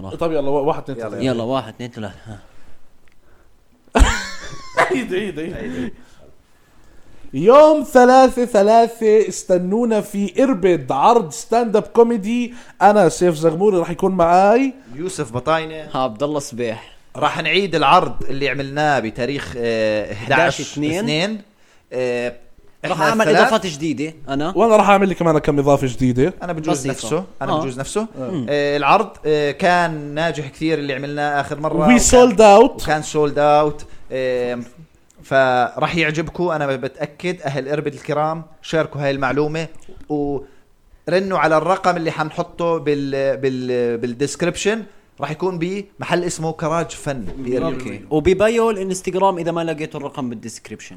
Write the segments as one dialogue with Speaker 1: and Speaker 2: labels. Speaker 1: طيب.
Speaker 2: راح.
Speaker 3: طب يلا واحد اثنين
Speaker 4: يلا،
Speaker 3: ثلاثة
Speaker 2: يلا واحد اثنين ثلاثة ها.
Speaker 3: عيد عيد عيد يوم ثلاثة ثلاثة استنونا في اربد عرض ستاند اب كوميدي انا سيف زغموري راح يكون معاي
Speaker 4: يوسف بطاينه
Speaker 1: ها عبد الله صبيح
Speaker 4: راح نعيد العرض اللي عملناه بتاريخ آه، 11
Speaker 1: اثنين.
Speaker 4: 2
Speaker 1: راح اعمل اضافات جديدة انا
Speaker 3: وانا راح اعمل لي كمان كم اضافة جديدة
Speaker 4: انا بجوز
Speaker 1: بسيطة.
Speaker 4: نفسه انا
Speaker 1: آه.
Speaker 4: بجوز نفسه آه، العرض آه، كان ناجح كثير اللي عملناه اخر مره
Speaker 3: وي
Speaker 4: وكان-
Speaker 3: سولد اوت
Speaker 4: وكان سولد اوت فراح يعجبكم انا بتاكد اهل اربد الكرام شاركوا هاي المعلومه ورنوا على الرقم اللي حنحطه بال بال بالديسكربشن راح يكون بمحل اسمه كراج فن بإربد.
Speaker 1: اوكي وببايو الانستغرام اذا ما لقيتوا الرقم بالديسكربشن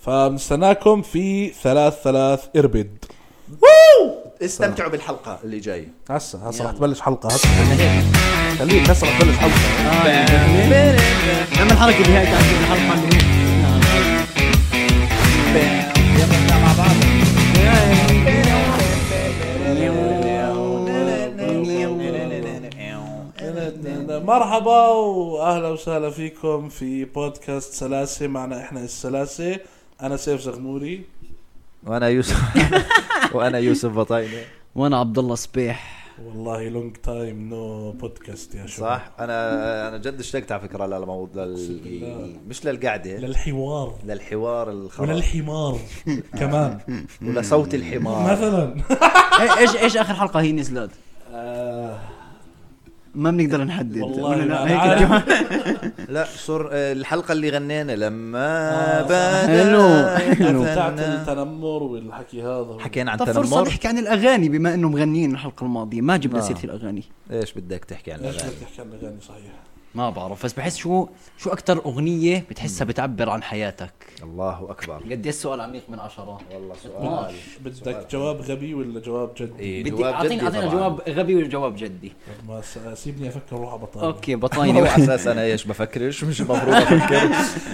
Speaker 3: فمستناكم في ثلاث ثلاث اربد
Speaker 4: استمتعوا بالحلقه اللي جايه
Speaker 3: هسا هسا رح تبلش حلقة هسا خليك هسا رح تبلش حلقة
Speaker 1: نعمل حركة بهاي تعجب الحلقة اللي هي.
Speaker 3: مرحبا واهلا وسهلا فيكم في بودكاست سلاسة معنا احنا السلاسة انا سيف زغموري
Speaker 4: وانا يوسف وانا يوسف بطاينه
Speaker 1: وانا عبد الله صبيح
Speaker 3: والله لونج تايم نو بودكاست يا شباب
Speaker 4: صح انا انا جد اشتقت على فكره للموضوع
Speaker 3: بالله.
Speaker 4: لل... مش للقعده
Speaker 3: للحوار
Speaker 4: للحوار الخلاص
Speaker 3: وللحمار كمان
Speaker 4: ولصوت الحمار
Speaker 3: مثلا
Speaker 1: إيه- ايش ايش اخر حلقة هي نزلت؟
Speaker 3: آه،
Speaker 1: ما بنقدر نحدد
Speaker 3: والله
Speaker 1: ولا
Speaker 3: ما
Speaker 1: لا هيك
Speaker 3: عارف.
Speaker 1: الجو-
Speaker 4: لا صر آه، الحلقه اللي غنينا لما
Speaker 3: آه، صح.
Speaker 4: بدا
Speaker 1: حلو، حلو.
Speaker 3: بتاعت
Speaker 4: أثنى.
Speaker 3: التنمر والحكي هذا
Speaker 4: حكينا عن
Speaker 1: طب فرصة
Speaker 4: تنمر
Speaker 1: نحكي عن الاغاني بما انه مغنيين الحلقة الماضية ما جبنا
Speaker 4: آه.
Speaker 1: سيرة الاغاني
Speaker 4: ايش بدك تحكي عن
Speaker 3: ليش
Speaker 4: الأغاني؟
Speaker 3: بدك تحكي عن الاغاني صحيح
Speaker 1: ما بعرف بس بحس شو شو اكثر اغنية بتحسها بتعبر عن حياتك؟
Speaker 4: الله اكبر
Speaker 1: قد ايه السؤال عميق من عشرة؟
Speaker 4: والله سؤال
Speaker 3: بدك جواب غبي ولا جواب جدي
Speaker 4: إيه،
Speaker 1: بدي
Speaker 4: جواب
Speaker 1: اعطيني
Speaker 4: جدي
Speaker 1: اعطيني
Speaker 4: طبعاً.
Speaker 1: جواب غبي وجواب جدي
Speaker 3: ما س- سيبني افكر روح على بطاري
Speaker 1: اوكي
Speaker 4: هو
Speaker 1: بطاينة
Speaker 4: على اساس انا ايش بفكرش مش المفروض افكر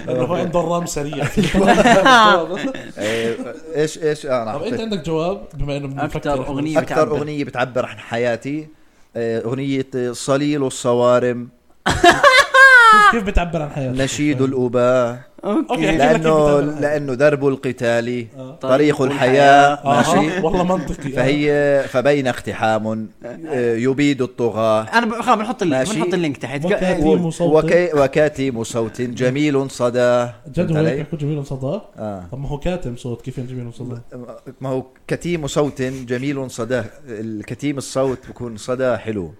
Speaker 3: لانه هو عنده الرام سريع في الجواب.
Speaker 4: إيه، ايش ايش آه، انا
Speaker 3: طب انت
Speaker 4: حطيت
Speaker 3: عندك جواب بما انه بنفكر
Speaker 1: أكتر
Speaker 3: إحنا.
Speaker 1: أغنية.
Speaker 4: اكثر
Speaker 1: بتعبر.
Speaker 4: اغنيه بتعبر عن حياتي آه، اغنيه آه، صليل الصوارم
Speaker 3: كيف بتعبر عن حياتك
Speaker 4: نشيد الأباء
Speaker 3: اوكي أحكي لك كيف
Speaker 4: لأنه
Speaker 3: بتعبر عن حياتك.
Speaker 4: لأنه درب القتال طريق
Speaker 1: طريق
Speaker 4: الحياة ماشي
Speaker 3: آه والله منطقي
Speaker 4: فهي فبين اقتحام آه، يبيد الطغاة
Speaker 1: انا ب- خلص بنحط اللينك
Speaker 4: ماشي. إيه.
Speaker 1: بنحط اللينك تحت إيه،
Speaker 3: وكيف-
Speaker 1: و-
Speaker 3: كريم وصوتي.
Speaker 4: وكي وكاتم صوت جميل صدى
Speaker 3: جد
Speaker 4: فهمت
Speaker 3: هو
Speaker 4: علي؟
Speaker 3: بيحكوا جميل وصدى
Speaker 4: آه.
Speaker 3: طب ما هو كاتم صوت كيف يعني جميل وصدى
Speaker 4: ما هو كتيم صوت جميل صدى الكتيم الصوت بكون صدى حلو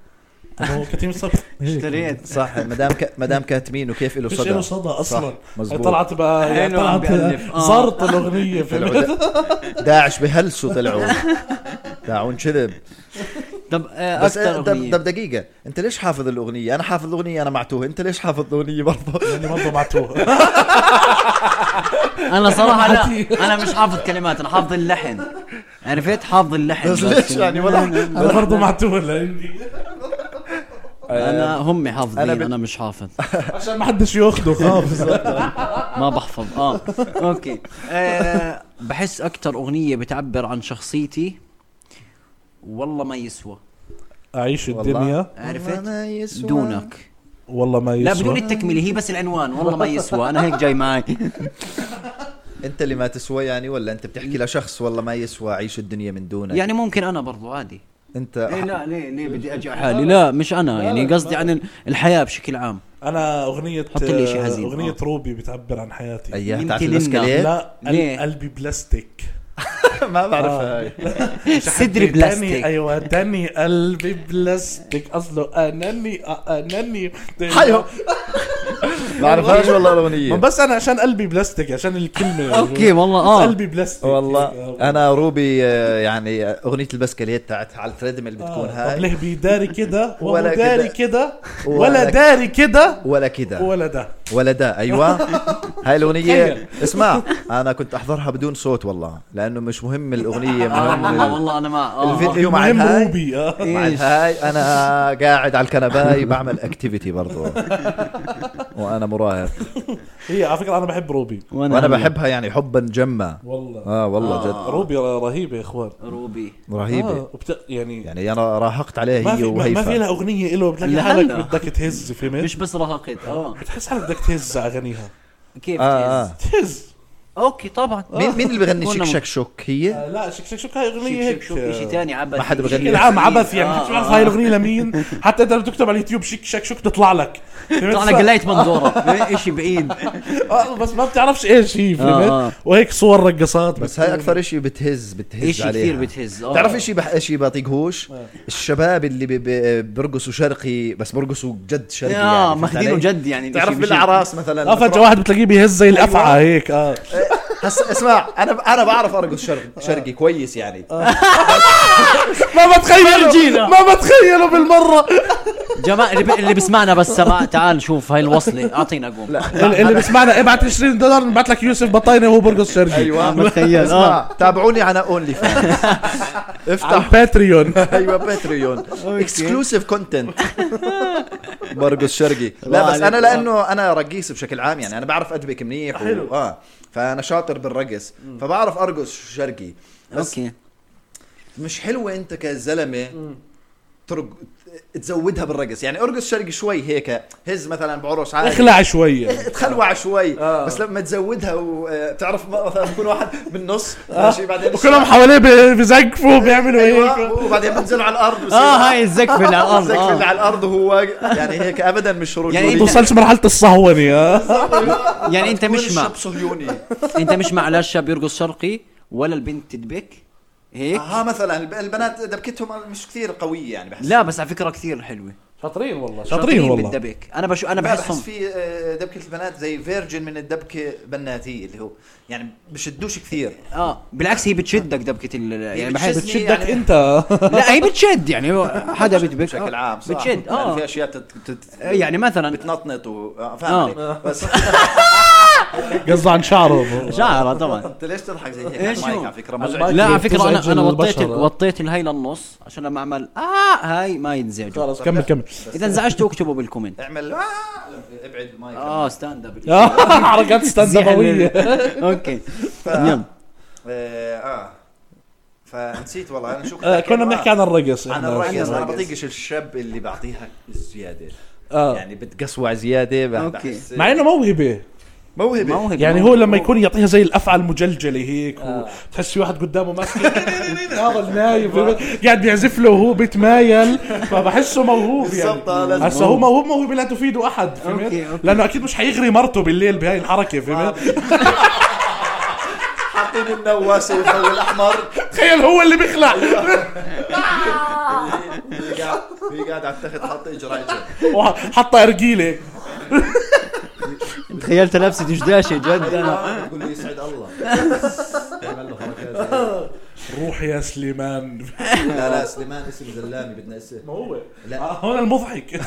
Speaker 3: طب هو كتيم الصوت هيك.
Speaker 1: اشتريت
Speaker 4: صح مدام ك... مدام كاتمين وكيف له
Speaker 3: فيش له
Speaker 4: صدى
Speaker 3: صدى اصلا
Speaker 4: صح،
Speaker 3: هي
Speaker 4: مزبوط.
Speaker 3: طلعت بقى هي
Speaker 1: حلو عم
Speaker 3: طلعت
Speaker 1: بألف. آه.
Speaker 3: زرط الاغنيه في
Speaker 4: طلعوا داعش بهلسوا طلعوا داعون كذب
Speaker 1: طب آه،
Speaker 4: بس
Speaker 1: اكثر
Speaker 4: آه، طب
Speaker 1: اغنية
Speaker 4: طب دقيقة انت ليش حافظ الاغنية؟ انا حافظ الاغنية انا معتوه، انت ليش حافظ الاغنية برضه؟
Speaker 3: لاني برضه معتوه
Speaker 1: انا صراحه لا انا مش حافظ كلمات انا حافظ اللحن عرفت حافظ اللحن
Speaker 4: بس ليش يعني ولا
Speaker 3: انا برضه معتوه لاني
Speaker 1: انا هم حافظين
Speaker 4: أنا
Speaker 1: انا,
Speaker 4: بت-
Speaker 1: مش حافظ
Speaker 3: عشان ما حدش ياخده خالص
Speaker 1: ما بحفظ اه اوكي آه بحس اكثر اغنيه بتعبر عن شخصيتي والله ما يسوى
Speaker 3: اعيش
Speaker 4: والله.
Speaker 3: الدنيا
Speaker 1: عرفت
Speaker 4: ما يسوى.
Speaker 1: دونك
Speaker 3: والله ما
Speaker 1: لا بدون
Speaker 3: يسوى
Speaker 1: التكمله هي بس العنوان والله ما يسوى انا هيك جاي معي
Speaker 4: انت اللي ما تسوى يعني ولا انت بتحكي لشخص والله ما يسوى عيش الدنيا من دونك
Speaker 1: يعني ممكن انا برضو عادي
Speaker 4: انت
Speaker 1: إيه لا ليه ليه بدي اجي على حالي لا مش انا يعني قصدي عن الحياه بشكل عام
Speaker 3: انا اغنيه
Speaker 1: حط لي شي حزين.
Speaker 3: اغنيه
Speaker 1: آه.
Speaker 3: روبي بتعبر عن حياتي
Speaker 4: اياها
Speaker 1: يمكن
Speaker 4: تعرف الاسكا
Speaker 1: إنه-
Speaker 4: ليه؟
Speaker 3: لا قل-
Speaker 1: ليه؟
Speaker 3: قلبي بلاستيك
Speaker 4: ما بعرفها
Speaker 3: آه.
Speaker 4: هاي
Speaker 1: صدري
Speaker 3: تاني-
Speaker 1: بلاستيك
Speaker 3: ايوه تاني قلبي بلاستيك آه، اصله اناني اناني
Speaker 4: حيو ما بعرفهاش والله
Speaker 3: ما
Speaker 4: الاغنية
Speaker 3: بس انا عشان قلبي بلاستيك عشان الكلمه
Speaker 1: اوكي والله اه
Speaker 3: قلبي بلاستيك
Speaker 4: والله انا روبي آه، يعني آه، اغنية البسكليت تاعتها على التريدميل بتكون
Speaker 3: آه. طب
Speaker 4: هاي
Speaker 3: ليه بيداري كده ولا
Speaker 4: ولا
Speaker 3: داري
Speaker 4: كده.
Speaker 3: كده
Speaker 4: ولا
Speaker 3: ولا
Speaker 4: كده.
Speaker 3: داري كده
Speaker 4: ولا كده
Speaker 3: ولا ده
Speaker 4: ولدا ايوه هاي الاغنيه اسمع انا كنت احضرها بدون صوت والله لانه مش مهم الاغنيه
Speaker 1: آه
Speaker 4: مهم
Speaker 1: والله
Speaker 4: ال-
Speaker 1: والله انا ما آه.
Speaker 4: الفيديو-
Speaker 3: اليوم
Speaker 4: اليوم على
Speaker 3: مهم
Speaker 4: الهاي.
Speaker 3: روبي آه.
Speaker 4: مع
Speaker 1: إيش.
Speaker 4: الهاي انا قاعد على الكنباي بعمل اكتيفيتي برضه وانا مراهق
Speaker 3: هي على فكره انا بحب روبي
Speaker 4: وانا بحبها يعني حبا جما
Speaker 3: والله
Speaker 4: اه والله
Speaker 1: آه.
Speaker 4: جد
Speaker 3: روبي ر- رهيبه يا اخوان
Speaker 1: روبي
Speaker 4: رهيبه
Speaker 3: آه وبت... يعني
Speaker 4: يعني انا راهقت عليها
Speaker 3: ما
Speaker 4: هي
Speaker 3: في ما, ما في
Speaker 4: وهيفا
Speaker 3: لها اغنيه له بتلاقي
Speaker 1: لا،
Speaker 3: حالك
Speaker 1: لا.
Speaker 3: بدك تهز فهمت؟
Speaker 1: مش بس رهقت اه
Speaker 3: بتحس حالك بدك تهز على اغانيها
Speaker 1: كيف
Speaker 4: آه، آه.
Speaker 1: تهز؟
Speaker 3: تهز
Speaker 1: اوكي طبعا
Speaker 4: مين مين اللي بغني
Speaker 1: كنا م-
Speaker 4: شك شك شك هي
Speaker 3: آه، لا شك شك شك هاي
Speaker 1: شوف
Speaker 3: اغنيه
Speaker 1: شوف
Speaker 3: هيك
Speaker 1: شوف
Speaker 3: آه،
Speaker 1: شيء ثاني عبث آه،
Speaker 4: ما حدا بغني.
Speaker 3: بشكل عام عبث يعني مش بعرف هاي الاغنيه لمين حتى انت لو تكتب على اليوتيوب شك شك شك تطلع لك فهمت؟
Speaker 1: طلعنا قليت منظورة شيء بعيد
Speaker 3: آه، بس ما بتعرفش ايش هي
Speaker 1: آه.
Speaker 3: فهمت وهيك صور رقصات
Speaker 4: بس هاي اكثر شيء بتهز بتهز
Speaker 1: شيء
Speaker 4: عليها
Speaker 1: كثير بتهز آه.
Speaker 4: بتعرف شيء بح... شيء بطيقهوش الشباب اللي بي- بي- بيرقصوا شرقي بس بيرقصوا جد شرقي يعني
Speaker 1: اه
Speaker 4: فهمت
Speaker 1: ماخذينه
Speaker 4: علي؟
Speaker 1: جد آه، يعني
Speaker 4: بتعرف
Speaker 1: شيء- شيء-
Speaker 4: بالاعراس مثلا
Speaker 3: اه
Speaker 4: لما
Speaker 3: فجاه واحد بتلاقيه بيهز زي الافعى هيك اه
Speaker 4: هس اسمع انا انا بعرف ارقص
Speaker 1: آه.
Speaker 4: شرق شرقي كويس يعني
Speaker 3: ما بتخيله
Speaker 1: فرجينا.
Speaker 3: ما بتخيله بالمره
Speaker 1: جماعة اللي, ب... اللي بيسمعنا بس سماع تعال شوف هاي الوصلة اعطينا قوم لا
Speaker 3: اللي اللي بيسمعنا ابعت 20 دولار نبعت لك يوسف بطاينه وهو برقص شرقي
Speaker 4: أيوة.
Speaker 1: عم بتخيل،
Speaker 4: اسمع تابعوني على اونلي فانز
Speaker 3: على
Speaker 4: افتح
Speaker 3: الباتريون
Speaker 4: ايوه باتريون اكسكلوسيف كونتنت برقص شرقي لا
Speaker 1: الله
Speaker 4: بس انا
Speaker 1: عليك. آه.
Speaker 4: لانه انا رقيص بشكل عام يعني انا بعرف ادبك منيح حلو اه فانا شاطر بالرقص فبعرف ارقص شرقي بس
Speaker 1: اوكي
Speaker 4: مش حلوه انت كزلمه ترق تزودها بالرقص يعني ارقص شرقي شوي هيك هز مثلا بعرس عادي إيه،
Speaker 3: اخلع شويه
Speaker 4: تخلوع شوي آه. بس لما تزودها آه، وتعرف مثلا يكون واحد بالنص
Speaker 1: آه.
Speaker 4: ماشي بعدين
Speaker 3: وكلهم حواليه بي- بزقفوا بيعملوا
Speaker 4: ايوه
Speaker 3: هيك
Speaker 4: وبعدين بنزلوا على الارض
Speaker 1: اه أيوة. هاي الزقفة على الارض
Speaker 4: زكفل
Speaker 1: آه.
Speaker 4: على الارض وهو يعني هيك ابدا مش رجولي
Speaker 1: يعني
Speaker 3: توصلش مرحله الصهونه اه
Speaker 4: آه.
Speaker 1: يعني انت مش مع
Speaker 4: شاب صهيوني
Speaker 1: انت مش مع لا الشاب يرقص شرقي ولا البنت تدبك هيك
Speaker 4: آه، ها مثلا الب- البنات دبكتهم مش كثير قويه يعني بحس
Speaker 1: لا بس على فكرة كثير حلوة
Speaker 3: شاطرين والله شاطرين والله
Speaker 1: بالدبك انا بشو انا
Speaker 4: لا، بحس
Speaker 1: بحسهم
Speaker 4: في آه، دبكة البنات زي فيرجن من الدبكة بناتية اللي هو يعني بشدوش كثير
Speaker 1: اه بالعكس هي بتشدك دبكة ال يعني بحس
Speaker 4: بتشدني
Speaker 3: بتشدك
Speaker 4: يعني-
Speaker 3: انت
Speaker 1: لا هي بتشد يعني هو حدا بتبك
Speaker 4: بشكل
Speaker 1: آه،
Speaker 4: عام صح
Speaker 1: بتشد
Speaker 4: يعني
Speaker 1: اه
Speaker 4: في اشياء تت... تت...
Speaker 1: يعني مثلا
Speaker 4: بتنطنط و آه،
Speaker 1: آه.
Speaker 4: فاهم علي؟ بس
Speaker 3: قصده عن شعره
Speaker 1: شعره طبعا
Speaker 4: انت ليش تضحك زي هيك
Speaker 1: إيش
Speaker 4: على المايك
Speaker 1: هو؟
Speaker 4: على فكره
Speaker 3: على
Speaker 4: مزعج
Speaker 3: المايك.
Speaker 1: لا على فكره انا
Speaker 3: بتزعج
Speaker 1: انا وطيت ال-
Speaker 3: البشرة.
Speaker 1: وطيت الهاي للنص عشان لما اعمل اه هاي ما ينزعجوا
Speaker 3: خلص كمل كمل
Speaker 1: اذا انزعجتوا اكتبوا بالكومنت
Speaker 4: اعمل آه، ابعد المايك
Speaker 1: اه ستاند اب
Speaker 3: حركات ستاند
Speaker 1: زعل ال-
Speaker 3: ابويه
Speaker 1: اوكي يلا
Speaker 4: اه آه. فنسيت والله انا شو كنت
Speaker 3: آه،
Speaker 4: أحكي
Speaker 3: كنا
Speaker 4: معك.
Speaker 3: بنحكي عن الرقص
Speaker 4: عن
Speaker 3: إحنا.
Speaker 4: الرقص انا
Speaker 1: الرقص.
Speaker 4: بطيقش الشاب اللي بعطيها زياده
Speaker 3: آه.
Speaker 4: يعني بتقسوع زياده بح-
Speaker 1: أوكي.
Speaker 4: بحس
Speaker 3: مع انه موهبه
Speaker 4: موهبه
Speaker 1: موهبة
Speaker 3: يعني هو لما يكون يعطيها زي الافعى المجلجله هيك
Speaker 4: آه.
Speaker 3: وتحس في واحد قدامه ماسك هذا النايم قاعد بيعزف له وهو بيتمايل فبحسه موهوب يعني
Speaker 4: بالضبط، آه، لازم.
Speaker 3: هسا هو موهوب موهبه لا تفيد احد
Speaker 1: أوكي،
Speaker 3: فهمت؟
Speaker 1: أوكي.
Speaker 3: لانه اكيد مش حيغري مرته بالليل بهاي الحركه فهمت؟
Speaker 4: حاطين النواس والضوء الاحمر
Speaker 3: تخيل هو اللي بيخلع
Speaker 4: هي قاعد- هي قاعد على التخت حاطه اجرها اجرها
Speaker 3: وحط ارجيله
Speaker 1: تخيلت لابسه دشداشه جد انا
Speaker 4: آه، بتقول لي يسعد الله تعمل له حركات زي-
Speaker 3: روح يا سليمان
Speaker 4: لا لا سليمان اسم زلامي بدنا اسم
Speaker 3: هو
Speaker 4: لا.
Speaker 3: هون المضحك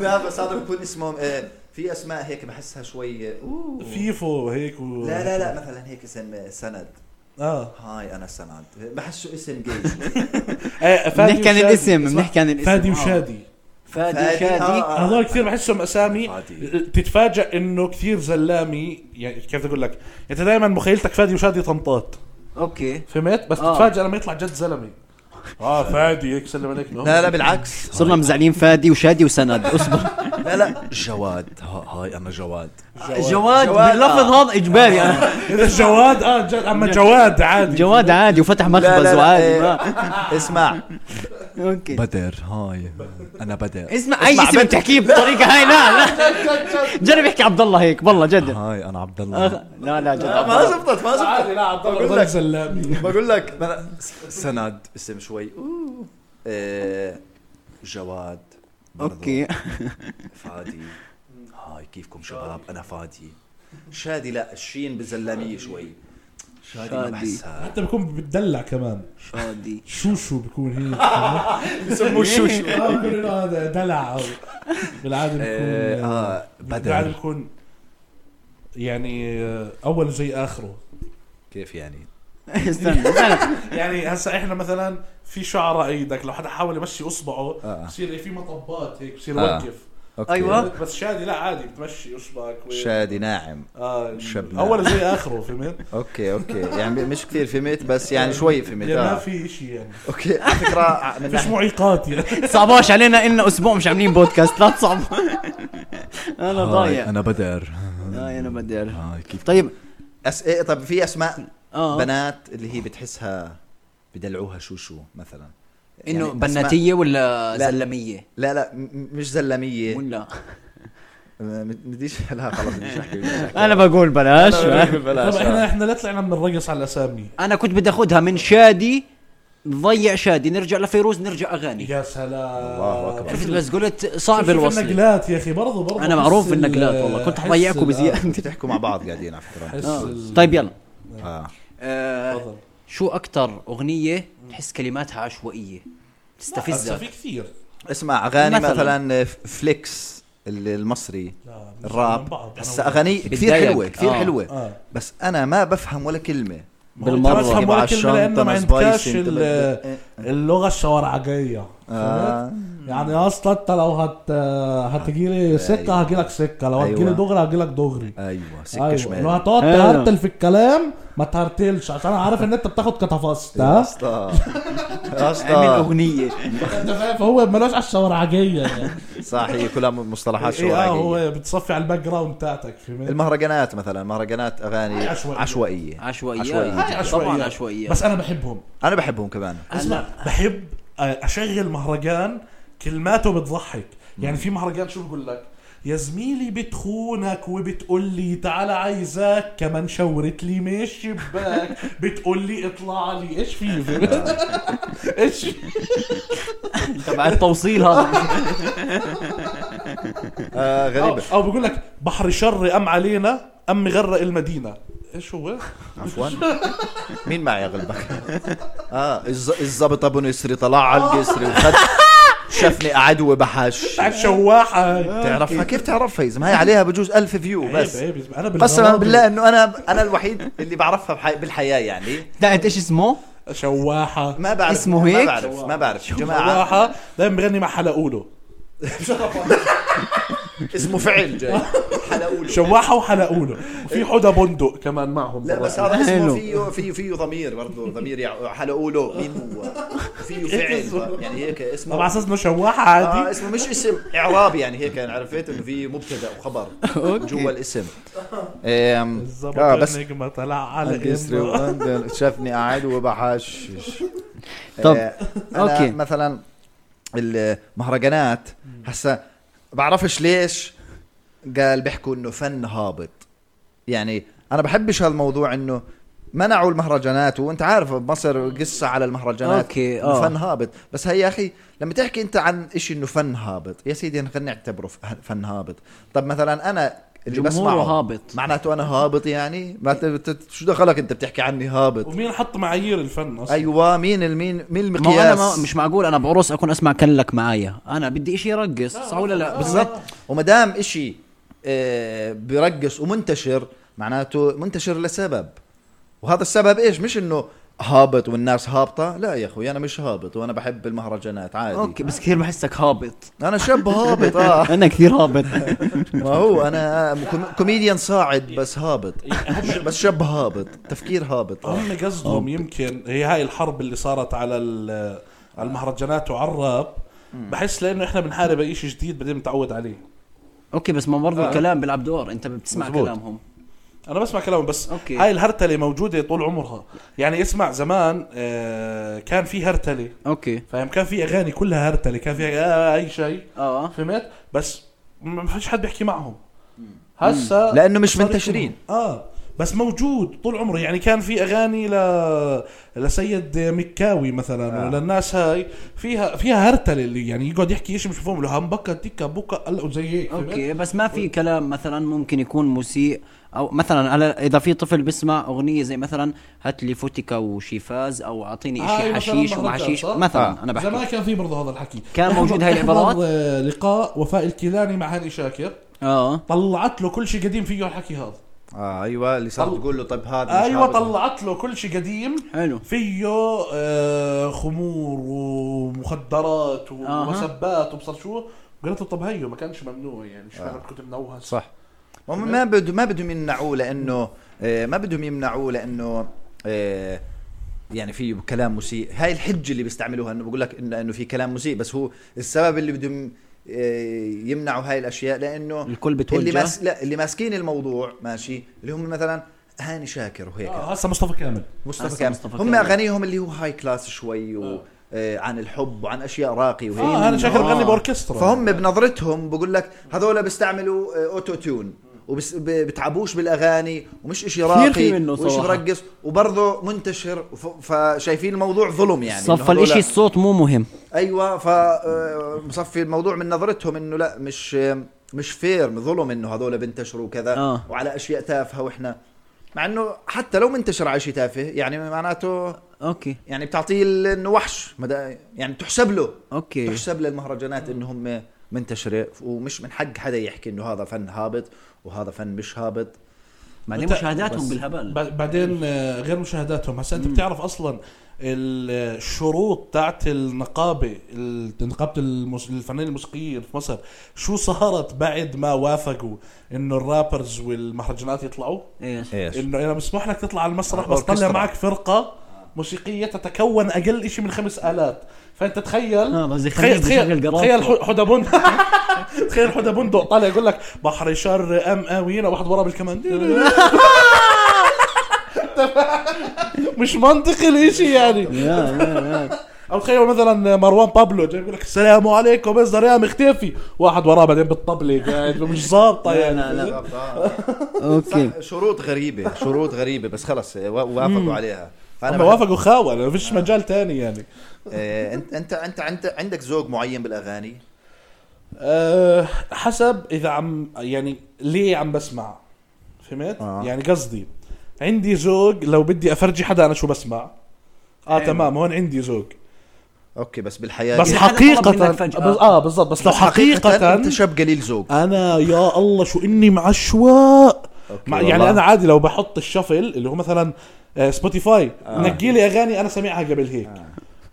Speaker 4: لا بس هذا بيكون اسمهم آه، في اسماء هيك بحسها شوي آه، أوه.
Speaker 3: فيفو هيك و...
Speaker 4: لا لا لا مثلا هيك اسم آه، سند
Speaker 3: اه
Speaker 4: هاي انا سند بحسه اسم جاي شوي.
Speaker 3: آه، فادي
Speaker 1: بنحكي عن
Speaker 3: وشادي.
Speaker 1: الاسم،
Speaker 3: اسمع،
Speaker 1: بنحكي عن الاسم.
Speaker 3: فادي
Speaker 1: آه.
Speaker 3: وشادي
Speaker 1: فادي
Speaker 4: فادي،
Speaker 1: شادي
Speaker 4: آه.
Speaker 3: هذول كثير بحسهم اسامي
Speaker 4: عادي.
Speaker 3: تتفاجئ انه كثير زلامي يعني كيف بدي اقول لك انت دائما مخيلتك فادي وشادي طنطات
Speaker 1: اوكي
Speaker 3: فهمت بس
Speaker 1: آه.
Speaker 3: تتفاجئ لما يطلع جد زلمه اه فادي هيك سلم عليك إنه
Speaker 4: لا
Speaker 3: هو-
Speaker 4: لا بالعكس
Speaker 1: صرنا مزعلين فادي وشادي وسند اصبر
Speaker 4: لا لا جواد ها- هاي انا جواد
Speaker 1: جواد
Speaker 4: جواد، آه.
Speaker 1: باللفظ هذا اجباري انا
Speaker 3: اذا جواد اه جد اما جواد عادي
Speaker 1: جواد عادي وفتح مخبز وعادي ما-
Speaker 4: آه، اسمع
Speaker 1: اوكي
Speaker 4: بدر هاي انا بدر
Speaker 1: اسمع اي
Speaker 4: اسمع
Speaker 1: اسم
Speaker 4: بنت.
Speaker 1: بتحكيه بطريقه هاي لا لا جرب احكي عبد الله هيك والله جد
Speaker 4: هاي انا عبد
Speaker 1: آه، لا لا جد عبد
Speaker 4: ما
Speaker 1: الله
Speaker 4: زبطت ما زبطت
Speaker 3: عادي لا عبد الله
Speaker 4: بقول
Speaker 3: ضل
Speaker 4: لك.
Speaker 3: زلامي
Speaker 4: بقول لك أنا س- سند اسم شوي أوه. آه، جواد برضو.
Speaker 1: اوكي
Speaker 4: فادي هاي كيفكم شباب انا فادي شادي لا الشين بزلاميه شوي
Speaker 1: شادي
Speaker 3: حتى بكون بتدلع كمان
Speaker 1: شادي
Speaker 3: شو شو بكون هي
Speaker 4: بسموه شوشو
Speaker 3: آه، بكون آه، إنه هذا دلع او بالعاده
Speaker 4: آه،
Speaker 3: بكون
Speaker 4: آه،
Speaker 3: بالعاده
Speaker 4: بدل
Speaker 3: بكون يعني آه، اول شيء اخره
Speaker 4: كيف يعني
Speaker 1: استنى لا،
Speaker 3: يعني هسا احنا مثلا في شعره ايدك لو حدا حاول يمشي اصبعه
Speaker 4: آه.
Speaker 3: بصير في مطبات هيك بصير
Speaker 4: آه.
Speaker 3: وقف
Speaker 4: أوكي.
Speaker 1: أيوة.
Speaker 3: بس شادي لا عادي بتمشي اصبعك و...
Speaker 4: شادي ناعم
Speaker 3: اه
Speaker 4: شبنا.
Speaker 3: اول شيء اخره فهمت؟
Speaker 4: اوكي اوكي يعني مش كثير فهمت بس يعني شوي فهمت
Speaker 3: يعني ما
Speaker 4: آه.
Speaker 3: في شيء يعني
Speaker 4: اوكي على فكره من
Speaker 3: مش
Speaker 4: ناحية-
Speaker 3: معيقات يعني
Speaker 1: تصعبوش علينا إلنا اسبوع مش عاملين بودكاست لا تصعب
Speaker 4: آه،
Speaker 1: انا ضايع
Speaker 4: انا بدر
Speaker 1: ضايع انا بدي
Speaker 4: آه، كيف
Speaker 1: طيب
Speaker 4: أس... إيه طب في اسماء
Speaker 3: آه.
Speaker 1: اه
Speaker 4: بنات اللي هي بتحسها بدلعوها شو شو مثلا
Speaker 1: انه
Speaker 4: يعني أسماء-
Speaker 1: بناتيه ولا
Speaker 4: لا.
Speaker 1: زلميه
Speaker 4: لا لا م- م- مش زلميه
Speaker 1: ولا
Speaker 4: م- بديش لا خلص بديش احكي بديش أحكي.
Speaker 1: انا بقول بلاش
Speaker 3: طب
Speaker 4: بلاش
Speaker 3: احنا
Speaker 4: آه.
Speaker 3: احنا لا طلعنا من الرقص على الاسامي
Speaker 1: انا كنت بدي اخذها من شادي نضيع شادي نرجع لفيروز نرجع اغاني
Speaker 3: يا سلام
Speaker 4: الله أكبر.
Speaker 1: عرفت بس قلت صعب
Speaker 3: شوف
Speaker 1: الوصل
Speaker 3: النجلات يا اخي برضه برضه
Speaker 1: انا
Speaker 3: حس
Speaker 1: معروف
Speaker 3: ال-
Speaker 1: بالنجلات والله كنت
Speaker 3: حس
Speaker 1: حضيعكم
Speaker 3: ال-
Speaker 1: بزياده
Speaker 4: بتحكوا مع بعض قاعدين على فكره
Speaker 3: حس
Speaker 1: آه.
Speaker 3: ال-
Speaker 1: طيب يلا
Speaker 4: اه
Speaker 1: آه،
Speaker 3: تفضل.
Speaker 1: شو اكثر اغنيه تحس كلماتها عشوائيه تستفزك
Speaker 3: في كثير
Speaker 4: اسمع اغاني
Speaker 1: مثلاً.
Speaker 4: مثلا, فليكس ال- المصري
Speaker 3: لا، مش من بعض.
Speaker 4: الراب هسا اغاني كثير
Speaker 1: بتضايق.
Speaker 4: حلوه كثير
Speaker 1: آه.
Speaker 4: حلوه
Speaker 3: اه
Speaker 4: بس انا ما بفهم ولا كلمه
Speaker 1: بالمرة.
Speaker 3: بالمره
Speaker 4: تبع
Speaker 3: ولا كلمه لانه ما
Speaker 4: الشنطة، سبايسي،
Speaker 3: عندكاش
Speaker 4: انت
Speaker 3: ال-
Speaker 4: بدك-
Speaker 3: اللغه الشوارعجيه
Speaker 4: آه.
Speaker 3: يعني اصلا انت لو هت هتجيلي سكه
Speaker 4: أيوة.
Speaker 3: هجيلك سكه لو
Speaker 4: أيوة.
Speaker 3: هتجيلي دغري هجيلك دغري
Speaker 4: ايوه سكه
Speaker 3: ايوه
Speaker 4: شمال
Speaker 3: لو هتقعد
Speaker 1: أيوة.
Speaker 3: تهرتل في الكلام ما تهرتلش عشان انا عارف ان انت بتاخد كتفست
Speaker 4: يا
Speaker 3: ها
Speaker 4: اسطى يا
Speaker 3: يعني
Speaker 1: اعمل
Speaker 4: اسطى
Speaker 1: اغنيه
Speaker 3: انت فاهم فهو ملوش على الشوارعجيه يعني
Speaker 4: صح هي كلها مصطلحات
Speaker 3: إيه، اه
Speaker 4: شوارعيه
Speaker 3: هو بتصفي على الباك جراوند بتاعتك فهمت
Speaker 4: المهرجانات مثلا مهرجانات اغاني
Speaker 3: هاي عشوائية.
Speaker 4: عشوائيه
Speaker 1: عشوائيه
Speaker 4: عشوائية.
Speaker 3: هاي
Speaker 1: طبعا عشوائيه
Speaker 3: بس انا بحبهم
Speaker 4: انا بحبهم كمان
Speaker 3: اسمع بحب اشغل مهرجان كلماته بتضحك يعني في مهرجان شو بقول لك يا زميلي بتخونك وبتقول لي تعال عايزك كمان شورت لي من الشباك بتقول لي اطلع لي ايش في ايش في؟
Speaker 1: تبع التوصيل هذا
Speaker 4: آه
Speaker 3: او,
Speaker 4: غريبه
Speaker 3: أو بقول لك بحر شر ام علينا ام غرق المدينه ايش هو
Speaker 4: عفوا مين معي اغلبك اه الز- الزبط ابو نسري طلع على القسري وخد شافني عدوى بحش
Speaker 3: بتاع الشواحه
Speaker 4: تعرفها كيف تعرفها يا زلمه هي عليها بجوز ألف فيو
Speaker 3: عيب
Speaker 4: بس
Speaker 3: عيب يا زلمة. انا
Speaker 4: قسما
Speaker 3: بالغرابة-
Speaker 4: بالله انه انا انا الوحيد اللي بعرفها بحي... بالحياه يعني
Speaker 1: بتاعت ايش اسمه؟
Speaker 3: شواحه
Speaker 4: ما بعرف
Speaker 1: اسمه
Speaker 4: ما
Speaker 1: هيك؟
Speaker 4: بعرف ما بعرف يا جماعه
Speaker 3: شواحه دايما بغني مع حلقوله
Speaker 4: اسمه فعل جاي حلقوله
Speaker 3: شواحه وحلقوله وفي حدى بندق كمان معهم
Speaker 4: لا بس هذا اسمه فيه فيه فيه ضمير برضه ضمير يع- حلقوله مين هو فيه فعل يعني هيك اسمه
Speaker 3: طب على اساس انه شواحه
Speaker 4: آه
Speaker 3: عادي
Speaker 4: اسمه مش اسم اعراب يعني هيك يعني عرفت انه في مبتدا وخبر جوا الاسم آم،
Speaker 3: الظبط
Speaker 4: اه بس
Speaker 3: النجمه طلع على
Speaker 4: الكسري
Speaker 3: إمه.
Speaker 4: وغندر شافني قاعد وبحشش
Speaker 1: طب،
Speaker 4: آه، أنا
Speaker 1: أوكي.
Speaker 4: مثلا المهرجانات هسا بعرفش ليش قال بيحكوا انه فن هابط يعني انا بحبش هالموضوع انه منعوا المهرجانات وانت عارف بمصر قصه على المهرجانات
Speaker 1: أوكي،
Speaker 4: إنه
Speaker 1: آه.
Speaker 4: فن هابط بس هي يا اخي لما تحكي انت عن إشي انه فن هابط يا سيدي خلينا نعتبره ف- فن هابط طب مثلا انا اللي
Speaker 1: جمهوره
Speaker 4: بسمعه
Speaker 1: هابط.
Speaker 4: معناته انا هابط يعني ما ت- ت- شو دخلك انت بتحكي عني هابط
Speaker 3: ومين حط معايير الفن اصلا
Speaker 4: ايوه مين المين مين
Speaker 1: ما هو انا
Speaker 4: المقياس
Speaker 1: ما مش معقول انا بعرس اكون اسمع كلك معايا انا بدي اشي يرقص صح ولا لا بالضبط
Speaker 4: وما دام شيء آه، برقص ومنتشر معناته منتشر لسبب وهذا السبب ايش مش انه هابط والناس هابطه لا يا اخوي انا مش هابط وانا بحب المهرجانات عادي
Speaker 1: اوكي بس كثير بحسك هابط
Speaker 4: انا شاب هابط اه
Speaker 3: آه.
Speaker 1: انا كثير هابط
Speaker 4: ما هو انا كوم- كوميديان صاعد بس هابط بس شاب هابط تفكير هابط آه.
Speaker 3: هم قصدهم يمكن هي هاي الحرب اللي صارت على ال- على المهرجانات وعلى الراب بحس لانه احنا بنحارب اي شيء جديد بعدين بنتعود عليه
Speaker 1: اوكي بس ما
Speaker 3: آه.
Speaker 1: برضه الكلام بيلعب دور انت بتسمع
Speaker 4: مزبوط.
Speaker 1: كلامهم
Speaker 3: انا بسمع كلامه بس
Speaker 1: أوكي.
Speaker 3: أوكي. هاي الهرتله موجوده طول عمرها يعني اسمع زمان آه، كان في هرتله
Speaker 1: اوكي
Speaker 3: فاهم كان في اغاني كلها هرتله كان في آه اي شيء
Speaker 1: اه
Speaker 3: فهمت بس ما فيش حد بيحكي معهم هسا
Speaker 4: لأنه مش
Speaker 3: صار
Speaker 4: منتشرين.
Speaker 3: يكون- اه بس موجود طول عمره يعني كان في اغاني ل لسيد مكاوي مثلا
Speaker 4: آه.
Speaker 3: آه. للناس هاي فيها فيها هرتل اللي يعني يقعد يحكي شيء مش مفهوم له همبكا تيكا بوكا قلقوا زي هيك
Speaker 1: اوكي بس ما في كلام مثلا ممكن يكون مسيء او مثلا هلا اذا في طفل بيسمع اغنيه زي مثلا هات لي فوتيكا وشيفاز او اعطيني
Speaker 3: هاي
Speaker 1: شيء
Speaker 3: مثلاً
Speaker 1: حشيش
Speaker 3: مهرجان،
Speaker 1: وما حشيش
Speaker 3: صح؟
Speaker 1: مثلا
Speaker 4: آه.
Speaker 1: انا
Speaker 3: زمان
Speaker 1: بحكي
Speaker 3: كان في برضه هذا الحكي
Speaker 1: كان
Speaker 3: احضر-
Speaker 1: موجود هاي
Speaker 3: احضر،
Speaker 1: العبارات؟
Speaker 3: آه، لقاء وفاء الكيلاني مع هاني شاكر
Speaker 1: اه
Speaker 3: طلعت له كل شيء قديم فيه الحكي هذا
Speaker 4: اه ايوه اللي صار
Speaker 3: طل-
Speaker 4: تقول له طب هذا مش
Speaker 3: ايوه
Speaker 4: هذا.
Speaker 3: طلعت له كل شيء قديم
Speaker 1: حلو
Speaker 3: فيه آه، خمور ومخدرات
Speaker 1: أها.
Speaker 3: ومسبات وبصر شو قالت له طب هيو ما كانش ممنوع يعني شو آه. كنت منوهس
Speaker 4: صح هم ما بده ما بدهم يمنعوه لانه آه، ما بدهم يمنعوه لانه آه، يعني في كلام مسيء هاي الحجه اللي بيستعملوها انه بقول لك إن- انه في كلام مسيء بس هو السبب اللي بدهم آه، يمنعوا هاي الاشياء لانه
Speaker 1: الكل
Speaker 4: اللي
Speaker 1: بتوجه
Speaker 4: ماس لا اللي ماسكين الموضوع ماشي اللي هم مثلا هاني شاكر وهيك
Speaker 3: آه، هسه مصطفى كامل
Speaker 4: مصطفى
Speaker 1: هسا
Speaker 4: كامل
Speaker 1: مصطفى
Speaker 4: هم
Speaker 1: كامل.
Speaker 4: اغانيهم اللي هو هاي كلاس شوي و
Speaker 3: آه.
Speaker 4: آه، عن الحب وعن اشياء راقي وهيك
Speaker 3: اه انا شاكر
Speaker 1: آه.
Speaker 3: غني باوركسترا
Speaker 4: فهم بنظرتهم بقول لك هذول بيستعملوا آه، اوتو تيون وبتعبوش بالاغاني ومش اشي
Speaker 1: كثير في
Speaker 4: راقي
Speaker 1: منه
Speaker 4: ومش
Speaker 1: صراحة.
Speaker 4: مرقص وبرضه منتشر وف- فشايفين الموضوع ظلم يعني إنه
Speaker 1: صفى
Speaker 4: هذول-
Speaker 1: الاشي الصوت مو مهم
Speaker 4: ايوه فمصفي الموضوع من نظرتهم انه لا مش آه، مش فير ظلم انه هذول بنتشروا وكذا
Speaker 1: آه.
Speaker 4: وعلى اشياء تافهه واحنا مع انه حتى لو منتشر على شيء تافه يعني معناته
Speaker 1: اوكي
Speaker 4: يعني بتعطيه ال- انه وحش مدى- يعني تحسب له
Speaker 3: إيه.
Speaker 1: اوكي
Speaker 4: تحسب للمهرجانات انهم منتشره ومش من حق حدا يحكي انه هذا فن هابط وهذا فن مش هابط
Speaker 1: بعدين
Speaker 3: أنت-
Speaker 1: يعني مشاهداتهم
Speaker 4: بس-
Speaker 1: بالهبل
Speaker 3: ب- بعدين آه، غير مشاهداتهم هسه انت بتعرف اصلا الشروط تاعت النقابه ال- نقابه المس... الفنانين الموسيقيين في مصر شو صارت بعد ما وافقوا انه الرابرز والمهرجانات يطلعوا
Speaker 1: ايش
Speaker 4: ايش
Speaker 3: انه انا مسموح لك تطلع على المسرح
Speaker 4: آه،
Speaker 3: بس
Speaker 4: أوركسترا.
Speaker 3: طلع معك فرقه موسيقيه تتكون اقل شيء من خمس الات فانت
Speaker 1: آه،
Speaker 3: تخيل
Speaker 1: بس يخليك
Speaker 3: تخيل
Speaker 1: بشغل
Speaker 3: تخيل
Speaker 1: قراطة.
Speaker 3: تخيل حو- حدى بندق تخيل حدى بندق طالع يقول لك بحر شر ام اوينا واحد وراه بالكمان مش منطقي الاشي يعني
Speaker 1: يا يا يا
Speaker 3: او تخيل مثلا مروان بابلو جاي يقول لك السلام عليكم مصدر يا مختفي واحد وراه بعدين بالطبله قاعد مش ظابطه
Speaker 1: لا،
Speaker 3: يعني
Speaker 1: لا، لا. اوكي
Speaker 4: صح شروط غريبه شروط غريبه بس خلص وا- وافقوا عليها
Speaker 3: هم
Speaker 4: بحب-
Speaker 3: وافقوا خاوه ما فيش مجال تاني يعني
Speaker 4: آه، انت انت انت انت عندك ذوق معين بالاغاني
Speaker 3: أه حسب اذا عم يعني ليه عم بسمع فهمت؟
Speaker 4: آه.
Speaker 3: آه. يعني قصدي عندي ذوق لو بدي افرجي حدا انا شو بسمع اه
Speaker 1: حلو.
Speaker 3: تمام هون عندي ذوق
Speaker 4: اوكي بس يعني. بالحياه
Speaker 3: بس
Speaker 1: إذا حدا
Speaker 3: حقيقة
Speaker 1: طلب منك فجأة.
Speaker 3: بس اه بالضبط بس لو حقيقة
Speaker 4: انت شاب قليل ذوق
Speaker 3: انا يا الله شو اني معشواق
Speaker 4: أوكي،
Speaker 3: مع
Speaker 4: والله.
Speaker 3: يعني انا عادي لو بحط الشفل اللي هو مثلا آه، سبوتيفاي آه. نقي لي اغاني انا سامعها قبل هيك آه.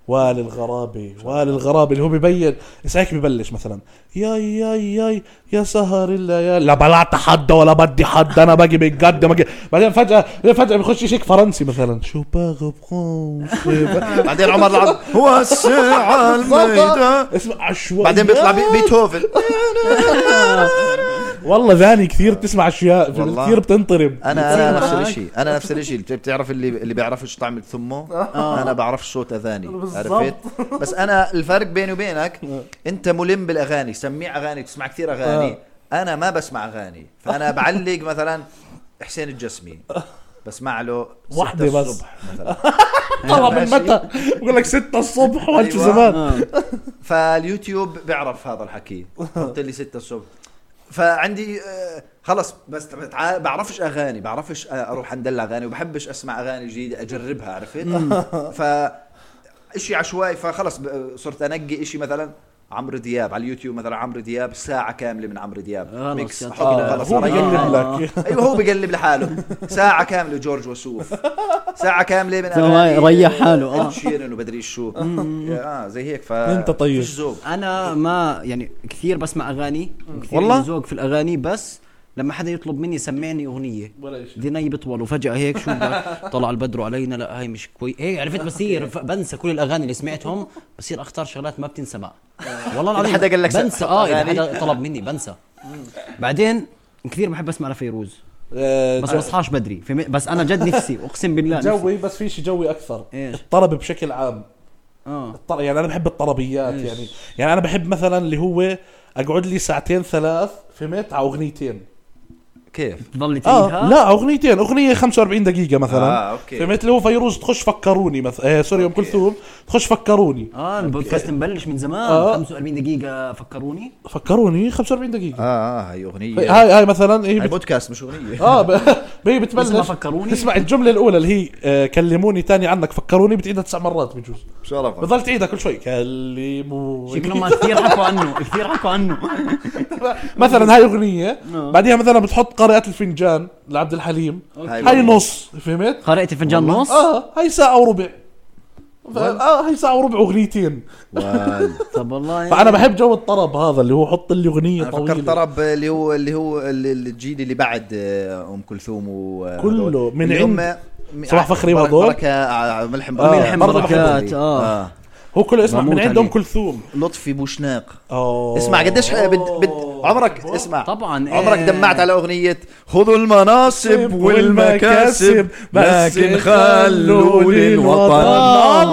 Speaker 3: وللغرابة وللغرابة اللي هو ببين بس هيك ببلش مثلا ياي ياي ياي يا سهر الليالي لا بلعت حدا ولا بدي حدا انا باجي من جد ما أجي- بعدين فجأة فجأة بيخش شيك فرنسي مثلا شو باغي بخمسة
Speaker 4: بعدين عمر العظيم هو الساعه الميدان
Speaker 3: اسمع عشوائي
Speaker 4: بعدين بيطلع بي- بيتهوفن
Speaker 3: والله ذاني كثير بتسمع اشياء
Speaker 4: والله.
Speaker 3: كثير بتنطرب
Speaker 4: انا
Speaker 1: بتصير
Speaker 4: انا نفس
Speaker 1: معك؟
Speaker 4: الشيء انا نفس الشيء بت- بتعرف اللي اللي بيعرفش طعم ثمه
Speaker 3: آه.
Speaker 4: انا بعرف صوت اغاني
Speaker 3: بالظبط.
Speaker 4: عرفت بس انا الفرق بيني وبينك
Speaker 3: آه.
Speaker 4: انت ملم بالاغاني سميع اغاني تسمع كثير اغاني
Speaker 3: آه.
Speaker 4: انا ما بسمع اغاني فانا بعلق مثلا حسين الجسمي بسمع له ستة
Speaker 3: واحدة بس.
Speaker 4: الصبح مثلا
Speaker 3: طلع من
Speaker 4: ماشي.
Speaker 3: متى بقول لك 6 الصبح وانت
Speaker 4: أيوة.
Speaker 3: زمان
Speaker 1: آه.
Speaker 4: فاليوتيوب بيعرف هذا الحكي حط لي 6 الصبح فعندي آه، خلص بس بتع- بعرفش اغاني بعرفش آه، اروح اندلع اغاني وبحبش اسمع اغاني جديده اجربها عرفت ف اشي عشوائي فخلص ب- صرت انقي اشي مثلا عمرو دياب على اليوتيوب مثلا عمرو دياب ساعه كامله من عمرو دياب
Speaker 1: خلص
Speaker 4: ميكس
Speaker 1: يا
Speaker 4: أحط
Speaker 1: طارق.
Speaker 4: له
Speaker 3: آه،
Speaker 4: خلص
Speaker 3: هو
Speaker 4: أريح
Speaker 3: بقلب
Speaker 4: حالي.
Speaker 3: لك
Speaker 4: ايوه هو بقلب لحاله ساعه كامله جورج وسوف ساعه كامله من
Speaker 1: سواء ريح حاله، آه.
Speaker 4: آه. شيرن وبدري شو اه زي هيك ف
Speaker 3: أنت طيب.
Speaker 4: فيش ذوق
Speaker 1: انا ما يعني كثير بسمع اغاني كثير
Speaker 4: والله؟
Speaker 1: والله ذوق في الاغاني بس لما حدا يطلب مني سمعني اغنيه
Speaker 3: ولا شيء
Speaker 1: ديني بطول وفجاه هيك شو بدك؟ طلع البدر علينا لا هاي مش كويس هيك عرفت بصير ف- بنسى كل الاغاني اللي سمعتهم بصير اختار شغلات ما بتنسمع
Speaker 3: آه.
Speaker 1: والله العظيم
Speaker 4: حدا قال لك س-
Speaker 1: بنسى اه اذا
Speaker 4: أغاني.
Speaker 1: حدا طلب مني بنسى بعدين كثير بحب اسمع لفيروز
Speaker 4: آه.
Speaker 1: بس ما بصحاش بدري فهمت؟ بس انا جد نفسي اقسم بالله نفسي.
Speaker 3: آه. جوي بس في شيء جوي اكثر
Speaker 1: إيش؟
Speaker 3: الطرب بشكل عام
Speaker 1: اه
Speaker 3: الطر... يعني انا بحب الطربيات
Speaker 1: إيش.
Speaker 3: يعني يعني انا بحب مثلا اللي هو اقعد لي ساعتين ثلاث فهمت على اغنيتين
Speaker 4: كيف
Speaker 1: تضل تعيدها
Speaker 3: اه لا اغنيتين اغنيه 45 دقيقه مثلا
Speaker 4: آه، أوكي.
Speaker 3: فهمت اللي هو فيروز تخش فكروني مثلا آه سوري ام
Speaker 4: أوكي.
Speaker 3: كلثوم تخش فكروني
Speaker 1: اه البودكاست مبلش من زمان
Speaker 3: آه.
Speaker 1: 45 دقيقة فكروني
Speaker 3: فكروني 45 دقيقه
Speaker 4: اه اه هي اغنيه
Speaker 3: آه، هاي هاي مثلا هي
Speaker 4: هاي
Speaker 3: بت...
Speaker 4: بودكاست مش اغنيه
Speaker 3: اه ب... هي بتبلش
Speaker 1: اسمها فكروني.
Speaker 3: تسمع الجمله الاولى اللي هي آه كلموني تاني عنك فكروني بتعيدها تسع مرات بجوز
Speaker 4: شرفك
Speaker 3: بضل تعيدها كل شوي كلموني
Speaker 1: شكلهم ما كثير حكوا عنه كثير حكوا عنه
Speaker 3: مثلا هاي اغنيه
Speaker 1: آه.
Speaker 3: بعديها مثلا بتحط قارئة الفنجان لعبد الحليم هاي
Speaker 4: والله.
Speaker 3: نص فهمت
Speaker 1: قرأت الفنجان نص
Speaker 4: آه.
Speaker 3: اه هاي ساعة وربع ف- اه هي ساعة وربع اغنيتين
Speaker 4: وال-
Speaker 1: طب والله
Speaker 3: فانا بحب جو الطرب هذا اللي هو حط لي اغنية
Speaker 4: انا فكرت
Speaker 3: طويلة
Speaker 4: طرب اللي هو اللي هو ال- ال- الجيل اللي بعد آه، ام كلثوم و آه،
Speaker 3: كله
Speaker 4: هدول.
Speaker 3: من
Speaker 4: اللي هم- م-
Speaker 3: صباح
Speaker 4: ع-
Speaker 3: فخري
Speaker 4: برك-
Speaker 3: وهدول.
Speaker 4: بركه آه، ملحم
Speaker 3: آه،
Speaker 4: ملحم
Speaker 3: برضه
Speaker 4: بركة.
Speaker 1: بحبهم. آه.
Speaker 3: هو كله اسمع
Speaker 1: بموت
Speaker 3: من عند
Speaker 1: عليه.
Speaker 3: ام كلثوم
Speaker 4: لطفي بوشناق
Speaker 3: اه
Speaker 4: اسمع قديش آه، بد بد عمرك اسمع
Speaker 1: طبعاً، إيه.
Speaker 4: عمرك دمعت على اغنيه خذوا المناصب والمكاسب لكن خلوني الوطن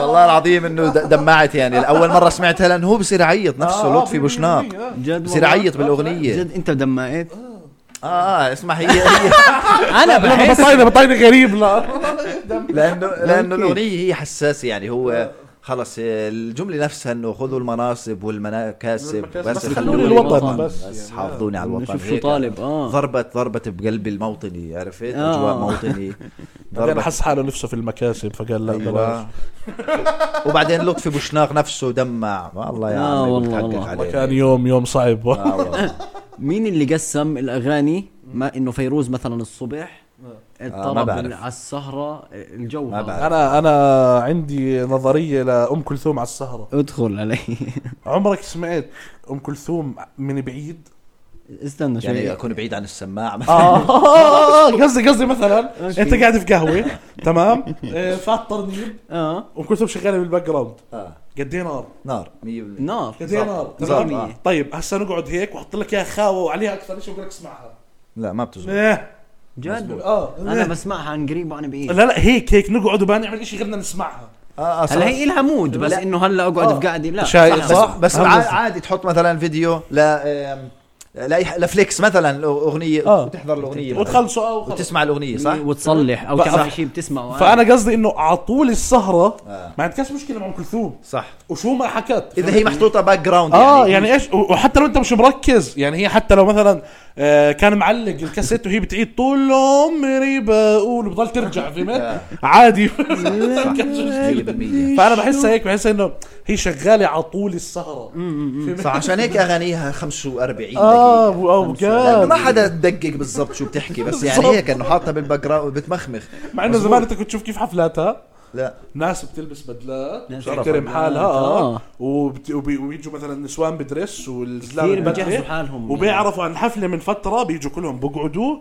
Speaker 4: والله العظيم انه د- دمعت يعني اول مره سمعتها لانه هو بصير يعيط نفسه
Speaker 3: آه،
Speaker 4: لطفي
Speaker 3: آه،
Speaker 4: بوشناق
Speaker 3: آه.
Speaker 1: جد
Speaker 4: بصير
Speaker 1: والله؟
Speaker 4: يعيط بالاغنيه
Speaker 1: جد انت دمعت
Speaker 4: اه اه اسمع هي هي
Speaker 1: انا
Speaker 3: لا
Speaker 1: بحس
Speaker 4: طيب.
Speaker 3: بطاينة بطاينة غريب لا
Speaker 4: لانه لانه
Speaker 1: ممكن.
Speaker 4: الاغنيه هي حساسه يعني هو خلص الجمله نفسها انه خذوا المناصب والمناكاسب
Speaker 3: والمناكاسب
Speaker 4: بس
Speaker 3: بس
Speaker 4: خلوني
Speaker 1: الوطن
Speaker 4: الوطن
Speaker 3: بس
Speaker 4: بس,
Speaker 3: يعني.
Speaker 4: حافظوني على الوطن
Speaker 1: نشوف شو
Speaker 4: هيك.
Speaker 1: طالب اه
Speaker 4: ضربت ضربت بقلبي الموطني عرفت
Speaker 1: آه.
Speaker 4: اجواء موطني
Speaker 3: بعدين
Speaker 4: ضربت
Speaker 3: يعني حس حاله نفسه في المكاسب فقال لا بلاش
Speaker 4: أيوة. وبعدين لطفي بوشناق نفسه دمع والله يا
Speaker 1: آه،
Speaker 4: عمي
Speaker 1: والله،
Speaker 4: بتحقق
Speaker 1: والله.
Speaker 4: عليه
Speaker 3: كان يوم يوم صعب
Speaker 4: آه، والله.
Speaker 1: مين اللي قسم الاغاني ما انه فيروز مثلا الصبح
Speaker 4: آه، ما
Speaker 1: الطرب
Speaker 4: بعرف.
Speaker 1: على السهرة الجو
Speaker 4: ما
Speaker 1: هذا.
Speaker 4: بعرف.
Speaker 3: انا انا عندي نظريه لام كلثوم على السهره
Speaker 1: ادخل علي
Speaker 3: عمرك سمعت ام كلثوم من بعيد
Speaker 1: استنى شوي
Speaker 4: يعني آه، اكون بعيد عن السماعه
Speaker 1: آه.
Speaker 3: اه قصدي قصدي مثلا انت قاعد في قهوه تمام آه، فات ترنيب
Speaker 1: اه
Speaker 3: ام كلثوم شغاله بالباك جراوند
Speaker 4: آه.
Speaker 3: قد ايه نار
Speaker 4: نار 100%
Speaker 1: نار
Speaker 3: قد ايه
Speaker 4: صح.
Speaker 3: نار
Speaker 4: صح.
Speaker 3: تمام؟ طيب هسه نقعد هيك واحط لك اياها خاوه وعليها اكثر شيء واقول لك اسمعها
Speaker 4: لا ما بتزبط
Speaker 3: إيه.
Speaker 1: جد
Speaker 3: اه
Speaker 1: انا
Speaker 3: إيه.
Speaker 1: بسمعها عن قريب وانا بعيد
Speaker 3: لا لا هيك هيك نقعد وما نعمل شيء غيرنا نسمعها
Speaker 4: آه، آه، صح.
Speaker 1: هلا هي لها مود بس
Speaker 4: لا.
Speaker 1: انه هلا
Speaker 3: آه.
Speaker 1: اقعد في قعدي لا
Speaker 3: شاي-
Speaker 1: صح.
Speaker 4: بس,
Speaker 3: صح.
Speaker 4: بس
Speaker 3: هم
Speaker 4: عا-
Speaker 3: قصدي.
Speaker 4: عادي تحط مثلا فيديو ل آم، لاي ح- لفليكس مثلا اغنيه
Speaker 3: آه.
Speaker 4: وتحضر الاغنيه مثلاً.
Speaker 3: وتخلصوا اه وخلص.
Speaker 4: وتسمع الاغنيه صح؟
Speaker 1: يعني وتصلح او
Speaker 3: صح.
Speaker 1: تعرف شيء بتسمعه
Speaker 3: فانا قصدي انه على طول السهره
Speaker 4: آه.
Speaker 3: ما عندكش مشكله مع ام كلثوم
Speaker 4: صح
Speaker 3: وشو ما حكت
Speaker 4: اذا هي محطوطه باك جراوند
Speaker 3: اه
Speaker 1: آه،
Speaker 3: يعني ايش و- وحتى لو انت مش مركز يعني هي حتى لو مثلا آه، كان معلق الكاسيت وهي بتعيد طول عمري بقول بضل ترجع فهمت
Speaker 4: آه.
Speaker 3: عادي
Speaker 1: يعني
Speaker 4: صح.
Speaker 3: كانش مشكلة.
Speaker 4: 100%.
Speaker 3: فانا بحسها هيك بحسها انه هي شغاله على طول السهره فهمت؟
Speaker 4: صح عشان هيك اغانيها 45
Speaker 3: اه
Speaker 4: دقيقه
Speaker 3: و- او
Speaker 4: لأنه ما
Speaker 3: جاد
Speaker 4: حدا دقق بالضبط شو بتحكي بس يعني
Speaker 3: بالضبط.
Speaker 4: هيك انه حاطها بالباك جراوند بتمخمخ
Speaker 3: مع انه زمان انت كنت تشوف كيف حفلاتها
Speaker 4: لا
Speaker 3: ناس بتلبس بدلات
Speaker 1: ناس
Speaker 3: بتحترم
Speaker 1: بدلات،
Speaker 3: حالها اه
Speaker 1: آه.
Speaker 3: وبت- وبي- وبيجوا مثلا نسوان بدرس والزلام
Speaker 1: كثير بجهزوا حالهم يعني
Speaker 3: وبيعرفوا عن حفله من فتره بيجوا كلهم بقعدوا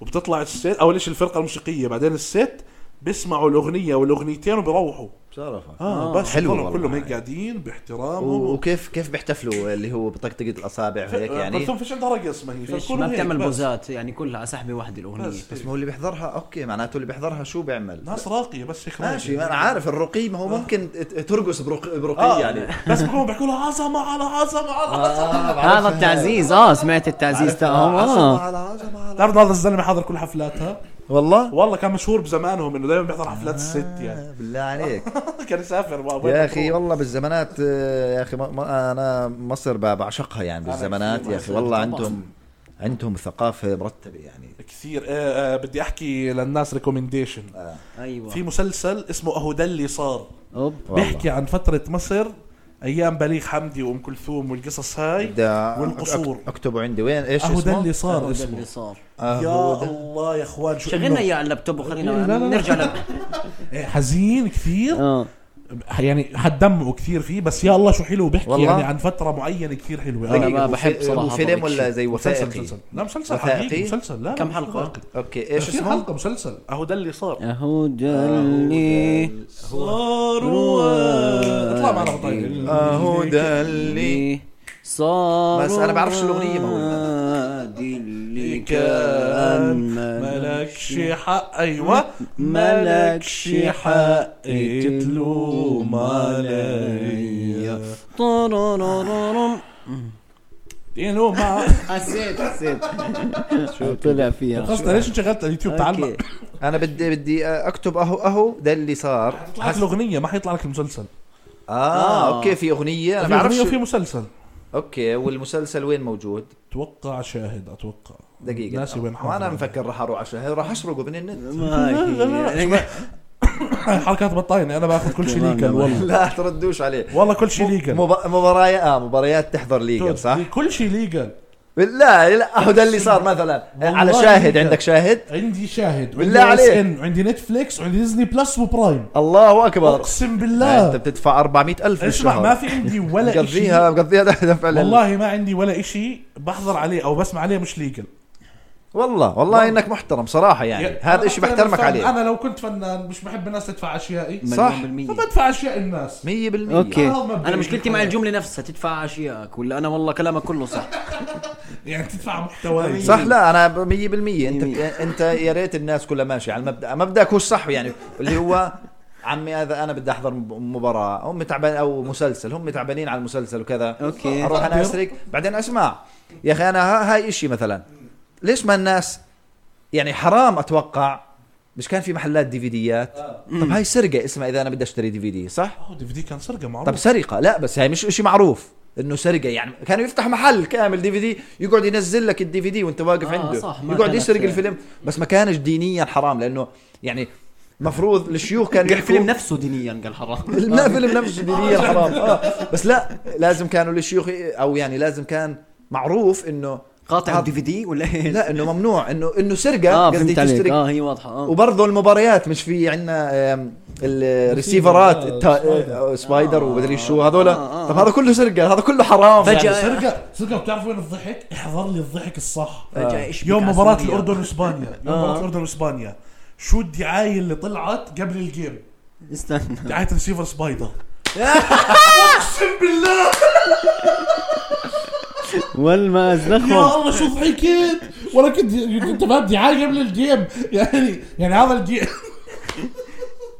Speaker 3: وبتطلع الست اول شيء الفرقه الموسيقيه بعدين الست بيسمعوا الاغنيه والاغنيتين وبيروحوا
Speaker 4: بشرفك
Speaker 3: اه,
Speaker 1: آه،
Speaker 3: بس
Speaker 4: حلو
Speaker 3: كلهم
Speaker 4: والله.
Speaker 3: كلهم هيك قاعدين باحترامهم
Speaker 4: و- وكيف كيف بيحتفلوا اللي هو بطقطقه الاصابع هيك يعني
Speaker 3: كلثوم فيش عندها رقص ما هي
Speaker 1: فيش
Speaker 3: فكلهم
Speaker 1: ما
Speaker 3: هيك
Speaker 1: بتعمل
Speaker 3: بس.
Speaker 1: بوزات يعني كلها على سحبه واحده الاغنيه
Speaker 3: بس
Speaker 4: بس ما هو اللي بيحضرها اوكي معناته اللي بيحضرها شو بيعمل
Speaker 3: ناس راقيه بس هيك
Speaker 4: ماشي
Speaker 3: راقية.
Speaker 4: ما انا عارف الرقي ما هو ممكن ت- ترقص برق... برقي
Speaker 3: اه
Speaker 4: يعني
Speaker 3: يعني بس بيكونوا بيحكوا لها عظمه على عظمه على
Speaker 1: آه.
Speaker 3: عظمه
Speaker 1: هذا التعزيز اه سمعت التعزيز تاعهم
Speaker 4: آه،
Speaker 1: اه
Speaker 3: بتعرف إنه هذا الزلمه حاضر كل حفلاتها
Speaker 4: والله
Speaker 3: والله كان مشهور بزمانهم انه دائما بيحضر حفلات الست يعني
Speaker 4: بالله عليك
Speaker 3: كان يسافر مع
Speaker 4: آه. يا اخي والله بالزمانات آه، يا اخي ما- ما- انا مصر ب- بعشقها يعني بالزمانات
Speaker 3: كثير
Speaker 4: يا اخي والله
Speaker 1: طبعاً.
Speaker 4: عندهم عندهم ثقافه مرتبه يعني
Speaker 3: كثير آه آه بدي احكي للناس ريكومنديشن في
Speaker 1: ايوه
Speaker 3: مسلسل اسمه اهو ده اللي صار
Speaker 1: اوب
Speaker 4: والله.
Speaker 3: بيحكي عن فتره مصر ايام بليغ حمدي وام كلثوم والقصص هاي
Speaker 4: بدي أ-
Speaker 3: والقصور.
Speaker 4: أك- اكتبه عندي وين ايش
Speaker 3: اهو ده
Speaker 4: اسمه؟
Speaker 3: اللي صار
Speaker 1: هذا اللي
Speaker 3: اسمه آه،
Speaker 1: صار
Speaker 3: يا الله يا اخوان شو
Speaker 1: شغلنا
Speaker 3: إنه-
Speaker 1: اياه على اللابتوب
Speaker 3: لا، لا،
Speaker 1: وخلينا
Speaker 3: لا. آه.
Speaker 1: نرجع لل-
Speaker 3: إيه، حزين كثير
Speaker 1: اه
Speaker 3: يعني حدمه كثير فيه بس يا الله شو حلو بيحكي
Speaker 4: والله.
Speaker 3: يعني عن فتره معينه كثير حلوه
Speaker 1: أنا
Speaker 3: آه.
Speaker 1: ما
Speaker 4: هو
Speaker 1: بحب
Speaker 4: في-
Speaker 1: صراحة
Speaker 4: هو فيلم
Speaker 1: طريق
Speaker 4: ولا زي
Speaker 3: مسلسل
Speaker 4: وثائقي
Speaker 3: مسلسل لا مسلسل
Speaker 4: وثائقي؟
Speaker 3: حقيقي مسلسل لا
Speaker 1: كم
Speaker 3: مش
Speaker 1: حلقه؟
Speaker 3: وثائقي.
Speaker 4: اوكي ايش
Speaker 3: في
Speaker 4: اسمه؟
Speaker 3: حلقه مسلسل اهو ده اللي صار
Speaker 1: اهو جلي
Speaker 3: صاروا اطلع معنا بطايق
Speaker 4: اهو ده اللي
Speaker 1: صار
Speaker 4: بس أنا بعرفش الأغنية ما هو.
Speaker 1: وادي اللي كان
Speaker 3: مالكش حق ايوه مالكش
Speaker 1: مالكش
Speaker 3: حق
Speaker 1: حق
Speaker 3: تلوم عليا
Speaker 1: طررررم.
Speaker 3: بدي ينو ما
Speaker 1: حسيت حسيت شو طلع فيها
Speaker 3: خلص ليش انشغلت على اليوتيوب تعال ما-
Speaker 1: أوكي.
Speaker 4: انا بدي بدي اكتب اهو اهو ده اللي صار
Speaker 3: حيطلع لك الاغنيه ما حيطلع لك المسلسل
Speaker 4: اه
Speaker 1: آه.
Speaker 4: اوكي في اغنيه انا
Speaker 3: في
Speaker 4: ما
Speaker 3: اغنيه وفي
Speaker 4: بعرفش
Speaker 3: مسلسل
Speaker 4: اوكي والمسلسل وين موجود
Speaker 3: اتوقع شاهد اتوقع
Speaker 4: دقيقه
Speaker 3: ناسي وين حاضر.
Speaker 4: وانا مفكر راح اروح عشان راح اشرقه من النت
Speaker 1: ما هي.
Speaker 3: حركات بطاينه انا باخذ كل شيء
Speaker 1: والله
Speaker 3: ليكل والله
Speaker 4: لا تردوش عليه
Speaker 3: والله كل شيء ليكل
Speaker 4: مب... مباريات اه مباريات تحضر ليجل صح؟
Speaker 3: كل شيء ليجل
Speaker 4: لا لا هو ده اللي صار مثلا
Speaker 3: والله
Speaker 4: على شاهد
Speaker 3: ليجل.
Speaker 4: عندك شاهد
Speaker 3: عندي شاهد وعندي
Speaker 4: بالله عليك.
Speaker 3: ان وعندي نتفليكس وعندي ديزني بلس وبرايم
Speaker 4: الله اكبر
Speaker 3: اقسم
Speaker 4: انت
Speaker 3: بالله
Speaker 4: بتدفع 400 الف
Speaker 3: اسمع ما
Speaker 4: بالشهر
Speaker 3: في عندي ولا شيء
Speaker 4: مقضيها مقضيها دفع لل-
Speaker 3: والله ما عندي ولا إشي بحضر عليه او بسمع عليه مش ليجل
Speaker 4: والله والله انك محترم صراحه يعني هذا الشيء بحترمك عليه
Speaker 3: انا لو كنت فنان مش بحب الناس تدفع اشيائي
Speaker 1: مليون
Speaker 4: صح.
Speaker 1: بالمية.
Speaker 3: فبدفع اشياء الناس
Speaker 4: 100%
Speaker 1: اوكي
Speaker 3: آه، مبدئي
Speaker 1: انا مشكلتي مع
Speaker 3: بالحياة.
Speaker 1: الجمله نفسها تدفع اشيائك ولا انا والله كلامك كله صح
Speaker 3: يعني تدفع محتوى
Speaker 4: صح لا انا ب- 100% انت
Speaker 1: يمين.
Speaker 4: انت يا ريت الناس كلها ماشيه على المبدا مبداك هو الصح يعني اللي هو عمي هذا انا بدي احضر مب- مباراه هم تعبان او مسلسل هم تعبانين على المسلسل وكذا
Speaker 1: أوكي.
Speaker 4: اروح انا اسرق بعدين اسمع يا اخي انا ها- هاي اشي مثلا ليش ما الناس يعني حرام اتوقع مش كان في محلات دي فيديات طب هاي سرقه اسمها اذا انا بدي اشتري دي في دي صح
Speaker 3: اه دي في دي كان سرقه
Speaker 4: طب
Speaker 3: معروف
Speaker 4: سرقه لا بس هاي مش اشي معروف انه سرقه يعني كانوا يفتح محل كامل دي في دي يقعد ينزل لك الدي في دي وانت واقف
Speaker 1: آه،
Speaker 4: عنده
Speaker 1: صح، ما
Speaker 4: يقعد
Speaker 1: كانت-
Speaker 4: يسرق الفيلم بس ما كانش دينيا حرام لانه يعني مفروض الشيوخ كانوا يحكوا
Speaker 1: الفيلم نفسه دينيا قال حرام
Speaker 4: لا فيلم نفسه دينيا حرام آه. بس لا لازم كانوا الشيوخ ي- او يعني لازم كان معروف انه
Speaker 1: قاطع
Speaker 4: هذا-
Speaker 1: الدي في دي ولا ايش؟
Speaker 4: لا انه ممنوع انه انه سرقه
Speaker 1: اه
Speaker 4: قصدي
Speaker 1: فهمت عليك
Speaker 4: تسرق
Speaker 1: اه هي واضحه اه
Speaker 4: وبرضه المباريات مش في عندنا الريسيفرات
Speaker 3: آه،
Speaker 4: التا-
Speaker 3: سبايدر.
Speaker 4: آه، سبايدر
Speaker 1: آه،
Speaker 4: ومدري شو هذول
Speaker 1: آه، آه.
Speaker 4: طب هذا كله سرقه هذا كله حرام
Speaker 1: فجأة
Speaker 4: يعني.
Speaker 3: يعني سرقه سرقه بتعرف وين الضحك؟ احضر لي الضحك الصح
Speaker 4: آه.
Speaker 1: فجاه ايش
Speaker 3: يوم مباراة الأردن وإسبانيا يوم
Speaker 1: آه.
Speaker 3: مباراة الأردن وإسبانيا شو الدعاية اللي طلعت قبل الجيم
Speaker 1: استنى
Speaker 3: دعاية ريسيفر سبايدر اقسم بالله
Speaker 1: والما
Speaker 3: يا الله شو ضحكت ولا كنت انت فاهم دعاية قبل الجيم يعني يعني هذا الجيم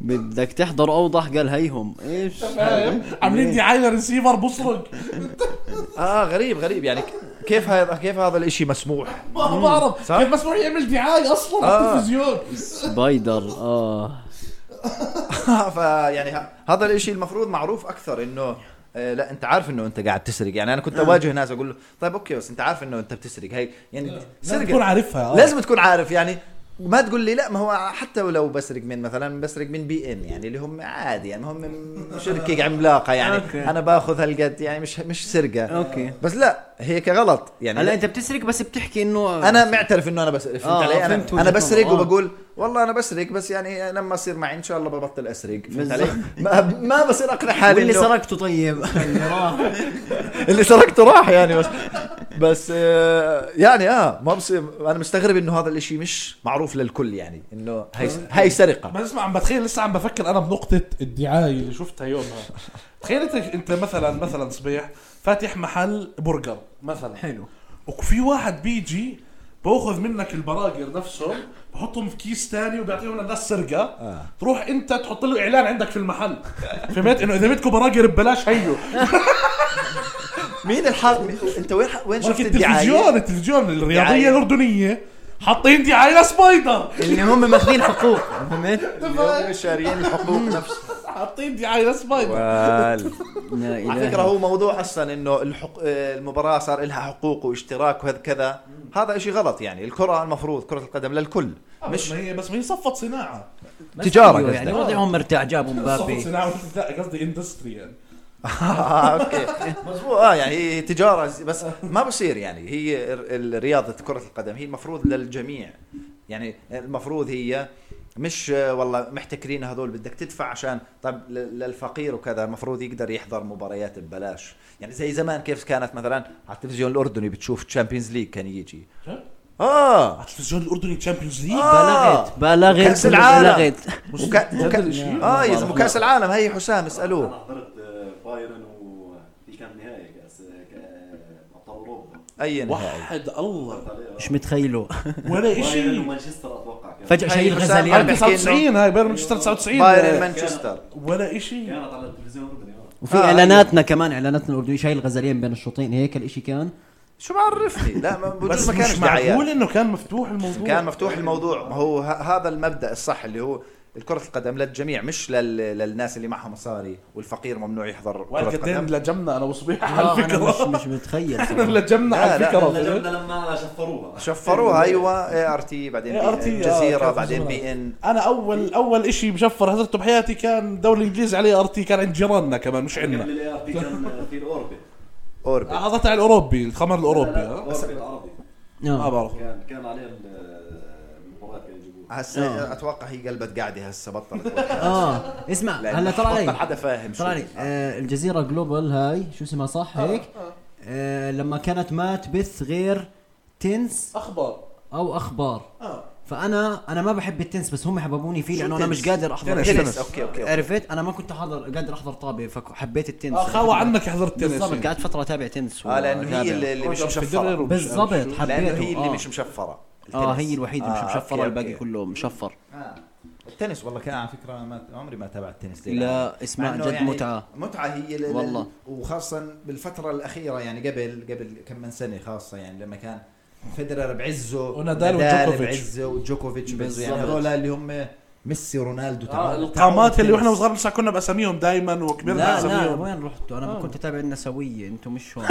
Speaker 1: بدك تحضر اوضح قال هيهم ايش
Speaker 3: فاهم عاملين دعاية ريسيفر بسرق
Speaker 4: اه غريب غريب يعني ك- كيف هذا كيف هذا الاشي مسموح
Speaker 3: ما بعرف
Speaker 4: صح.
Speaker 3: كيف مسموح يعمل دعاية أصلا على
Speaker 4: آه.
Speaker 3: التلفزيون
Speaker 1: سبايدر اه
Speaker 4: فيعني ه- يعني هذا الاشي المفروض معروف اكثر انه آه، لا انت عارف انه انت قاعد تسرق يعني انا كنت
Speaker 1: آه.
Speaker 4: اواجه ناس اقول له طيب اوكي بس انت عارف انه انت بتسرق هي يعني
Speaker 1: آه.
Speaker 3: لازم تكون
Speaker 4: سرقه
Speaker 3: عارفها آه.
Speaker 4: لازم تكون عارف يعني ما تقول لي لا ما هو حتى ولو بسرق من مثلا بسرق من بي ام يعني اللي هم عادي يعني هم شركه عملاقه يعني
Speaker 1: أوكي.
Speaker 4: انا باخذ هالقد يعني مش مش سرقه
Speaker 1: اوكي
Speaker 4: بس لا هيك غلط يعني
Speaker 1: هلا انت بتسرق بس بتحكي انه
Speaker 4: انا معترف انه انا بسرق فهمت
Speaker 1: آه،
Speaker 4: علي انا
Speaker 1: فهمت وجهة
Speaker 4: انا بسرق
Speaker 1: نظر، آه.
Speaker 4: وبقول والله انا بسرق بس يعني لما اصير معي ان شاء الله ببطل اسرق فهمت
Speaker 1: بالظبط.
Speaker 4: علي ما, ما بصير اقنع حالي
Speaker 1: واللي
Speaker 4: إنه-
Speaker 1: سرقته طيب اللي راح
Speaker 4: اللي سرقته راح يعني بس بس آه، يعني اه ما بصير انا مستغرب انه هذا الاشي مش معروف للكل يعني انه هاي هاي سرقه
Speaker 3: بس اسمع عم بتخيل لسه عم بفكر انا بنقطة الدعاية اللي شفتها يومها تخيل انت انت مثلا مثلا صبيح فاتح محل برجر مثلا
Speaker 1: حلو
Speaker 3: وفي واحد بيجي باخذ منك البراجر نفسهم بحطهم في كيس تاني وبيعطيهم للناس سرقه آه. تروح انت تحط له اعلان عندك في المحل فهمت انه اذا بدكم براجر ببلاش هيو
Speaker 4: مين الحاط انت وين ح- وين شفت
Speaker 3: ولكن التلفزيون
Speaker 4: الدعايه
Speaker 3: التلفزيون الرياضيه
Speaker 4: دعاية.
Speaker 3: الاردنيه حاطين دعايه لسبايدر
Speaker 1: اللي هم ماخذين حقوق فهمت؟
Speaker 4: هم شاريين الحقوق نفسها
Speaker 3: حاطين دعايه لسبايدر
Speaker 1: لا
Speaker 4: على فكره هو موضوع اصلا انه الحق... آه، المباراه صار لها حقوق واشتراك وهذا كذا هذا شيء غلط يعني الكره المفروض كره القدم للكل
Speaker 3: مش
Speaker 4: مش
Speaker 3: ما هي بس ما هي صفت صناعه
Speaker 4: تجارة
Speaker 1: أيوه،
Speaker 4: قصدك.
Speaker 1: يعني وضعهم مرتاح جابوا
Speaker 3: صفت
Speaker 1: مبابي
Speaker 3: صناعه لا قصدي اندستري يعني
Speaker 4: آه، اوكي مزبوط اه يعني هي تجاره زي- بس ما بصير يعني هي ال- ال- رياضه كره القدم هي المفروض للجميع يعني المفروض هي مش آه، والله محتكرين هذول بدك تدفع عشان طب ل- للفقير وكذا المفروض يقدر يحضر مباريات ببلاش يعني زي زمان كيف كانت مثلا على التلفزيون الاردني بتشوف تشامبيونز ليج كان يجي اه
Speaker 3: على التلفزيون الاردني تشامبيونز ليج
Speaker 4: آه.
Speaker 1: إيه، بلغت بلغت
Speaker 4: كأس العالم.
Speaker 1: بلغت
Speaker 4: وكا... وكا... اه يا زلمه
Speaker 1: بعرف.
Speaker 4: كاس العالم هي حسام اسالوه
Speaker 2: انا حضرت آه، بايرن وفي كان نهائي كاس كا- ابطال اوروبا
Speaker 4: اي نهائي
Speaker 3: وحد الله
Speaker 1: مش متخيله
Speaker 3: ولا
Speaker 2: آه، بايرن
Speaker 3: شيء
Speaker 2: ومانشستر اتوقع كان
Speaker 1: فجاه شيء
Speaker 4: هاي حسام
Speaker 1: الغزليان
Speaker 4: أربع-
Speaker 3: 99 هاي بايرن مانشستر 99
Speaker 4: بايرن مانشستر
Speaker 3: ولا شيء
Speaker 2: كانت على التلفزيون الاردني آه.
Speaker 1: وفي
Speaker 4: آه،
Speaker 1: اعلاناتنا كمان اعلاناتنا الاردنيه شايل غزلين بين الشوطين هيك الاشي كان
Speaker 4: شو بعرفني لا ما
Speaker 3: بس
Speaker 4: بجوز ما
Speaker 3: مش
Speaker 4: كانش
Speaker 3: معقول
Speaker 4: دعايات
Speaker 3: انه كان مفتوح الموضوع
Speaker 4: كان مفتوح الموضوع ما هو ه- هذا المبدا الصح اللي هو الكرة القدم للجميع مش لل... للناس اللي معها مصاري والفقير ممنوع يحضر كرة
Speaker 3: وقت قد ايه
Speaker 4: قدم
Speaker 3: لجمنا انا وصبيح
Speaker 1: آه،
Speaker 3: على
Speaker 1: انا مش
Speaker 3: الفكره
Speaker 1: مش متخيل
Speaker 3: احنا
Speaker 1: صراحة.
Speaker 3: لجمنا
Speaker 4: لا،
Speaker 3: على
Speaker 4: لا،
Speaker 3: الفكره
Speaker 2: احنا
Speaker 3: فهمت؟
Speaker 2: لجمنا لما شفروها
Speaker 4: شفروها ايوه اي ار تي بعدين بي
Speaker 3: ART
Speaker 4: ان جزيره
Speaker 3: آه،
Speaker 4: بعدين
Speaker 3: جزيرة.
Speaker 4: بي ان
Speaker 3: انا اول اول شيء مشفر هزرته بحياتي كان الدوري الانجليزي عليه ار تي كان عند جيراننا كمان مش
Speaker 2: قبل
Speaker 3: عندنا
Speaker 2: الاي ار بي كان آه، في الاوربي
Speaker 4: اوربت
Speaker 3: هذا تاع الاوروبي الخمر الاوروبي
Speaker 2: لا، لا،
Speaker 3: ها؟
Speaker 2: الاوربي العربي
Speaker 3: ما
Speaker 1: آه.
Speaker 3: بعرف
Speaker 2: كان كان عليه المباريات كانوا يجيبوها
Speaker 4: هسه اتوقع هي قلبت قاعده هسه بطلت
Speaker 5: اه
Speaker 1: آه،
Speaker 5: اسمع
Speaker 4: لأن
Speaker 5: هلا طلع
Speaker 4: بطل
Speaker 5: لي
Speaker 4: حدا فاهم شو
Speaker 5: طلع لي آه الجزيره جلوبال هاي شو اسمها صح هيك آه لما كانت ما تبث غير تنس
Speaker 3: اخبار
Speaker 5: او اخبار
Speaker 3: اه
Speaker 5: فانا انا ما بحب التنس بس هم حببوني فيه
Speaker 4: آه. شو
Speaker 5: لانه انا
Speaker 4: تنس؟
Speaker 5: مش قادر احضر
Speaker 3: تنس.
Speaker 5: تنس.
Speaker 4: تنس اوكي اوكي
Speaker 5: عرفت انا ما كنت حاضر قادر احضر طابه فحبيت التنس
Speaker 3: آه، خاوة عنك حضرت
Speaker 5: بالضبط
Speaker 3: تنس
Speaker 5: قعدت فتره اتابع تنس
Speaker 4: اه لانه هي
Speaker 5: وأتابع.
Speaker 4: اللي اللي مش
Speaker 3: رجل
Speaker 4: مشفره
Speaker 3: فيدرر
Speaker 5: بالضبط
Speaker 4: لانه هي
Speaker 5: حبيته
Speaker 4: اللي
Speaker 5: آه.
Speaker 4: مش مشفره
Speaker 1: اه
Speaker 4: التنس.
Speaker 1: هي الوحيده
Speaker 4: آه،
Speaker 1: مش مشفره
Speaker 4: أوكي،
Speaker 1: الباقي
Speaker 4: أوكي.
Speaker 1: كله مشفر
Speaker 4: آه. التنس والله كان على فكره أنا ما عمري ما تابعت التنس ليه؟
Speaker 1: لا اسمع
Speaker 4: مع إنه
Speaker 1: جد
Speaker 4: يعني
Speaker 1: متعه
Speaker 4: متعه هي لل...
Speaker 1: والله.
Speaker 4: والله وخاصه بالفتره الاخيره يعني قبل قبل كم من سنه خاصه يعني لما كان فيدرر بعزه
Speaker 3: ونادال
Speaker 4: ونادال
Speaker 3: وجوكوفيتش.
Speaker 4: بعزه وجوكوفيتش بعزه يعني
Speaker 1: بالضبط.
Speaker 4: هذول اللي هم ميسي رونالدو
Speaker 3: آه،
Speaker 4: تعال
Speaker 3: القامات اللي واحنا وصغار لسه كنا باساميهم دائما وكبرنا
Speaker 1: لا لا
Speaker 3: اساميهم
Speaker 1: وين رحتوا انا
Speaker 4: آه.
Speaker 1: ما كنت اتابع النسويه انتم مش هون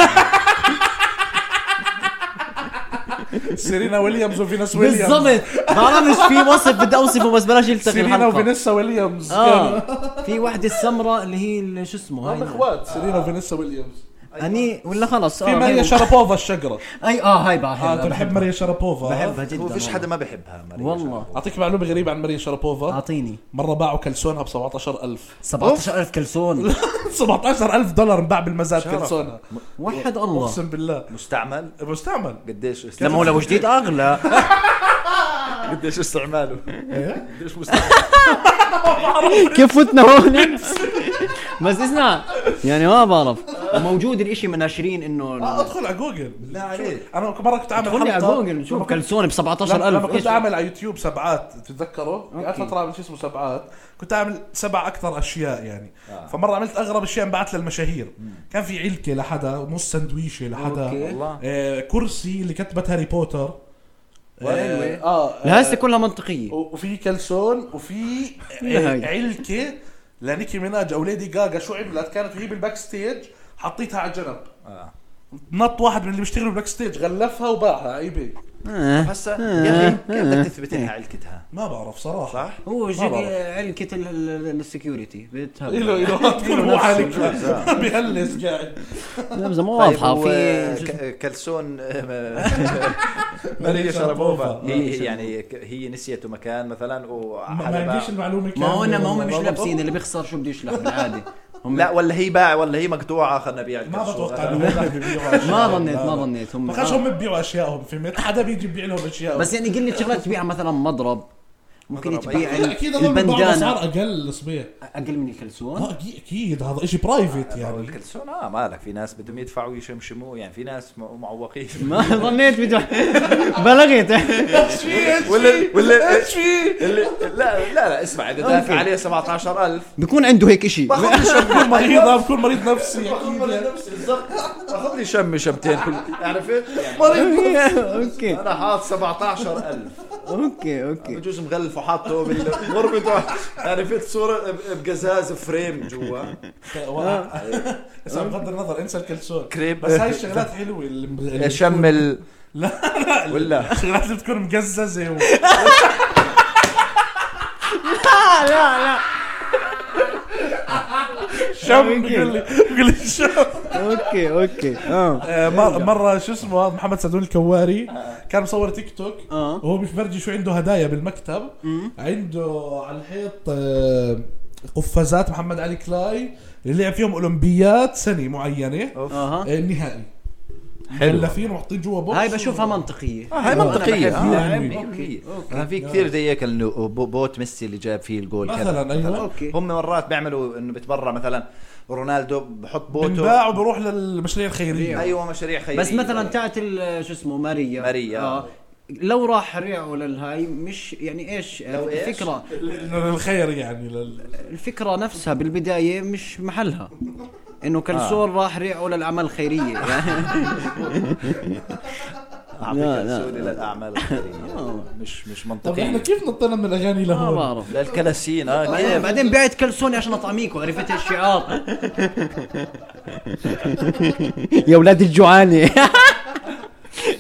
Speaker 3: سيرينا ويليامز وفيناس ويليامز
Speaker 1: بالضبط بعرفش في وصف بدي اوصفه بس بلاش التقي
Speaker 3: سيرينا
Speaker 1: الحلقه
Speaker 3: وفينيسا ويليامز
Speaker 1: اه في وحده السمراء اللي هي ال- شو اسمه
Speaker 4: آه،
Speaker 3: هم
Speaker 1: هاي
Speaker 3: اخوات سيرينا وفينيسا ويليامز
Speaker 1: اني ولا خلص
Speaker 3: في
Speaker 1: اه
Speaker 3: ماريا
Speaker 1: هي-
Speaker 3: شرابوفا الشقرة
Speaker 1: اي اه هاي بعرف
Speaker 3: اه تحب ماريا شرابوفا
Speaker 1: بحبها
Speaker 4: هو
Speaker 1: جدا
Speaker 4: فيش حدا ما بحبها ماريا
Speaker 1: والله.
Speaker 4: شرف.
Speaker 3: اعطيك معلومة غريبة عن ماريا شرابوفا
Speaker 1: اعطيني
Speaker 3: مرة باعوا كلسونها ب 17000
Speaker 1: 17000 كلسون
Speaker 3: 17000 دولار انباع بالمزاد
Speaker 4: شرف.
Speaker 3: كلسونها
Speaker 1: وحد الله
Speaker 3: اقسم بالله
Speaker 4: مستعمل
Speaker 3: مستعمل
Speaker 4: قديش
Speaker 1: لما هو لو جديد اغلى
Speaker 4: قديش استعماله
Speaker 1: إيه؟
Speaker 4: قديش
Speaker 1: كيف فتنا هون بس اسمع يعني ما بعرف موجود الاشي من 20
Speaker 3: آه،
Speaker 1: انه
Speaker 3: ادخل على جوجل
Speaker 4: لا عليك
Speaker 3: انا مرة كنت عامل
Speaker 1: خلي على
Speaker 3: حلقة-
Speaker 1: جوجل شوف كلسون ب
Speaker 3: لما لما
Speaker 1: 17000
Speaker 3: كنت
Speaker 1: إيش؟
Speaker 3: اعمل على يوتيوب سبعات تتذكروا قعدت
Speaker 1: أوكي.
Speaker 3: فتره اعمل شو اسمه سبعات كنت اعمل سبع اكثر اشياء يعني
Speaker 1: آه.
Speaker 3: فمره عملت اغرب اشياء انبعت للمشاهير كان في علكه لحدا نص سندويشه
Speaker 1: أوكي.
Speaker 3: لحدا
Speaker 4: والله
Speaker 3: آه كرسي اللي كتبت هاري بوتر
Speaker 1: وين؟
Speaker 3: آه، اه
Speaker 1: لهسه كلها منطقيه
Speaker 3: و- وفي كلسون وفي
Speaker 1: هاي.
Speaker 3: آه، علكه لنيكي ميناج او ليدي جاجا شو عملت كانت وهي بالباك ستيج حطيتها على جنب
Speaker 4: آه.
Speaker 3: نط واحد من اللي بيشتغلوا بالباك ستيج غلفها وباعها على اي بي
Speaker 1: آه.
Speaker 4: هسا يا اخي كيف بدك تثبت انها علكتها
Speaker 3: ما بعرف صراحه
Speaker 4: صح؟
Speaker 1: هو جي-
Speaker 3: بعرف.
Speaker 1: علكة ال- ال- السكيورتي بتهب.
Speaker 3: اله اله تكون مو
Speaker 1: نفسه.
Speaker 3: حالك بهلس قاعد
Speaker 1: نبذة مو
Speaker 4: طيب
Speaker 1: واضحة
Speaker 4: هو
Speaker 1: في
Speaker 4: ك- كلسون ماريا شرابوفا هي هي يعني ك- هي نسيته مكان مثلا
Speaker 3: ما ما
Speaker 4: وعلى
Speaker 3: عنديش المعلومه
Speaker 1: ما هو ما هم
Speaker 3: كاملة.
Speaker 1: مش لابسين اللي بيخسر شو بده يشلح بالعادي هم
Speaker 4: لا ولا هي باع ولا هي مقطوعه خلينا نبيع
Speaker 3: ما
Speaker 4: الكلسون.
Speaker 3: بتوقع انه هم بيبيعوا أشياء.
Speaker 1: ما ظنيت ما
Speaker 3: لا.
Speaker 1: ظنيت هم
Speaker 3: ما كانش هم بيبيعوا اشيائهم فهمت حدا بيجي يبيع لهم اشياء
Speaker 1: بس يعني قل لي شغلات تبيعها مثلا مضرب ممكن
Speaker 4: مضرب،
Speaker 1: تبيع
Speaker 4: أكيد.
Speaker 1: ال-
Speaker 3: اكيد هذول بيبيعوا اسعار
Speaker 1: البندانة
Speaker 3: اقل صبيح
Speaker 1: اقل من الكلسون
Speaker 3: آه، أكيد- اكيد هذا شيء برايفت يعني
Speaker 4: الكلسون اه مالك في ناس بدهم يدفعوا يشمشموه يعني في ناس م- معوقين
Speaker 1: ما ظنيت بدو بلغت
Speaker 4: ولا ولا ايش في لا لا لا اسمع اذا دافع عليه 17000
Speaker 1: بكون عنده هيك اشي
Speaker 4: باخذ لي
Speaker 3: بكون مريض بكون مريض نفسي أكيد. يعني.
Speaker 4: نفسي بالضبط باخذ لي شم شمتين كل عرفت؟ يعني
Speaker 1: اوكي
Speaker 4: انا حاط 17000
Speaker 1: اوكي اوكي
Speaker 4: بجوز مغلف وحاطه بالغرفته عرفت صوره ب- بقزاز فريم جوا
Speaker 3: هسه بغض النظر انسى الكلسون
Speaker 4: كريب.
Speaker 3: بس هاي الشغلات حلوه اللي- اللي
Speaker 4: شمل
Speaker 3: لا لا
Speaker 4: ولا
Speaker 3: الشغلات اللي بتكون مقززه و...
Speaker 1: لا لا
Speaker 3: شم بيقول لي بيقول لي شم
Speaker 1: اوكي اوكي اه
Speaker 3: آه، مر- مره شو اسمه هذا محمد سعدون الكواري كان مصور تيك توك
Speaker 1: آه.
Speaker 3: وهو مش فرجي شو عنده هدايا بالمكتب عنده على الحيط آه، قفازات محمد علي كلاي اللي لعب فيهم اولمبيات سنه معينه
Speaker 1: اها
Speaker 3: آه، النهائي
Speaker 4: حلو.
Speaker 3: مغلفين وحاطين جوا بوكس
Speaker 1: هاي بشوفها منطقية
Speaker 4: هاي منطقية
Speaker 3: آه،
Speaker 4: آه،
Speaker 3: أوكي.
Speaker 4: أوكي. أنا في كثير زي هيك انه بو- بوت ميسي اللي جاب فيه الجول كذا.
Speaker 3: مثلا ايوه
Speaker 1: اوكي
Speaker 4: هم مرات بيعملوا انه بيتبرع مثلا رونالدو بحط بوته
Speaker 3: بنباع وبروح للمشاريع الخيريه
Speaker 4: ايوه مشاريع خيريه
Speaker 1: بس مثلا تاعت ال- شو اسمه ماريا آه.
Speaker 4: ماريا.
Speaker 1: لو راح ريعوا للهاي مش يعني ايش
Speaker 4: لو إيش؟
Speaker 1: الفكرة
Speaker 3: للخير يعني لل...
Speaker 1: الفكرة نفسها بالبداية مش محلها انه
Speaker 4: آه.
Speaker 1: كلثون راح ريعه للأعمال الخيرية يعني
Speaker 4: اعطيك
Speaker 1: لا، لا،
Speaker 4: السوري للاعمال الخيريه مش مش
Speaker 3: طب احنا
Speaker 4: منطقيه
Speaker 3: كيف نطلنا من الاغاني
Speaker 1: ما
Speaker 3: لهون؟
Speaker 1: بعرف
Speaker 4: للكلاسين اه كيف؟
Speaker 1: بعدين إيه، بعدين بعت كلسوني عشان اطعميكم عرفت آه. الشعار يا اولاد الجوعانه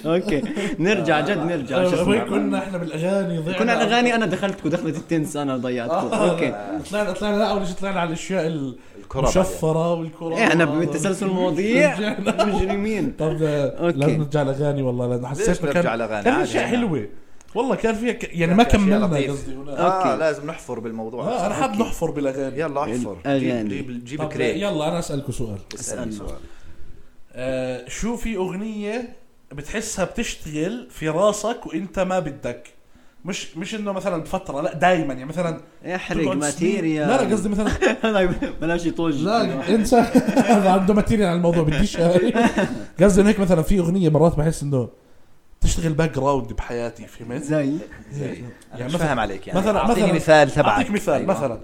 Speaker 1: اوكي نرجع جد نرجع شو
Speaker 3: وين
Speaker 1: اسمه
Speaker 3: طيب، كنا احنا بالاغاني ضيعنا
Speaker 1: كنا على الاغاني انا دخلتكم دخلت التنس انا ضيعتكم
Speaker 3: آه.
Speaker 1: اوكي
Speaker 3: طلعنا طلعنا لا اول شيء طلعنا على الاشياء
Speaker 4: الكرة يعني.
Speaker 3: المشفره والكره
Speaker 1: احنا إيه، بتسلسل المواضيع
Speaker 3: رجعنا.
Speaker 1: مجرمين
Speaker 3: طب
Speaker 1: أوكي.
Speaker 3: لازم نرجع الاغاني والله لانه حسيت
Speaker 4: ليش
Speaker 3: كان
Speaker 4: نرجع لأغاني؟
Speaker 3: كان
Speaker 4: عادي
Speaker 3: اشياء
Speaker 4: يعني.
Speaker 3: حلوه والله كان فيها ك... يعني
Speaker 4: كان
Speaker 3: ما
Speaker 4: في أشياء
Speaker 3: كملنا
Speaker 4: لطيفة.
Speaker 3: قصدي هناك
Speaker 4: اه
Speaker 1: أوكي.
Speaker 4: لازم نحفر بالموضوع
Speaker 3: آه انا حاب نحفر بالاغاني
Speaker 4: يلا احفر
Speaker 1: الأغاني.
Speaker 4: جيب جيب, جيب
Speaker 3: طب
Speaker 4: كريك
Speaker 3: يلا انا اسالكم سؤال
Speaker 4: اسالني سؤال
Speaker 3: آه شو في اغنيه بتحسها بتشتغل في راسك وانت ما بدك مش مش انه مثلا بفتره لا دائما يعني مثلا
Speaker 1: احرق
Speaker 3: تقعد سنين-
Speaker 1: ماتيريال
Speaker 3: لا لا قصدي مثلا
Speaker 1: قصدي بلاش يطوج
Speaker 3: لا انسى هذا عنده ماتيريال على الموضوع بديش هاي. قصدي انه هيك مثلا في اغنيه مرات بحس انه تشتغل باك جراوند بحياتي فهمت؟
Speaker 1: زي
Speaker 4: يعني مش فاهم عليك يعني
Speaker 3: مثلا-
Speaker 4: اعطيني
Speaker 3: مثلا-
Speaker 4: مثال تبعك
Speaker 3: اعطيك مثال
Speaker 4: أيوة.
Speaker 3: مثلا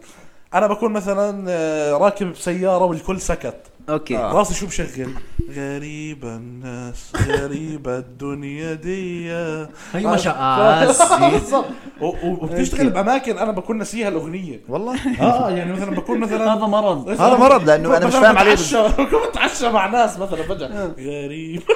Speaker 3: انا بكون مثلا آه، راكب بسياره والكل سكت
Speaker 1: اوكي
Speaker 4: آه.
Speaker 3: راسي شو مشغل غريبة الناس غريبة الدنيا دي
Speaker 1: هي
Speaker 3: آه.
Speaker 1: مشقة
Speaker 3: بالضبط. و- و- وبتشتغل باماكن انا بكون نسيها الاغنيه
Speaker 4: والله آه،
Speaker 3: اه يعني مثلا بكون مثلا
Speaker 1: هذا مرض
Speaker 4: هذا مرض لانه انا مش
Speaker 3: مثلاً
Speaker 4: فاهم عليه آه.
Speaker 3: بتعشى- بكون بتعشى مع ناس مثلا فجاه غريب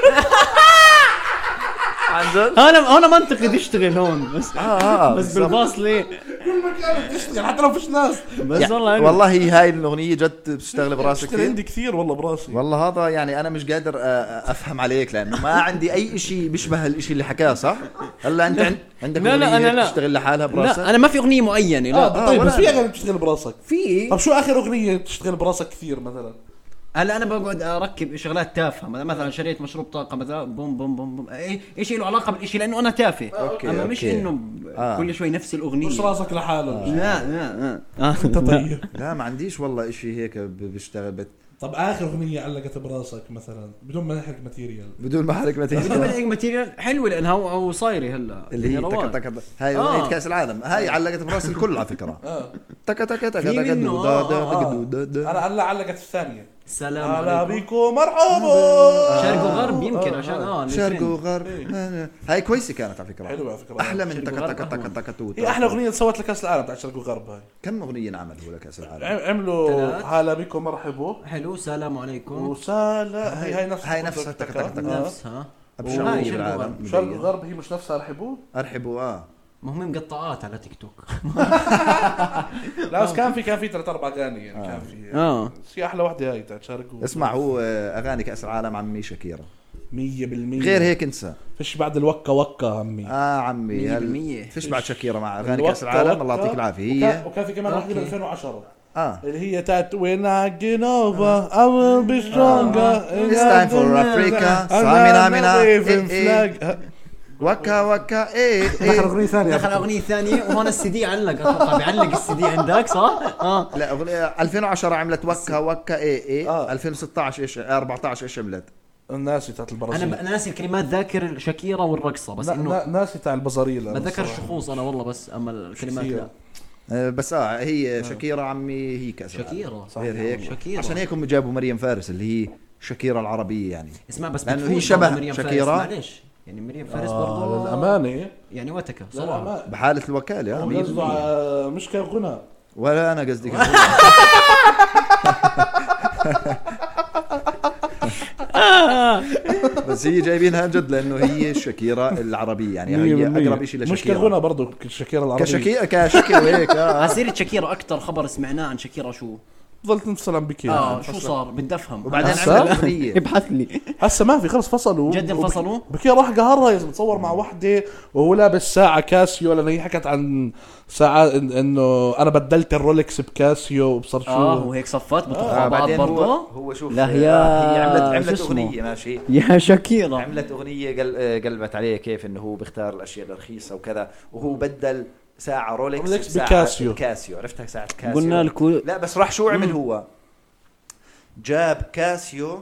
Speaker 4: عن جد
Speaker 1: انا انا منطقي تشتغل هون بس
Speaker 4: اه
Speaker 3: آه،
Speaker 4: اه
Speaker 1: بس
Speaker 4: بالضبط.
Speaker 1: بالباص ليه؟
Speaker 3: كل مكان بتشتغل حتى لو فيش ناس
Speaker 1: بس والله يعني
Speaker 4: يعني
Speaker 1: أنا-
Speaker 4: والله هاي الاغنيه جد بتشتغل براسك
Speaker 3: بتشتغل
Speaker 4: كثير
Speaker 3: عندي كثير والله براسي
Speaker 4: والله هذا يعني انا مش قادر أ- أ- افهم عليك لانه ما عندي اي شيء بيشبه الشيء اللي حكاه صح؟ هلا انت عند- عندك
Speaker 1: لا، لا،
Speaker 4: أغنية
Speaker 1: أنا لا.
Speaker 4: بتشتغل لحالها براسك؟
Speaker 1: لا انا ما في اغنيه معينه لا
Speaker 3: اه طيب
Speaker 4: آه، ولا
Speaker 3: بس في
Speaker 4: أنا.
Speaker 3: اغاني بتشتغل براسك
Speaker 1: في
Speaker 3: طب شو اخر اغنيه بتشتغل براسك كثير مثلا
Speaker 1: هلا انا بقعد اركب شغلات تافهه مثلا شريت مشروب طاقه مثلا بوم بوم بوم بوم اي شيء له علاقه بالشيء لانه انا تافه
Speaker 4: أوكي،
Speaker 1: اما مش
Speaker 4: أوكي.
Speaker 1: انه
Speaker 4: آه.
Speaker 1: آه. كل شوي نفس الاغنيه
Speaker 3: مش راسك لحاله
Speaker 1: لا لا
Speaker 4: آه.
Speaker 1: لا
Speaker 3: انت طيب
Speaker 4: لا ما عنديش والله شيء هيك ب- بشتغل بت...
Speaker 3: طب اخر اغنيه علقت براسك مثلا بدون ما نحرق ماتيريال
Speaker 4: بدون ما حرك
Speaker 1: بدون
Speaker 4: متى
Speaker 1: طيب، بدأ ماتيريال حلوه لانها هو هو صايره هلا
Speaker 4: اللي هي
Speaker 1: يعني روان.
Speaker 4: تك تك تك- هاي
Speaker 1: آه.
Speaker 4: اغنيه كاس العالم هاي علقت براس الكل على فكره
Speaker 3: اه
Speaker 4: تك تك تك تك
Speaker 1: في منه،
Speaker 4: دو-
Speaker 1: آه،
Speaker 4: دا-
Speaker 1: آه،
Speaker 4: دا-
Speaker 3: آه.
Speaker 4: دو- دا- دا.
Speaker 3: انا هلا علقت الثانيه
Speaker 1: سلام
Speaker 3: هلا
Speaker 1: عليكم
Speaker 3: بيكم مرحبا
Speaker 1: شرق وغرب يمكن عشان
Speaker 4: آه،
Speaker 3: آه،
Speaker 1: اه
Speaker 4: شرق
Speaker 1: الاثنين.
Speaker 4: وغرب هاي كويسه كانت على فكره
Speaker 3: حلوه إيه. على فكره
Speaker 4: احلى من
Speaker 1: شرق
Speaker 4: تك
Speaker 1: وغرب
Speaker 4: تك
Speaker 1: أهون.
Speaker 4: تك تك تو
Speaker 3: هي احلى اغنيه سوت لكاس العالم بتاع شرق وغرب هاي
Speaker 4: كم اغنيه انعمل هو لكاس العالم
Speaker 3: عم- عملوا
Speaker 1: ثلاث.
Speaker 3: هلا بيكم مرحبا
Speaker 1: حلو سلام عليكم
Speaker 3: وسالا هي هاي نفسها
Speaker 4: هاي نفسها تك- تك- تك.
Speaker 3: آه.
Speaker 1: نفسها
Speaker 4: ابشر
Speaker 1: وهاي
Speaker 4: أغنية
Speaker 1: شرق
Speaker 4: بالعالم
Speaker 1: وغرب.
Speaker 3: شرق
Speaker 4: مبين.
Speaker 3: وغرب هي مش نفسها رحبوا
Speaker 4: ارحبوا اه
Speaker 1: ما هم مقطعات على تيك توك
Speaker 4: آه.
Speaker 3: لا بس كان في كان في ثلاث اربع اغاني يعني كان في
Speaker 1: اه
Speaker 3: بس هي احلى وحده هاي تاعت شرق وغرب.
Speaker 4: اسمع هو آه، اغاني كاس العالم عمي شاكيرا
Speaker 3: 100%
Speaker 4: غير هيك انسى
Speaker 3: فيش بعد الوكا وكا عمي
Speaker 4: اه عمي
Speaker 1: مية
Speaker 4: هل-
Speaker 1: بالمية.
Speaker 4: فيش بعد شاكيرا مع اغاني
Speaker 3: الوكا
Speaker 4: كاس العالم
Speaker 3: وكا.
Speaker 4: الله يعطيك العافيه
Speaker 3: وكان,
Speaker 4: هي
Speaker 3: وكان في كمان واحده بال
Speaker 1: أوكي.
Speaker 3: 2010
Speaker 4: اه
Speaker 3: اللي هي تاعت وين I get over I will be stronger
Speaker 4: It's time for Africa. Samina, mina. إيه، إيه. وكا وكا ايه ايه
Speaker 3: اغنيه ثانيه
Speaker 1: دخل اغنيه ثانيه وهون السي دي علق اتوقع بيعلق السي دي عندك صح؟ اه
Speaker 4: لا أغنية- 2010 عملت وكا وكا ايه ايه
Speaker 3: آه.
Speaker 4: 2016 ايش 14 ايش عملت
Speaker 3: الناس تاعت
Speaker 1: انا
Speaker 3: البرازيل
Speaker 1: ب- انا ناسي الكلمات ذاكر شاكيرا والرقصه بس
Speaker 3: نا- نا-
Speaker 1: انه
Speaker 3: ناسي تاع البزاريلا
Speaker 1: بتذكر الشخوص انا والله بس اما الكلمات لا
Speaker 4: آه، بس اه هي شاكيرا عمي هي كاس العالم.
Speaker 1: شاكيرا
Speaker 4: غير هيك
Speaker 1: شاكيرا
Speaker 4: عشان هيك هم جابوا مريم فارس اللي هي شاكيرا العربية يعني
Speaker 1: اسمع بس
Speaker 4: لأنه هي
Speaker 1: بتفوز
Speaker 4: شبه
Speaker 1: برضه مريم فارس.
Speaker 4: شاكيرا.
Speaker 1: معليش يعني مريم فارس
Speaker 3: آه
Speaker 1: برضه
Speaker 3: للامانه
Speaker 1: يعني وتكه
Speaker 3: لا، لا،
Speaker 1: صراحه
Speaker 3: ما-
Speaker 4: بحالة الوكالة آه،
Speaker 3: هو
Speaker 4: مية
Speaker 3: قصده
Speaker 4: بالمية.
Speaker 3: على- مش كغنى
Speaker 4: ولا انا قصدي كان- بس هي جايبينها جد لانه هي شاكيرا العربية يعني هي
Speaker 3: 100%.
Speaker 4: اقرب شيء
Speaker 3: مش
Speaker 4: لشاكيرا
Speaker 3: كغنى برضه كشاكيرا العربي
Speaker 4: كشاكيرا كشاكيرا هيك آه.
Speaker 1: عسيرة شاكيرا اكثر خبر سمعناه عن شاكيرا شو؟
Speaker 3: ضلت انفصل بكي
Speaker 1: اه شو صار؟ بدي افهم
Speaker 4: يعني وبعدين
Speaker 3: هسا؟
Speaker 4: عملت اغنية
Speaker 1: ابحث لي
Speaker 3: هسه ما في خلص فصلوا
Speaker 1: جد
Speaker 3: وبك-
Speaker 1: انفصلوا؟
Speaker 3: بكير راح قهرها يا زلمه تصور مع وحده وهو لابس ساعه كاسيو لان هي حكت عن ساعه إن- انه انا بدلت الرولكس بكاسيو وبصر شو
Speaker 1: اه وهيك صفت بتطلع
Speaker 4: آه
Speaker 1: بعض
Speaker 4: بعدين هو
Speaker 1: برضه
Speaker 4: هو شوف
Speaker 1: لا،
Speaker 4: آه،
Speaker 1: هي-
Speaker 4: هي عملت
Speaker 1: شو
Speaker 4: عملت
Speaker 1: اسمه؟
Speaker 4: اغنية ماشي
Speaker 1: يا شاكيرا
Speaker 4: عملت اغنيه قل... آه، قلبت عليه كيف انه هو بيختار الاشياء الرخيصه وكذا وهو بدل ساعه رولكس
Speaker 3: رولكس
Speaker 4: بساعة
Speaker 3: بكاسيو.
Speaker 4: كاسيو عرفتها ساعه كاسيو
Speaker 1: قلنا لكم
Speaker 4: لا بس راح شو عمل هو جاب كاسيو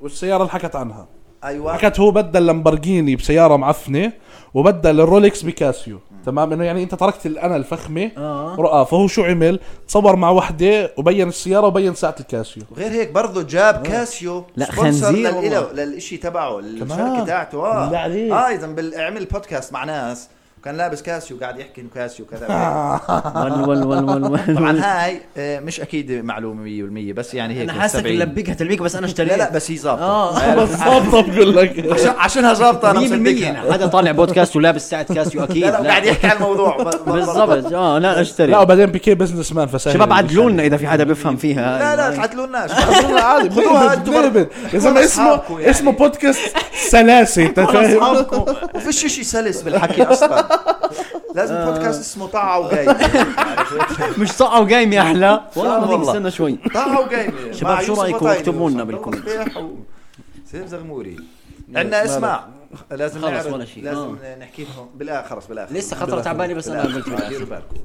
Speaker 3: والسياره اللي حكت عنها
Speaker 4: ايوه
Speaker 3: حكت هو بدل لامبرجيني بسياره معفنه وبدل الرولكس بكاسيو تمام انه يعني انت تركت ال- انا الفخمه
Speaker 1: اه
Speaker 3: رؤى فهو شو عمل تصور مع وحده وبين السياره وبين ساعه الكاسيو
Speaker 4: وغير هيك برضه جاب كاسيو
Speaker 1: آه. لا،
Speaker 4: سبونسر
Speaker 1: خنزير
Speaker 4: للإله
Speaker 1: والله.
Speaker 4: للإشي تبعه
Speaker 3: كمان.
Speaker 4: الشركه تاعته اه
Speaker 3: بالله عليك.
Speaker 4: اه اذا بال- عمل بودكاست مع ناس وكان لابس كاسيو قاعد يحكي انه كاسيو كذا
Speaker 1: آه. ول ول ول ول
Speaker 4: طبعا
Speaker 1: ول
Speaker 4: هاي آه، مش اكيد معلومه 100% بس يعني هيك
Speaker 1: انا حاسك
Speaker 4: 70.
Speaker 1: ملبقها تلبيك بس انا اشتريت
Speaker 4: لا لا بس هي آه. ظابطه
Speaker 1: اه
Speaker 3: بالضبط بقول لك
Speaker 4: عشان عشانها ظابطه انا
Speaker 1: 100%
Speaker 4: مصدقها
Speaker 1: حدا طالع بودكاست ولابس ساعه كاسيو اكيد
Speaker 4: لا لا وقاعد يحكي عن الموضوع
Speaker 1: بالضبط اه لا اشتري
Speaker 3: لا وبعدين بيكي بزنس مان فسهل
Speaker 1: شباب عدلوا لنا اذا في حدا بيفهم فيها
Speaker 4: لا لا تعتلوا لناش
Speaker 3: عادي
Speaker 4: خذوها
Speaker 3: بنبت
Speaker 4: أنتم
Speaker 3: بنبت يا زلمه
Speaker 4: كل
Speaker 3: اسمه
Speaker 4: أصحابكم يعني.
Speaker 3: اسمه بودكاست سلاسه انت فاهم
Speaker 4: ما فيش شيء سلس بالحكي اصلا لازم
Speaker 1: آه.
Speaker 4: بودكاست اسمه طاعه وقايمه
Speaker 1: مش صقعه وقايم يا احلى والله
Speaker 4: آه
Speaker 1: العظيم
Speaker 4: والله.
Speaker 1: استنى شوي
Speaker 4: طاعه وقايمه
Speaker 1: شباب،
Speaker 4: مع
Speaker 1: شو
Speaker 4: يوسف
Speaker 1: رأيكم
Speaker 4: وطايلة
Speaker 1: اكتبوا لنا
Speaker 4: وصلاح
Speaker 1: بالكومنتس.
Speaker 4: الفلاح و سيف زغموري عندنا اسماء لازم
Speaker 1: خلص
Speaker 4: نعرف-
Speaker 1: ولا شيء. آه.
Speaker 4: لازم نحكي لهم بالاخر خلص بالاخر
Speaker 1: لسه خطرت على بالي بس انا قلت
Speaker 4: ديروا
Speaker 1: بالاخر
Speaker 4: بالكم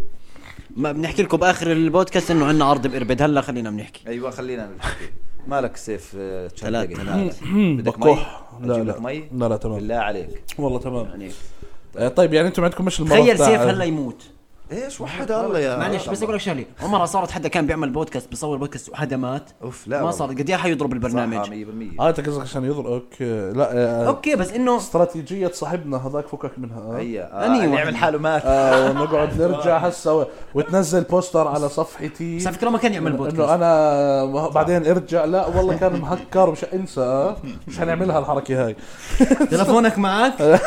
Speaker 1: ما بنحكي لكم باخر البودكاست انه عندنا عرض باربد هلا خلينا بنحكي
Speaker 4: ايوه خلينا نحكي مالك سيف آه،
Speaker 1: ثلاث-
Speaker 4: تشنقق.
Speaker 1: ثلاث.
Speaker 4: بدك مي؟
Speaker 3: بكح. لا،
Speaker 4: أجيب
Speaker 3: لا.
Speaker 4: لك مي
Speaker 3: لا، لا، تمام.
Speaker 4: بالله عليك
Speaker 3: والله تمام
Speaker 1: يعني
Speaker 3: آه، طيب يعني انتم عندكم مش المرض
Speaker 1: تخيل
Speaker 3: تاع-
Speaker 1: سيف هلا يموت
Speaker 4: ايش وحد الله يا
Speaker 1: معلش بس اقول لك شغله عمرها صارت حدا كان بيعمل بودكاست بيصور بودكاست وحدا مات
Speaker 4: اوف لا
Speaker 1: ما
Speaker 4: والله.
Speaker 1: صار قد ايه حيضرب
Speaker 4: صح،
Speaker 1: البرنامج
Speaker 4: 100%
Speaker 3: اه انت قصدك عشان يضرب اوكي لا آه،
Speaker 1: اوكي بس انه
Speaker 3: استراتيجية صاحبنا هذاك فكك منها آه.
Speaker 4: هي
Speaker 1: أني
Speaker 4: آه، اللي
Speaker 1: واحد.
Speaker 4: يعمل حاله مات
Speaker 3: آه ونقعد نرجع هسه و- وتنزل بوستر على صفحتي
Speaker 1: بس على فكره ما كان يعمل
Speaker 3: انه
Speaker 1: بودكاست
Speaker 3: انا بعدين ارجع لا والله كان مهكر مش انسى آه. مش هنعملها الحركه هاي
Speaker 5: تلفونك معك
Speaker 1: إيه.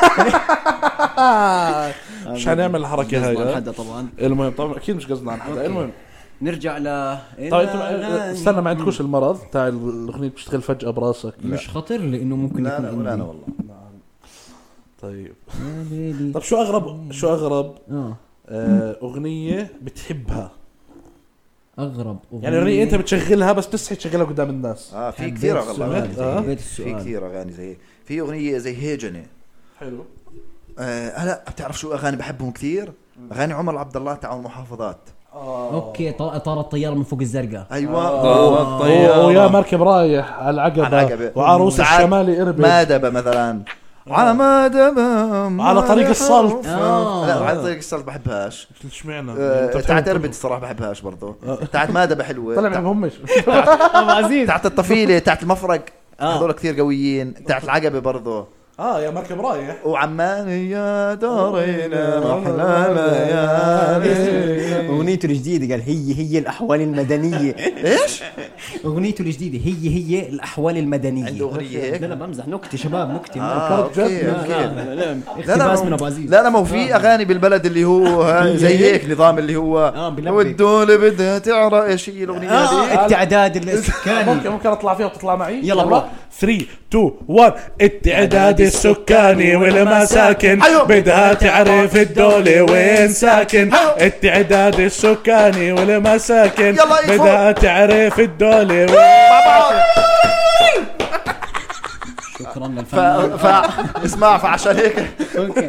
Speaker 3: مش هنعمل الحركه هاي
Speaker 1: قصدنا عن
Speaker 3: آه.
Speaker 1: آه، حدا طبعا
Speaker 3: المهم طبعا اكيد مش قصدنا عن حدا المهم
Speaker 1: نرجع ل
Speaker 3: طيب انتم استنى ما عندكوش المرض تاع الاغنيه بتشتغل فجاه براسك
Speaker 5: مش خطر لانه ممكن
Speaker 4: لا لا
Speaker 5: يكون
Speaker 4: ولا
Speaker 5: عندي
Speaker 4: انا والله
Speaker 3: طيب
Speaker 5: يا ليلي.
Speaker 3: طب شو اغرب شو اغرب
Speaker 5: اه
Speaker 3: آه، اغنيه بتحبها
Speaker 5: اغرب
Speaker 3: يعني اغنيه انت بتشغلها بس بتصحي تشغلها قدام الناس
Speaker 4: اه في كثير اغلى
Speaker 3: سمعت؟ آه.
Speaker 5: حبيت
Speaker 4: في
Speaker 5: السؤال
Speaker 4: كثير اغاني زي هيك في اغنيه زي هيجنه
Speaker 3: حلو
Speaker 4: آه هلا بتعرف شو اغاني بحبهم كثير اغاني عمر عبد الله تاع المحافظات
Speaker 5: اوكي طار طار الطياره من فوق الزرقاء
Speaker 4: ايوه
Speaker 3: أوه، ويا طيب، مركب رايح على العقبة,
Speaker 4: على العقبة.
Speaker 3: وعروس طيب،
Speaker 4: وعاد
Speaker 3: الشمالي قربت
Speaker 4: مادبه مثلا على مادبه
Speaker 3: على طريق الصلت.
Speaker 5: آه.
Speaker 4: لا على طريق الصلت بحبهاش
Speaker 3: اشمعنى
Speaker 4: آه،
Speaker 3: أنت بتحب
Speaker 4: تاعت
Speaker 3: الطبخ.
Speaker 4: اربد الصراحه بحبهاش برضه تاعت مادبه حلوه
Speaker 3: طيب، طلع
Speaker 4: تاعت-
Speaker 3: من همش
Speaker 4: تاعت الطفيله تاعت المفرق
Speaker 1: آه.
Speaker 4: هذول كثير قويين تاعت العقبه برضه
Speaker 3: اه يا مركب رايح
Speaker 4: وعمان يا دارنا محلى ليالي
Speaker 1: اغنيته الجديده قال هي هي الاحوال المدنيه
Speaker 4: ايش؟
Speaker 5: اغنيته الجديده هي هي الاحوال المدنيه
Speaker 4: عنده أغنية هيك؟
Speaker 5: لا لا بمزح نكته شباب نكته ما-
Speaker 4: آه، اوكي
Speaker 5: لا، لا،
Speaker 4: اوكي
Speaker 5: لا، لا،
Speaker 4: لا
Speaker 5: اقتباس
Speaker 4: لا
Speaker 5: من
Speaker 4: ما
Speaker 5: ابو عزيز
Speaker 4: لا لا ما هو في اغاني بالبلد اللي هو ها، زي هيك نظام اللي هو
Speaker 5: بلبك.
Speaker 4: والدولة بدها تعرى ايش هي الاغنيه
Speaker 1: آه،
Speaker 4: هذه
Speaker 1: التعداد
Speaker 3: ممكن
Speaker 1: الاسكاني
Speaker 3: ممكن اطلع فيها وتطلع معي
Speaker 1: يلا بروح.
Speaker 3: 3 2 1 التعداد السكاني والمساكن أيوه.
Speaker 4: أيوه.
Speaker 3: بدها تعرف الدولة وين ساكن
Speaker 4: أيوه.
Speaker 3: التعداد السكاني والمساكن
Speaker 4: يلا، يفوق.
Speaker 3: بدها تعرف الدولة وين
Speaker 5: شكرا
Speaker 4: ف...
Speaker 5: للفنان
Speaker 4: ف... اسمع فعشان هيك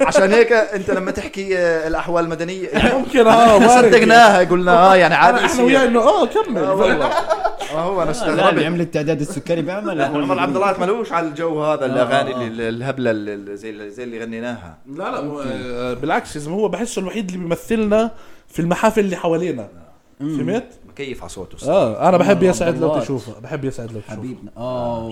Speaker 4: عشان هيك انت لما تحكي آه، الاحوال المدنيه يعني
Speaker 3: ممكن اه وارد.
Speaker 4: صدقناها قلنا اه يعني عادي
Speaker 3: انا احنا
Speaker 4: يصير.
Speaker 3: وياه انه اه كمل
Speaker 4: آه، والله آه، هو انا
Speaker 5: لا اللي
Speaker 4: استغربت
Speaker 5: عمل التعداد السكاني بيعمل
Speaker 4: عمر عبد الله ملوش على الجو هذا الاغاني اللي- الهبله اللي زي زي اللي غنيناها
Speaker 3: لا لا هو- آه، بالعكس يا زلمه هو بحسه الوحيد اللي بيمثلنا في المحافل اللي حوالينا فهمت؟
Speaker 4: مكيف على صوته
Speaker 3: اه انا بحب يا سعد
Speaker 1: عبد
Speaker 3: لو
Speaker 1: الله.
Speaker 3: تشوفه بحب يا سعد لو تشوفه
Speaker 1: حبيبنا اوه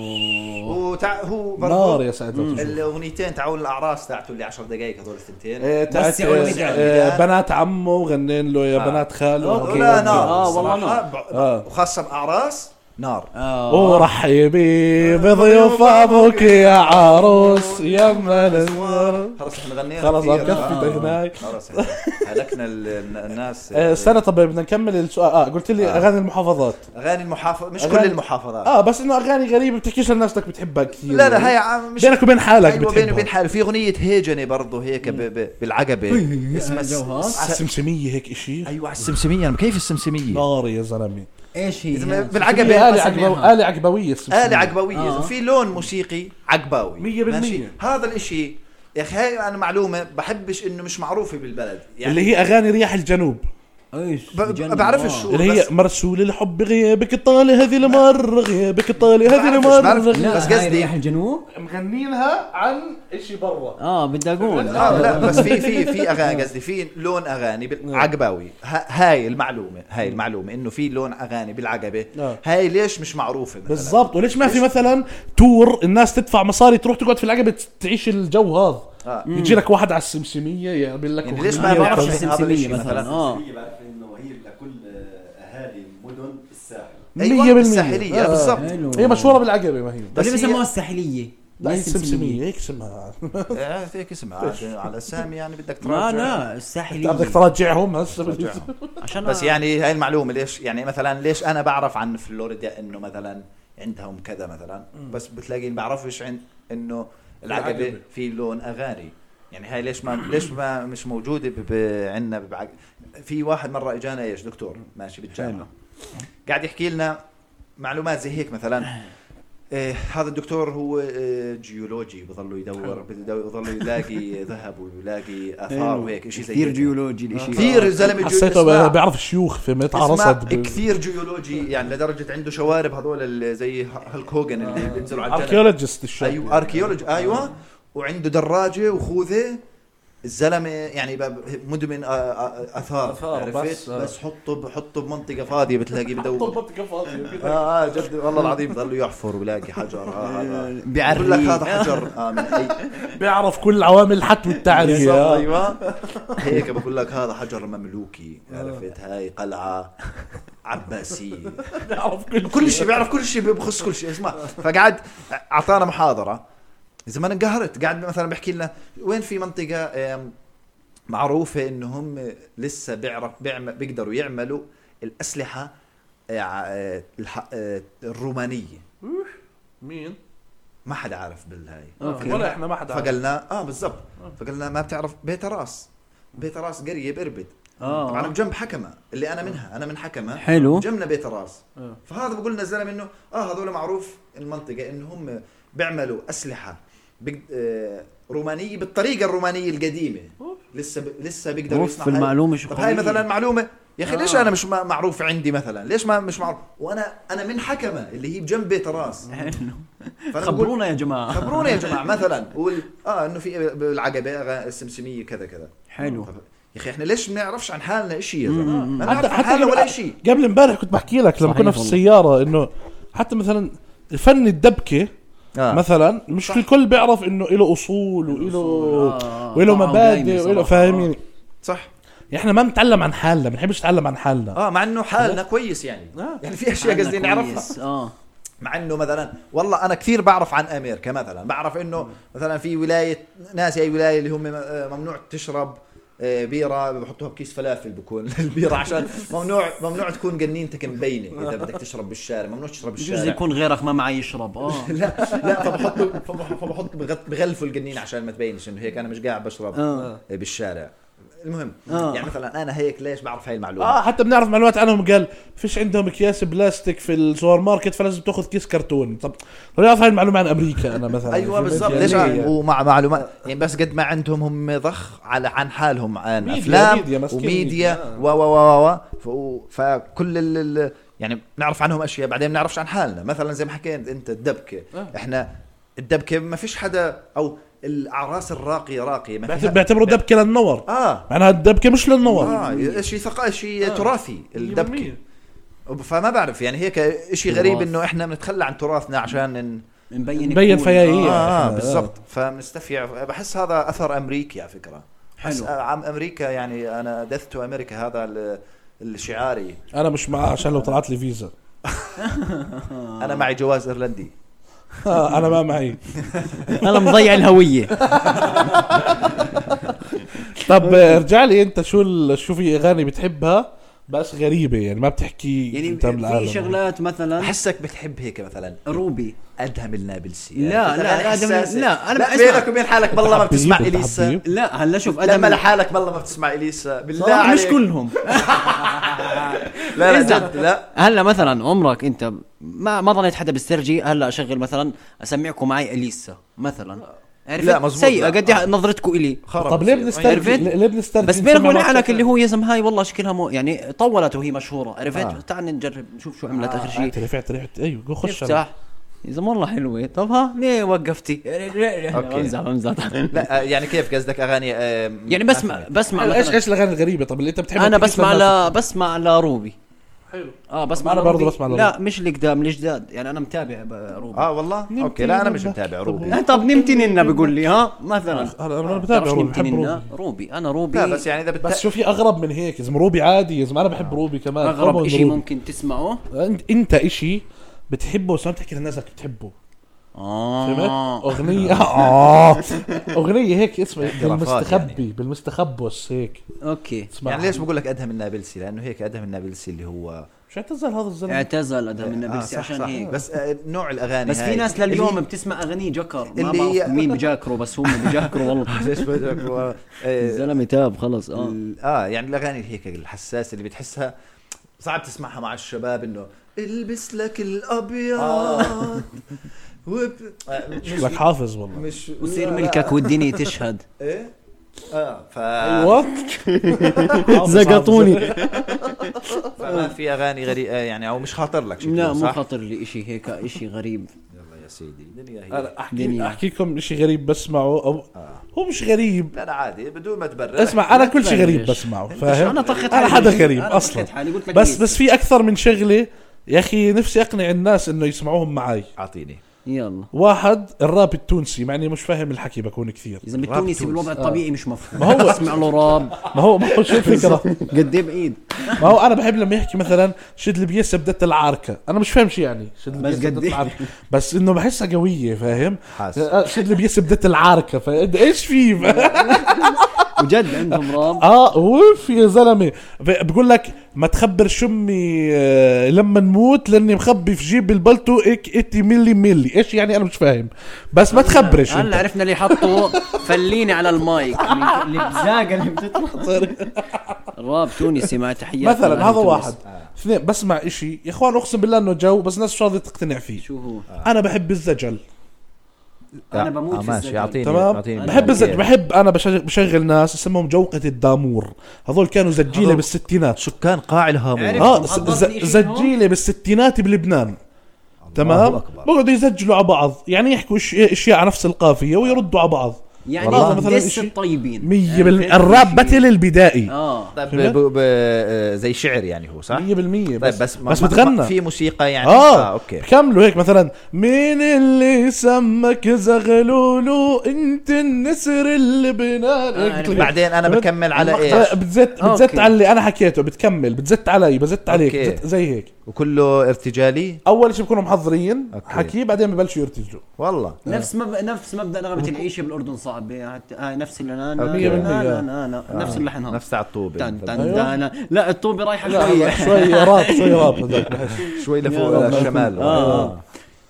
Speaker 4: وتع... هو
Speaker 3: نار يا
Speaker 4: برضه
Speaker 3: سعد لو تشوفه
Speaker 4: الاغنيتين تعاون الاعراس تاعته اللي 10 دقائق هذول الثنتين
Speaker 3: آه، تاعت
Speaker 1: بس يا آه. ولد
Speaker 3: آه،
Speaker 4: يعني.
Speaker 3: آه، بنات عمه وغنين له يا بنات خاله
Speaker 4: أوكي. لا نار
Speaker 1: آه، والله
Speaker 4: الصراحة.
Speaker 1: نار.
Speaker 4: ب-
Speaker 3: آه.
Speaker 4: وخاصه باعراس نار
Speaker 1: آه.
Speaker 4: آه.
Speaker 3: ورحبي بضيوف ابوك يا عروس يا أما الزوار.
Speaker 4: خلص احنا غنينا
Speaker 3: خلص
Speaker 4: كثير.
Speaker 3: عم كفي
Speaker 4: آه.
Speaker 3: هناك
Speaker 4: خلص إحنا هلكنا ال- ال- الناس
Speaker 3: آه، استنى طب بدنا نكمل السؤال اه قلت لي
Speaker 4: آه.
Speaker 3: اغاني المحافظات
Speaker 4: اغاني المحافظه مش
Speaker 3: أغاني-
Speaker 4: كل المحافظات
Speaker 3: اه بس انه اغاني غريبه بتحكيش للناس انك بتحبها كثير
Speaker 4: لا لا
Speaker 3: يعني.
Speaker 4: هي عم- مش
Speaker 3: بينك وبين حالك
Speaker 4: ايوه
Speaker 3: بتحبها
Speaker 4: بيني وبين حالي في اغنيه هيجنه برضه هيك ب... ب... بالعقبه اسمها
Speaker 5: جوهر.
Speaker 4: الس-
Speaker 3: على السمسميه هيك اشي
Speaker 4: ايوه على السمسميه انا كيف السمسميه
Speaker 3: نار يا زلمه
Speaker 5: ايش هي
Speaker 4: إذا
Speaker 5: هي؟
Speaker 4: بالعقبة
Speaker 5: شو
Speaker 3: آلة
Speaker 5: بسميها؟
Speaker 3: عقبو- آلة عقبوية السمسمية.
Speaker 4: آلة عقباوية
Speaker 5: آه.
Speaker 4: آه. في لون موسيقي عقباوي
Speaker 3: مية بالمية.
Speaker 4: ماشي؟ هذا الاشي يا اخي هاي انا معلومة بحبش انه مش معروفة بالبلد يعني
Speaker 3: اللي هي اغاني رياح الجنوب
Speaker 1: ايش
Speaker 4: ب-
Speaker 1: بجنن.
Speaker 4: بعرفش
Speaker 1: آه.
Speaker 4: شو.
Speaker 3: اللي هي
Speaker 4: بس-
Speaker 3: مرسول الحب غيابك طالي هذه المرة غيابك طالي هذه
Speaker 4: بعرفش- بعرفش.
Speaker 3: المرة
Speaker 5: لا
Speaker 4: بس
Speaker 5: بس قصدي
Speaker 4: قصدي-
Speaker 5: رياح الجنوب آه،
Speaker 3: مغنينها عن اشي برا
Speaker 1: اه بدي اقول
Speaker 4: اه لا بس في في في اغاني قصدي في لون اغاني
Speaker 3: آه.
Speaker 4: بالعقباوي ه- هاي المعلومه هاي المعلومه انه في لون اغاني بالعقبه
Speaker 3: آه.
Speaker 4: هاي ليش مش معروفه مثلا
Speaker 3: بالضبط وليش ما في مثلا تور الناس تدفع مصاري تروح تقعد في العقبة تعيش الجو هذا
Speaker 4: آه.
Speaker 3: يجي لك واحد على السمسمية يعمل لك
Speaker 4: يعني ليش
Speaker 3: أغنية
Speaker 4: ما بعرفش
Speaker 3: وكذا.
Speaker 4: هذا الشيء
Speaker 1: السمسمية
Speaker 4: مثلا
Speaker 1: مثلا
Speaker 3: آه.
Speaker 1: اه
Speaker 2: هي بعرف انه هي لكل اهالي المدن الساحل
Speaker 4: أيوة،
Speaker 3: 100%
Speaker 4: الساحلية،
Speaker 3: آه.
Speaker 4: بالضبط.
Speaker 5: حلو
Speaker 3: هي مشهورة بالعقبة ما هي
Speaker 4: بس
Speaker 5: بس
Speaker 4: هي-
Speaker 5: اللي بسموها الساحليه
Speaker 3: لا
Speaker 5: لا
Speaker 3: هي سمسمية هيك اسمها
Speaker 4: آه، هيك اسمها عاد على اسامي يعني بدك
Speaker 1: ما
Speaker 4: تراجع
Speaker 1: طيب. لا
Speaker 3: بدك
Speaker 1: الساحلية
Speaker 3: ترجعهم هسه بجوز.
Speaker 4: تراجعهم.
Speaker 1: عشان
Speaker 4: بس يعني هاي المعلومه ليش يعني مثلا ليش انا بعرف عن فلوريدا انه مثلا عندهم كذا مثلا بس بتلاقيني بعرفش عن انه العقبه
Speaker 3: العقبة.
Speaker 4: في لون اغاني يعني هاي ليش ما ليش ما مش موجوده ب... ب... عندنا ببعق... في واحد مره اجانا ايش دكتور ماشي بالجامعه قاعد يحكي لنا معلومات زي هيك مثلا إيه هذا الدكتور هو إيه جيولوجي بضله يدور بضله بضله يلاقي ذهب ويلاقي اثار وهيك شيء زي
Speaker 1: إيه. كثير
Speaker 4: هيك.
Speaker 1: جيولوجي الاشي
Speaker 4: كثير زلمه جو-
Speaker 3: حسيته
Speaker 4: اسمع.
Speaker 3: ب- بيعرف الشيوخ في
Speaker 4: اسماء
Speaker 3: يتعرصد ب-
Speaker 4: كثير جيولوجي يعني لدرجه عنده شوارب هذول اللي زي هالك هوجن
Speaker 3: آه.
Speaker 4: اللي بينزلوا على الجنة.
Speaker 3: اركيولوجيست الشاب
Speaker 4: ايوه اركيولوجي ايوه وعنده دراجه وخوذه الزلمه يعني باب- مدمن آ- آ- اثار
Speaker 3: آثار
Speaker 4: عرفت
Speaker 3: بس، آه.
Speaker 4: بس حطه ب- حطه بمنطقه فاضيه بتلاقيه بدور
Speaker 3: بالضبط كفاضي
Speaker 4: اه اه جد والله العظيم ضلوا يحفر ويلاقي حجر اه هذا
Speaker 1: بيعريه.
Speaker 4: بقول لك هذا حجر اه من اي
Speaker 3: بيعرف كل عوامل الحتم
Speaker 4: بالضبط،
Speaker 3: والتعرية
Speaker 4: ايوه هيك بقول لك هذا حجر مملوكي عرفت هاي قلعه عباسيه
Speaker 3: آه. بيعرف كل
Speaker 4: كل شيء بيعرف كل شيء بخص كل شيء اسمع فقعد اعطانا محاضره زمان انقهرت قاعد مثلا بحكي لنا وين في منطقه آم، معروفه انهم لسه بيعرف بيعمل بيقدروا يعملوا الاسلحه آه، آه، الح- آه، الرومانيه
Speaker 3: مين؟
Speaker 4: ما حدا عارف بالهاي
Speaker 1: أوكي.
Speaker 3: ولا احنا ما حدا عارف.
Speaker 4: فقلنا اه بالضبط فقلنا ما بتعرف بيت راس بيت راس قريه باربد طبعا
Speaker 1: اه
Speaker 4: بجنب حكمه اللي انا منها انا من حكمه
Speaker 1: حلو
Speaker 4: جنبنا بيت راس
Speaker 3: آه.
Speaker 4: فهذا بقول لنا الزلمه انه اه هذول معروف المنطقه انه هم بيعملوا اسلحه بيق... آه رومانيه بالطريقه الرومانيه القديمه لسه ب... لسه بيقدروا
Speaker 1: اوف
Speaker 4: يصنعوا هاي-
Speaker 1: المعلومة شو
Speaker 4: طب هاي
Speaker 1: قوية.
Speaker 4: مثلا معلومه يا اخي ليش
Speaker 1: آه.
Speaker 4: انا مش ما- معروف عندي مثلا ليش ما مش معروف وانا انا من حكمه اللي هي بجنب بيت راس
Speaker 1: حلو.
Speaker 4: فأنا بقول-
Speaker 1: خبرونا يا جماعة
Speaker 4: خبرونا يا جماعه مثلا وال... اه انه في بالعقبه السمسميه كذا كذا
Speaker 1: حلو
Speaker 4: طب يا اخي احنا ليش ما نعرفش عن حالنا شيء يا زلمه؟ ما
Speaker 3: حتى
Speaker 4: نعرف عن
Speaker 3: حتى
Speaker 4: حالنا
Speaker 3: قبل-
Speaker 4: ولا شيء
Speaker 3: قبل امبارح كنت بحكي لك لما
Speaker 1: صحيح
Speaker 3: كنا في
Speaker 1: والله.
Speaker 3: السياره انه حتى مثلا فن الدبكه
Speaker 4: آه.
Speaker 3: مثلا مش الكل بيعرف انه له اصول وله
Speaker 1: آه.
Speaker 3: وله
Speaker 1: طعمه
Speaker 3: مبادئ
Speaker 1: دايمة
Speaker 3: وله
Speaker 1: صراحة.
Speaker 3: فاهمين
Speaker 4: صح
Speaker 3: يعني احنا ما بنتعلم عن حالنا بنحبش نتعلم عن
Speaker 1: آه.
Speaker 3: حالنا
Speaker 4: اه مع انه حالنا كويس يعني
Speaker 3: آه.
Speaker 4: يعني في اشياء
Speaker 1: عنا
Speaker 4: قصدي نعرفها
Speaker 1: كويس.
Speaker 5: آه.
Speaker 1: اه
Speaker 4: مع انه مثلا والله انا كثير بعرف عن امريكا مثلا بعرف انه مثلا في ولايه ناس اي ولايه اللي هم آه، ممنوع تشرب آه، بيره بحطوها بكيس فلافل بكون البيره عشان ممنوع ممنوع تكون جنينتك مبينه اذا بدك تشرب بالشارع ممنوع تشرب
Speaker 1: بجوز
Speaker 4: بالشارع
Speaker 1: يكون غيرك ما معي يشرب اه
Speaker 4: لا لا فبحطوا فبح- فبحط بغط- بغلفوا الجنين عشان ما تبينش انه هيك انا مش قاعد بشرب
Speaker 1: آه.
Speaker 4: بالشارع المهم
Speaker 1: آه.
Speaker 4: يعني مثلا انا هيك ليش بعرف هاي المعلومه
Speaker 3: اه حتى بنعرف معلومات عنهم قال فيش عندهم اكياس بلاستيك في السوبر ماركت فلازم تاخذ كيس كرتون طب طب اعرف هاي المعلومه عن امريكا انا مثلا
Speaker 4: ايوه
Speaker 1: أيوة،
Speaker 3: في
Speaker 4: بالضبط
Speaker 3: ميديا
Speaker 4: ليش
Speaker 3: ليه؟
Speaker 4: ومع معلومات يعني بس قد ما عندهم هم ضخ على عن حالهم عن
Speaker 3: ميديا-
Speaker 4: افلام
Speaker 3: ميديا، مسكين
Speaker 4: وميديا و و و و و ف- فكل ال ال- يعني بنعرف عنهم اشياء بعدين بنعرفش عن حالنا مثلا زي ما حكيت انت الدبكه
Speaker 3: آه.
Speaker 4: احنا الدبكه ما فيش حدا او الاعراس الراقيه راقيه ما
Speaker 3: بعت-
Speaker 4: فيها
Speaker 3: بيعتبروا الدبكه للنور
Speaker 4: اه
Speaker 3: معناها الدبكه مش للنور
Speaker 1: آه.
Speaker 4: اه شيء ثقافي شيء تراثي الدبكه
Speaker 3: 100%.
Speaker 4: وب- فما بعرف يعني هيك شيء
Speaker 1: تراث.
Speaker 4: غريب انه احنا بنتخلى عن تراثنا عشان إن
Speaker 1: مبين
Speaker 3: مبين
Speaker 1: كول.
Speaker 3: فيايية.
Speaker 1: آه.
Speaker 4: اه, آه
Speaker 3: إحنا-
Speaker 4: بالضبط فمنستفيع بحس هذا اثر امريكي على فكره بحس آه،
Speaker 1: حلو.
Speaker 4: عم امريكا يعني انا دث تو امريكا هذا ال- الشعاري
Speaker 3: انا مش معاه عشان لو طلعت لي فيزا
Speaker 4: آه. انا معي جواز ايرلندي
Speaker 3: آه انا ما معي
Speaker 1: انا مضيع الهوية
Speaker 3: طب آه، ارجع لي انت شو ال- شو في اغاني بتحبها بس غريبه يعني ما بتحكي
Speaker 1: يعني
Speaker 3: انت من
Speaker 1: في
Speaker 3: العالم.
Speaker 1: شغلات مثلا
Speaker 4: احسك بتحب هيك مثلا
Speaker 1: روبي
Speaker 4: ادهم النابلسي
Speaker 1: لا،
Speaker 4: يعني مثلاً
Speaker 1: لا،
Speaker 4: أنا
Speaker 1: آدم-
Speaker 4: إحساسي.
Speaker 1: لا، أنا
Speaker 4: لا
Speaker 1: بسمع.
Speaker 4: بينك وبين حالك بالله ما
Speaker 3: بتحبيب،
Speaker 4: بتسمع
Speaker 3: بتحبيب.
Speaker 4: اليسا
Speaker 1: لا هلا شوف
Speaker 4: لما
Speaker 1: ادم
Speaker 4: لحالك بالله ما بتسمع اليسا بالله
Speaker 1: صراحة
Speaker 4: عليك
Speaker 1: مش كلهم
Speaker 4: لا لا
Speaker 1: إذا.
Speaker 4: جد لا
Speaker 1: هلا مثلا عمرك انت ما ما ظنيت حدا بالسرجي هلا اشغل مثلا اسمعكم معي اليسا مثلا عرفت؟
Speaker 4: لا، مزبوط،
Speaker 1: سيئه
Speaker 4: لا.
Speaker 1: قد
Speaker 4: آه.
Speaker 1: إيه نظرتكم الي
Speaker 4: خرب
Speaker 3: طب ليه
Speaker 4: بصير.
Speaker 3: بنسترجي
Speaker 1: عرفت؟
Speaker 3: ليه بنسترجي
Speaker 1: يعني بس بينك
Speaker 3: نسمع
Speaker 1: وبين
Speaker 3: معك
Speaker 1: حالك
Speaker 3: كلام؟
Speaker 1: اللي هو يا زلمه هاي والله شكلها مو يعني طولت وهي مشهوره عرفت؟
Speaker 4: آه.
Speaker 1: تعال نجرب نشوف شو عملت اخر شيء
Speaker 3: رفعت رفعت رفعت ايوه جو خش على-
Speaker 1: افتح يا زلمه والله حلوه طب ها ليه وقفتي؟
Speaker 4: أوكي.
Speaker 1: امزح امزح
Speaker 4: لا آه، يعني كيف قصدك اغاني آه، م-
Speaker 1: يعني بسمع بسمع
Speaker 3: ايش
Speaker 1: مثلاً-
Speaker 3: ايش الاغاني الغريبه طب اللي انت بتحبها
Speaker 1: انا
Speaker 3: بتجيك
Speaker 1: بسمع
Speaker 3: للناس.
Speaker 1: لا بسمع لروبي
Speaker 3: حلو.
Speaker 1: اه بسمع
Speaker 3: أنا
Speaker 1: لروبي.
Speaker 3: برضو بسمع
Speaker 1: لا مش القدام الجداد يعني انا متابع ب- روبي
Speaker 4: اه والله اوكي لا انا مش متابع روبي
Speaker 1: آه، طب نمتي ننا بيقول لي ها مثلا
Speaker 3: هلا انا بتابع
Speaker 1: تعرفش
Speaker 3: روبي
Speaker 1: نمتي
Speaker 3: بحب
Speaker 1: ننا
Speaker 3: روبي
Speaker 1: روبي انا روبي
Speaker 4: لا بس يعني اذا
Speaker 3: بس
Speaker 4: بت...
Speaker 3: شو في اغرب من هيك يا زلمه روبي عادي يا زلمه انا بحب روبي كمان
Speaker 1: اغرب
Speaker 3: طبعاً
Speaker 1: شيء
Speaker 3: روبي.
Speaker 1: آه. ممكن تسمعه
Speaker 3: انت انت اشي بتحبه بس ما بتحكي للناس انك بتحبه فهمت؟
Speaker 1: اه
Speaker 3: اغنيه اه اغنيه هيك اسمها
Speaker 4: اعترافات
Speaker 3: بالمستخبي
Speaker 1: يعني.
Speaker 3: بالمستخبص هيك
Speaker 1: اوكي
Speaker 3: اسمعها
Speaker 4: يعني ليش بقول لك ادهم النابلسي لانه هيك ادهم النابلسي اللي هو
Speaker 3: مش اعتزل هذا الزلمه
Speaker 1: اعتزل ادم
Speaker 4: آه،
Speaker 1: النبلسي
Speaker 4: صح،
Speaker 1: عشان
Speaker 4: صح.
Speaker 1: هيك
Speaker 4: بس آه، نوع الاغاني
Speaker 1: بس في
Speaker 4: هاي
Speaker 1: ناس
Speaker 4: اللي-
Speaker 1: لليوم بتسمع اغاني جكر ما
Speaker 4: اللي هي-
Speaker 1: بعرف مين بجاكره بس هم بجاكروا والله
Speaker 4: ليش بدك و- آه،
Speaker 1: الزلمه تاب خلص اه
Speaker 4: ال- اه يعني الاغاني اللي هيك الحساسه اللي بتحسها صعب تسمعها مع الشباب انه البس لك الابيض وب... آه،
Speaker 3: لك
Speaker 4: مش
Speaker 3: حافظ والله
Speaker 4: مش
Speaker 1: وصير
Speaker 4: لا، لا.
Speaker 1: ملكك والدنيا تشهد
Speaker 4: ايه اه ف...
Speaker 1: أيوة. آه.
Speaker 3: ايوه
Speaker 1: زقطوني
Speaker 4: فما في اغاني غريبه يعني او مش خاطر لك شكله
Speaker 1: لا مو
Speaker 4: صح؟
Speaker 1: خاطر لي اشي هيك اشي غريب
Speaker 4: يلا يا سيدي الدنيا هي
Speaker 3: أنا احكي
Speaker 1: دنيا.
Speaker 3: احكيكم شيء غريب بسمعه او
Speaker 1: آه.
Speaker 3: هو مش غريب
Speaker 4: لا لا عادي بدون ما تبرر
Speaker 3: اسمع انا
Speaker 1: لا
Speaker 3: كل شيء غريب
Speaker 1: تبلش.
Speaker 3: بسمعه فاهم
Speaker 1: انا طخت
Speaker 3: انا
Speaker 1: حالي.
Speaker 3: حدا غريب
Speaker 1: أنا طخت
Speaker 3: اصلا
Speaker 1: حالي، قلت لك إيه.
Speaker 3: بس
Speaker 1: ليش.
Speaker 3: بس في اكثر من شغله يا اخي نفسي اقنع الناس انه يسمعوهم معي
Speaker 4: اعطيني
Speaker 1: يلا
Speaker 3: واحد الراب التونسي مع اني مش فاهم الحكي بكون كثير
Speaker 1: اذا
Speaker 4: راب
Speaker 1: التونسي
Speaker 4: تونس.
Speaker 1: بالوضع الطبيعي مش مفهوم
Speaker 3: ما هو-
Speaker 1: اسمع له راب
Speaker 3: ما هو ما هو شو الفكره
Speaker 1: قد ايه بعيد
Speaker 3: ما هو انا بحب لما يحكي مثلا شد البيسه بدت العاركه انا مش فاهم شو يعني شد البيسه
Speaker 1: قد
Speaker 3: بدت
Speaker 1: إيه؟
Speaker 3: العاركه بس انه بحسها قويه فاهم
Speaker 4: حاسس.
Speaker 3: آه، شد البيسه بدت العاركه فا- ايش في
Speaker 1: وجد عندهم راب
Speaker 3: اه اوف يا زلمه ب- بقول لك ما تخبر شمي آه، لما نموت لاني مخبي في جيب البلتو اك اتي ملي ملي ايش يعني انا مش فاهم بس ما تخبرش
Speaker 1: هلا
Speaker 3: انت
Speaker 1: عرفنا اللي حطوا فليني على المايك
Speaker 5: البزاقه اللي بتطلع
Speaker 1: راب تونسي مع تحيات
Speaker 3: مثلا
Speaker 1: لأهل
Speaker 3: هذا
Speaker 1: تونس.
Speaker 3: واحد اثنين بسمع اشي يا اخوان اقسم بالله انه جو بس ناس مش راضيه تقتنع فيه
Speaker 1: شو هو
Speaker 3: انا بحب الزجل
Speaker 1: أنا بموت في
Speaker 4: آه، ماشي
Speaker 1: الزجاج.
Speaker 4: اعطيني
Speaker 3: تمام
Speaker 4: أعطيني
Speaker 3: بحب
Speaker 4: بالله.
Speaker 3: الزج بحب انا بشغل, بشغل ناس اسمهم جوقة الدامور هذول كانوا زجيلة
Speaker 4: هذول-
Speaker 3: بالستينات
Speaker 4: سكان قاع الهامون
Speaker 1: عرفت.
Speaker 4: آه،
Speaker 3: اه
Speaker 1: عرفتهم،
Speaker 3: ز-
Speaker 1: حضرتني شيء
Speaker 3: ز- زجيلة بالستينات بلبنان تمام
Speaker 4: أكبر.
Speaker 3: بقعدوا يزجلوا على بعض يعني يحكوا إش- اشياء على نفس القافية ويردوا على بعض والله
Speaker 1: يعني
Speaker 3: مثلاً
Speaker 1: دس
Speaker 3: إشي-
Speaker 1: الطيبين
Speaker 3: مية
Speaker 1: يعني
Speaker 3: بال...
Speaker 1: فهمت
Speaker 3: الراب
Speaker 1: إشي؟
Speaker 3: باتل البدائي
Speaker 1: اه
Speaker 4: طيب
Speaker 3: فهمت؟
Speaker 4: ب- ب- آه، زي شعر يعني هو صح؟
Speaker 3: مية بالمية
Speaker 4: طيب
Speaker 3: بس
Speaker 4: بس
Speaker 3: بس,
Speaker 4: ما-
Speaker 3: بس
Speaker 4: ما-
Speaker 3: بتغنى
Speaker 4: ما- في موسيقى يعني
Speaker 3: اه
Speaker 4: اوكي
Speaker 3: بكملوا هيك مثلا مين اللي سمك زغلولو انت النسر اللبناني
Speaker 1: آه،
Speaker 3: هيك
Speaker 1: يعني
Speaker 3: بعدين
Speaker 4: بعدين انا
Speaker 3: فهمت؟
Speaker 4: بكمل على ايش؟
Speaker 3: بتزت بتزت
Speaker 1: أوكي.
Speaker 3: على اللي انا حكيته بتكمل بتزت علي بزت عليك
Speaker 4: أوكي.
Speaker 3: بزت زي هيك
Speaker 4: وكله ارتجالي
Speaker 3: اول شيء بكونوا محضرين
Speaker 4: أوكي.
Speaker 3: حكي بعدين ببلشوا يرتجلوا
Speaker 4: والله
Speaker 1: نفس مب... نفس مبدا نغمه العيشه بالاردن صعب حتى... آه نفس اللي انا
Speaker 4: أوكي.
Speaker 1: نفس اللحن هذا
Speaker 4: آه. نفس أيوه. على الطوبه
Speaker 1: تن تن
Speaker 3: أيوة.
Speaker 1: تن لا الطوبه رايحه شويه
Speaker 3: لا شوي راب شوي راب هذاك بحس
Speaker 4: شوي لفوق الشمال آه.
Speaker 1: اه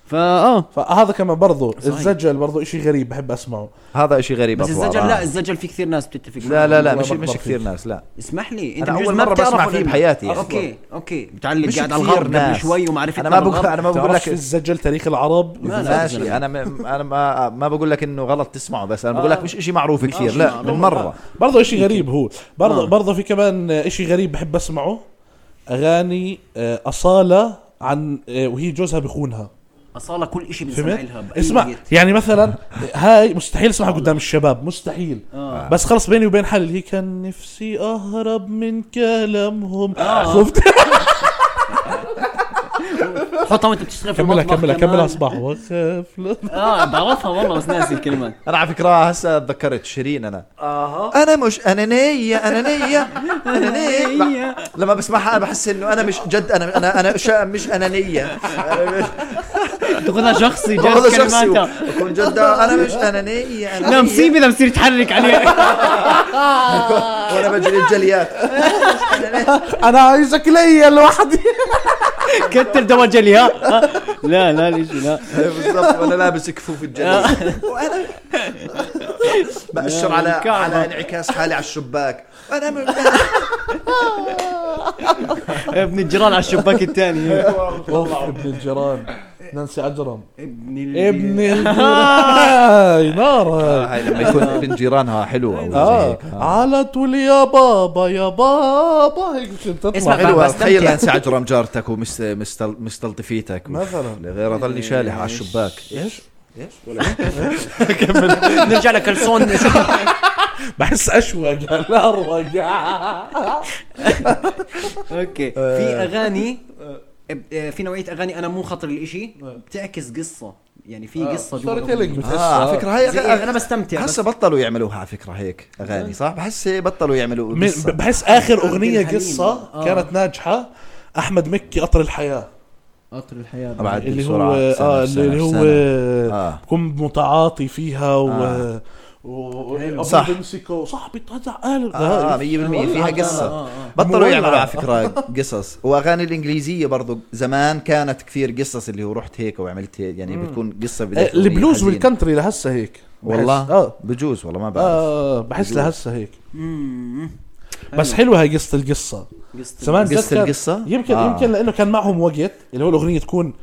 Speaker 1: فا اه
Speaker 3: فهذا كمان برضو الزجل برضو اشي غريب بحب اسمعه
Speaker 4: هذا شيء غريب
Speaker 1: بس
Speaker 4: أطوار.
Speaker 1: الزجل
Speaker 4: آه.
Speaker 1: لا الزجل في كثير ناس بتتفق
Speaker 4: لا
Speaker 1: معهم.
Speaker 4: لا لا
Speaker 3: والله
Speaker 4: مش
Speaker 3: بكبر
Speaker 4: مش
Speaker 3: فيه.
Speaker 4: كثير ناس لا
Speaker 1: اسمح لي انت
Speaker 4: أنا
Speaker 1: بجوز
Speaker 4: أول
Speaker 1: ما
Speaker 4: مرة
Speaker 1: بتعرف
Speaker 4: بسمع
Speaker 1: ولا
Speaker 4: فيه
Speaker 1: إيه.
Speaker 4: بحياتي.
Speaker 1: اوكي اوكي متعلق
Speaker 4: مش
Speaker 1: قاعد على
Speaker 4: كثير
Speaker 1: الغرب قبل
Speaker 4: ناس.
Speaker 1: شوي ومعرفتنا
Speaker 4: أنا ما بقول-
Speaker 1: بالغرب.
Speaker 4: أنا ما بقول
Speaker 3: تعرفش
Speaker 4: لك-
Speaker 3: الزجل تاريخ العرب
Speaker 1: لا، لا.
Speaker 4: ماشي انا م- انا ما ما بقول لك انه غلط تسمعه بس انا بقول لك آه. مش شيء معروف كثير
Speaker 1: شي
Speaker 4: لا
Speaker 1: معروف.
Speaker 4: بالمره
Speaker 3: برضو اشي غريب هو برضو
Speaker 1: آه.
Speaker 3: برضو في كمان اشي غريب بحب اسمعه اغاني آه، اصالة عن آه، وهي جوزها بخونها
Speaker 1: اصاله كل شيء بنسمع لها
Speaker 3: فهمت؟
Speaker 1: بأي
Speaker 3: اسمع
Speaker 1: وقت.
Speaker 3: يعني مثلا هاي مستحيل اسمعها قدام الشباب مستحيل
Speaker 1: آه.
Speaker 3: بس خلص بيني وبين حالي اللي هي كان نفسي اهرب من كلامهم
Speaker 1: آه.
Speaker 3: خفت
Speaker 1: حطها وانت بتشتغل في
Speaker 3: كملها
Speaker 1: المطبخ
Speaker 3: كملها
Speaker 1: كمان.
Speaker 3: كملها صباح وخاف لا-
Speaker 1: اه بعرفها والله بس ناسي الكلمات
Speaker 4: انا على فكره هسه تذكرت شيرين انا انا مش انانيه انانيه انانيه لما بسمعها انا بحس انه انا مش جد انا انا انا شا- مش انانيه أنا مش-
Speaker 1: تاخذها شخصي
Speaker 4: والله
Speaker 1: جاز
Speaker 4: شخصي
Speaker 1: كلماتها
Speaker 4: بكون جد انا مش انانيه
Speaker 1: لا
Speaker 4: انانيه
Speaker 1: مصيبه اذا بصير تحرك عليها
Speaker 4: وانا بجري الجليات
Speaker 3: انا عايزك ليا لوحدي
Speaker 1: كتر دواجلي ها آه. لا لا الاشي لا
Speaker 4: بالضبط وانا لابس كفوف الجليد وانا بأشر على
Speaker 1: الكعبة.
Speaker 4: على انعكاس حالي على الشباك انا من
Speaker 1: ابن الجيران على الشباك الثاني
Speaker 3: اوف ابن الجيران نانسي عجرم
Speaker 1: ابن ال-
Speaker 3: ابن ال- هاي نار
Speaker 4: آه،
Speaker 3: هاي
Speaker 4: هاي لما يكون ابن جيرانها حلو او زي
Speaker 3: اه
Speaker 4: هيك. آه.
Speaker 3: على تقول يا بابا يا بابا هيك بتصير
Speaker 1: اسمع،
Speaker 3: تطلع
Speaker 4: حلوة
Speaker 1: بس
Speaker 4: آه. تخيل
Speaker 1: تمتع.
Speaker 4: انسى عجرم جارتك ومستلطفيتك
Speaker 3: مثلاً.
Speaker 4: غير
Speaker 1: إيه.
Speaker 4: اضلني شالح على الشباك
Speaker 3: ايش
Speaker 1: نرجع لكلسون
Speaker 3: بحس آه. اشوى قال اروق
Speaker 1: اوكي في اغاني ب- آه، في نوعيه اغاني انا مو خاطر الاشي بتعكس قصه يعني
Speaker 3: آه.
Speaker 1: في قصه جوا
Speaker 3: ستوري
Speaker 1: الأغنية.
Speaker 3: تيلينج بتحس
Speaker 4: اه على فكره هاي
Speaker 1: زي-
Speaker 4: أغ-
Speaker 1: انا بستمتع بس
Speaker 4: هسه بطلوا يعملوها على فكره هيك اغاني صح بحس بطلوا يعملوا
Speaker 3: من-
Speaker 4: قصة.
Speaker 3: بحس اخر
Speaker 1: عبد
Speaker 3: اغنيه
Speaker 1: الحليم.
Speaker 3: قصه
Speaker 1: آه.
Speaker 3: كانت ناجحه احمد مكي قطر الحياه
Speaker 5: قطر الحياه
Speaker 4: أبعد. عدل
Speaker 3: اللي هو
Speaker 4: بسرعة، سنة
Speaker 3: اه
Speaker 4: بسنة
Speaker 3: اللي هو
Speaker 4: بسنة. آه.
Speaker 3: كنت متعاطي فيها و
Speaker 4: آه.
Speaker 3: و- أبو
Speaker 4: صح.
Speaker 3: بمسكه وصاحبي طلع قال آه،
Speaker 4: اه 100% فيها
Speaker 1: آه،
Speaker 4: قصه بطلوا
Speaker 3: مولعة.
Speaker 4: يعملوا على فكره قصص واغاني الانجليزيه برضو زمان كانت كثير قصص اللي هو رحت هيك وعملت هيك يعني بتكون قصه بداية
Speaker 3: آه،
Speaker 4: أغنية
Speaker 3: البلوز
Speaker 4: حزينة.
Speaker 3: والكانتري لهسه هيك بحس.
Speaker 4: والله
Speaker 3: اه
Speaker 4: بجوز والله ما بعرف
Speaker 3: اه بحس
Speaker 4: بجوز.
Speaker 3: لهسه هيك
Speaker 1: مم. أيوة،
Speaker 3: بس حلوه هي قصه القصه
Speaker 1: قصة
Speaker 3: زمان
Speaker 4: أيوه. قصة
Speaker 3: تذكر-
Speaker 4: القصة؟
Speaker 3: يمكن
Speaker 4: آه.
Speaker 3: آه. يمكن لانه كان معهم وقت اللي هو الاغنيه تكون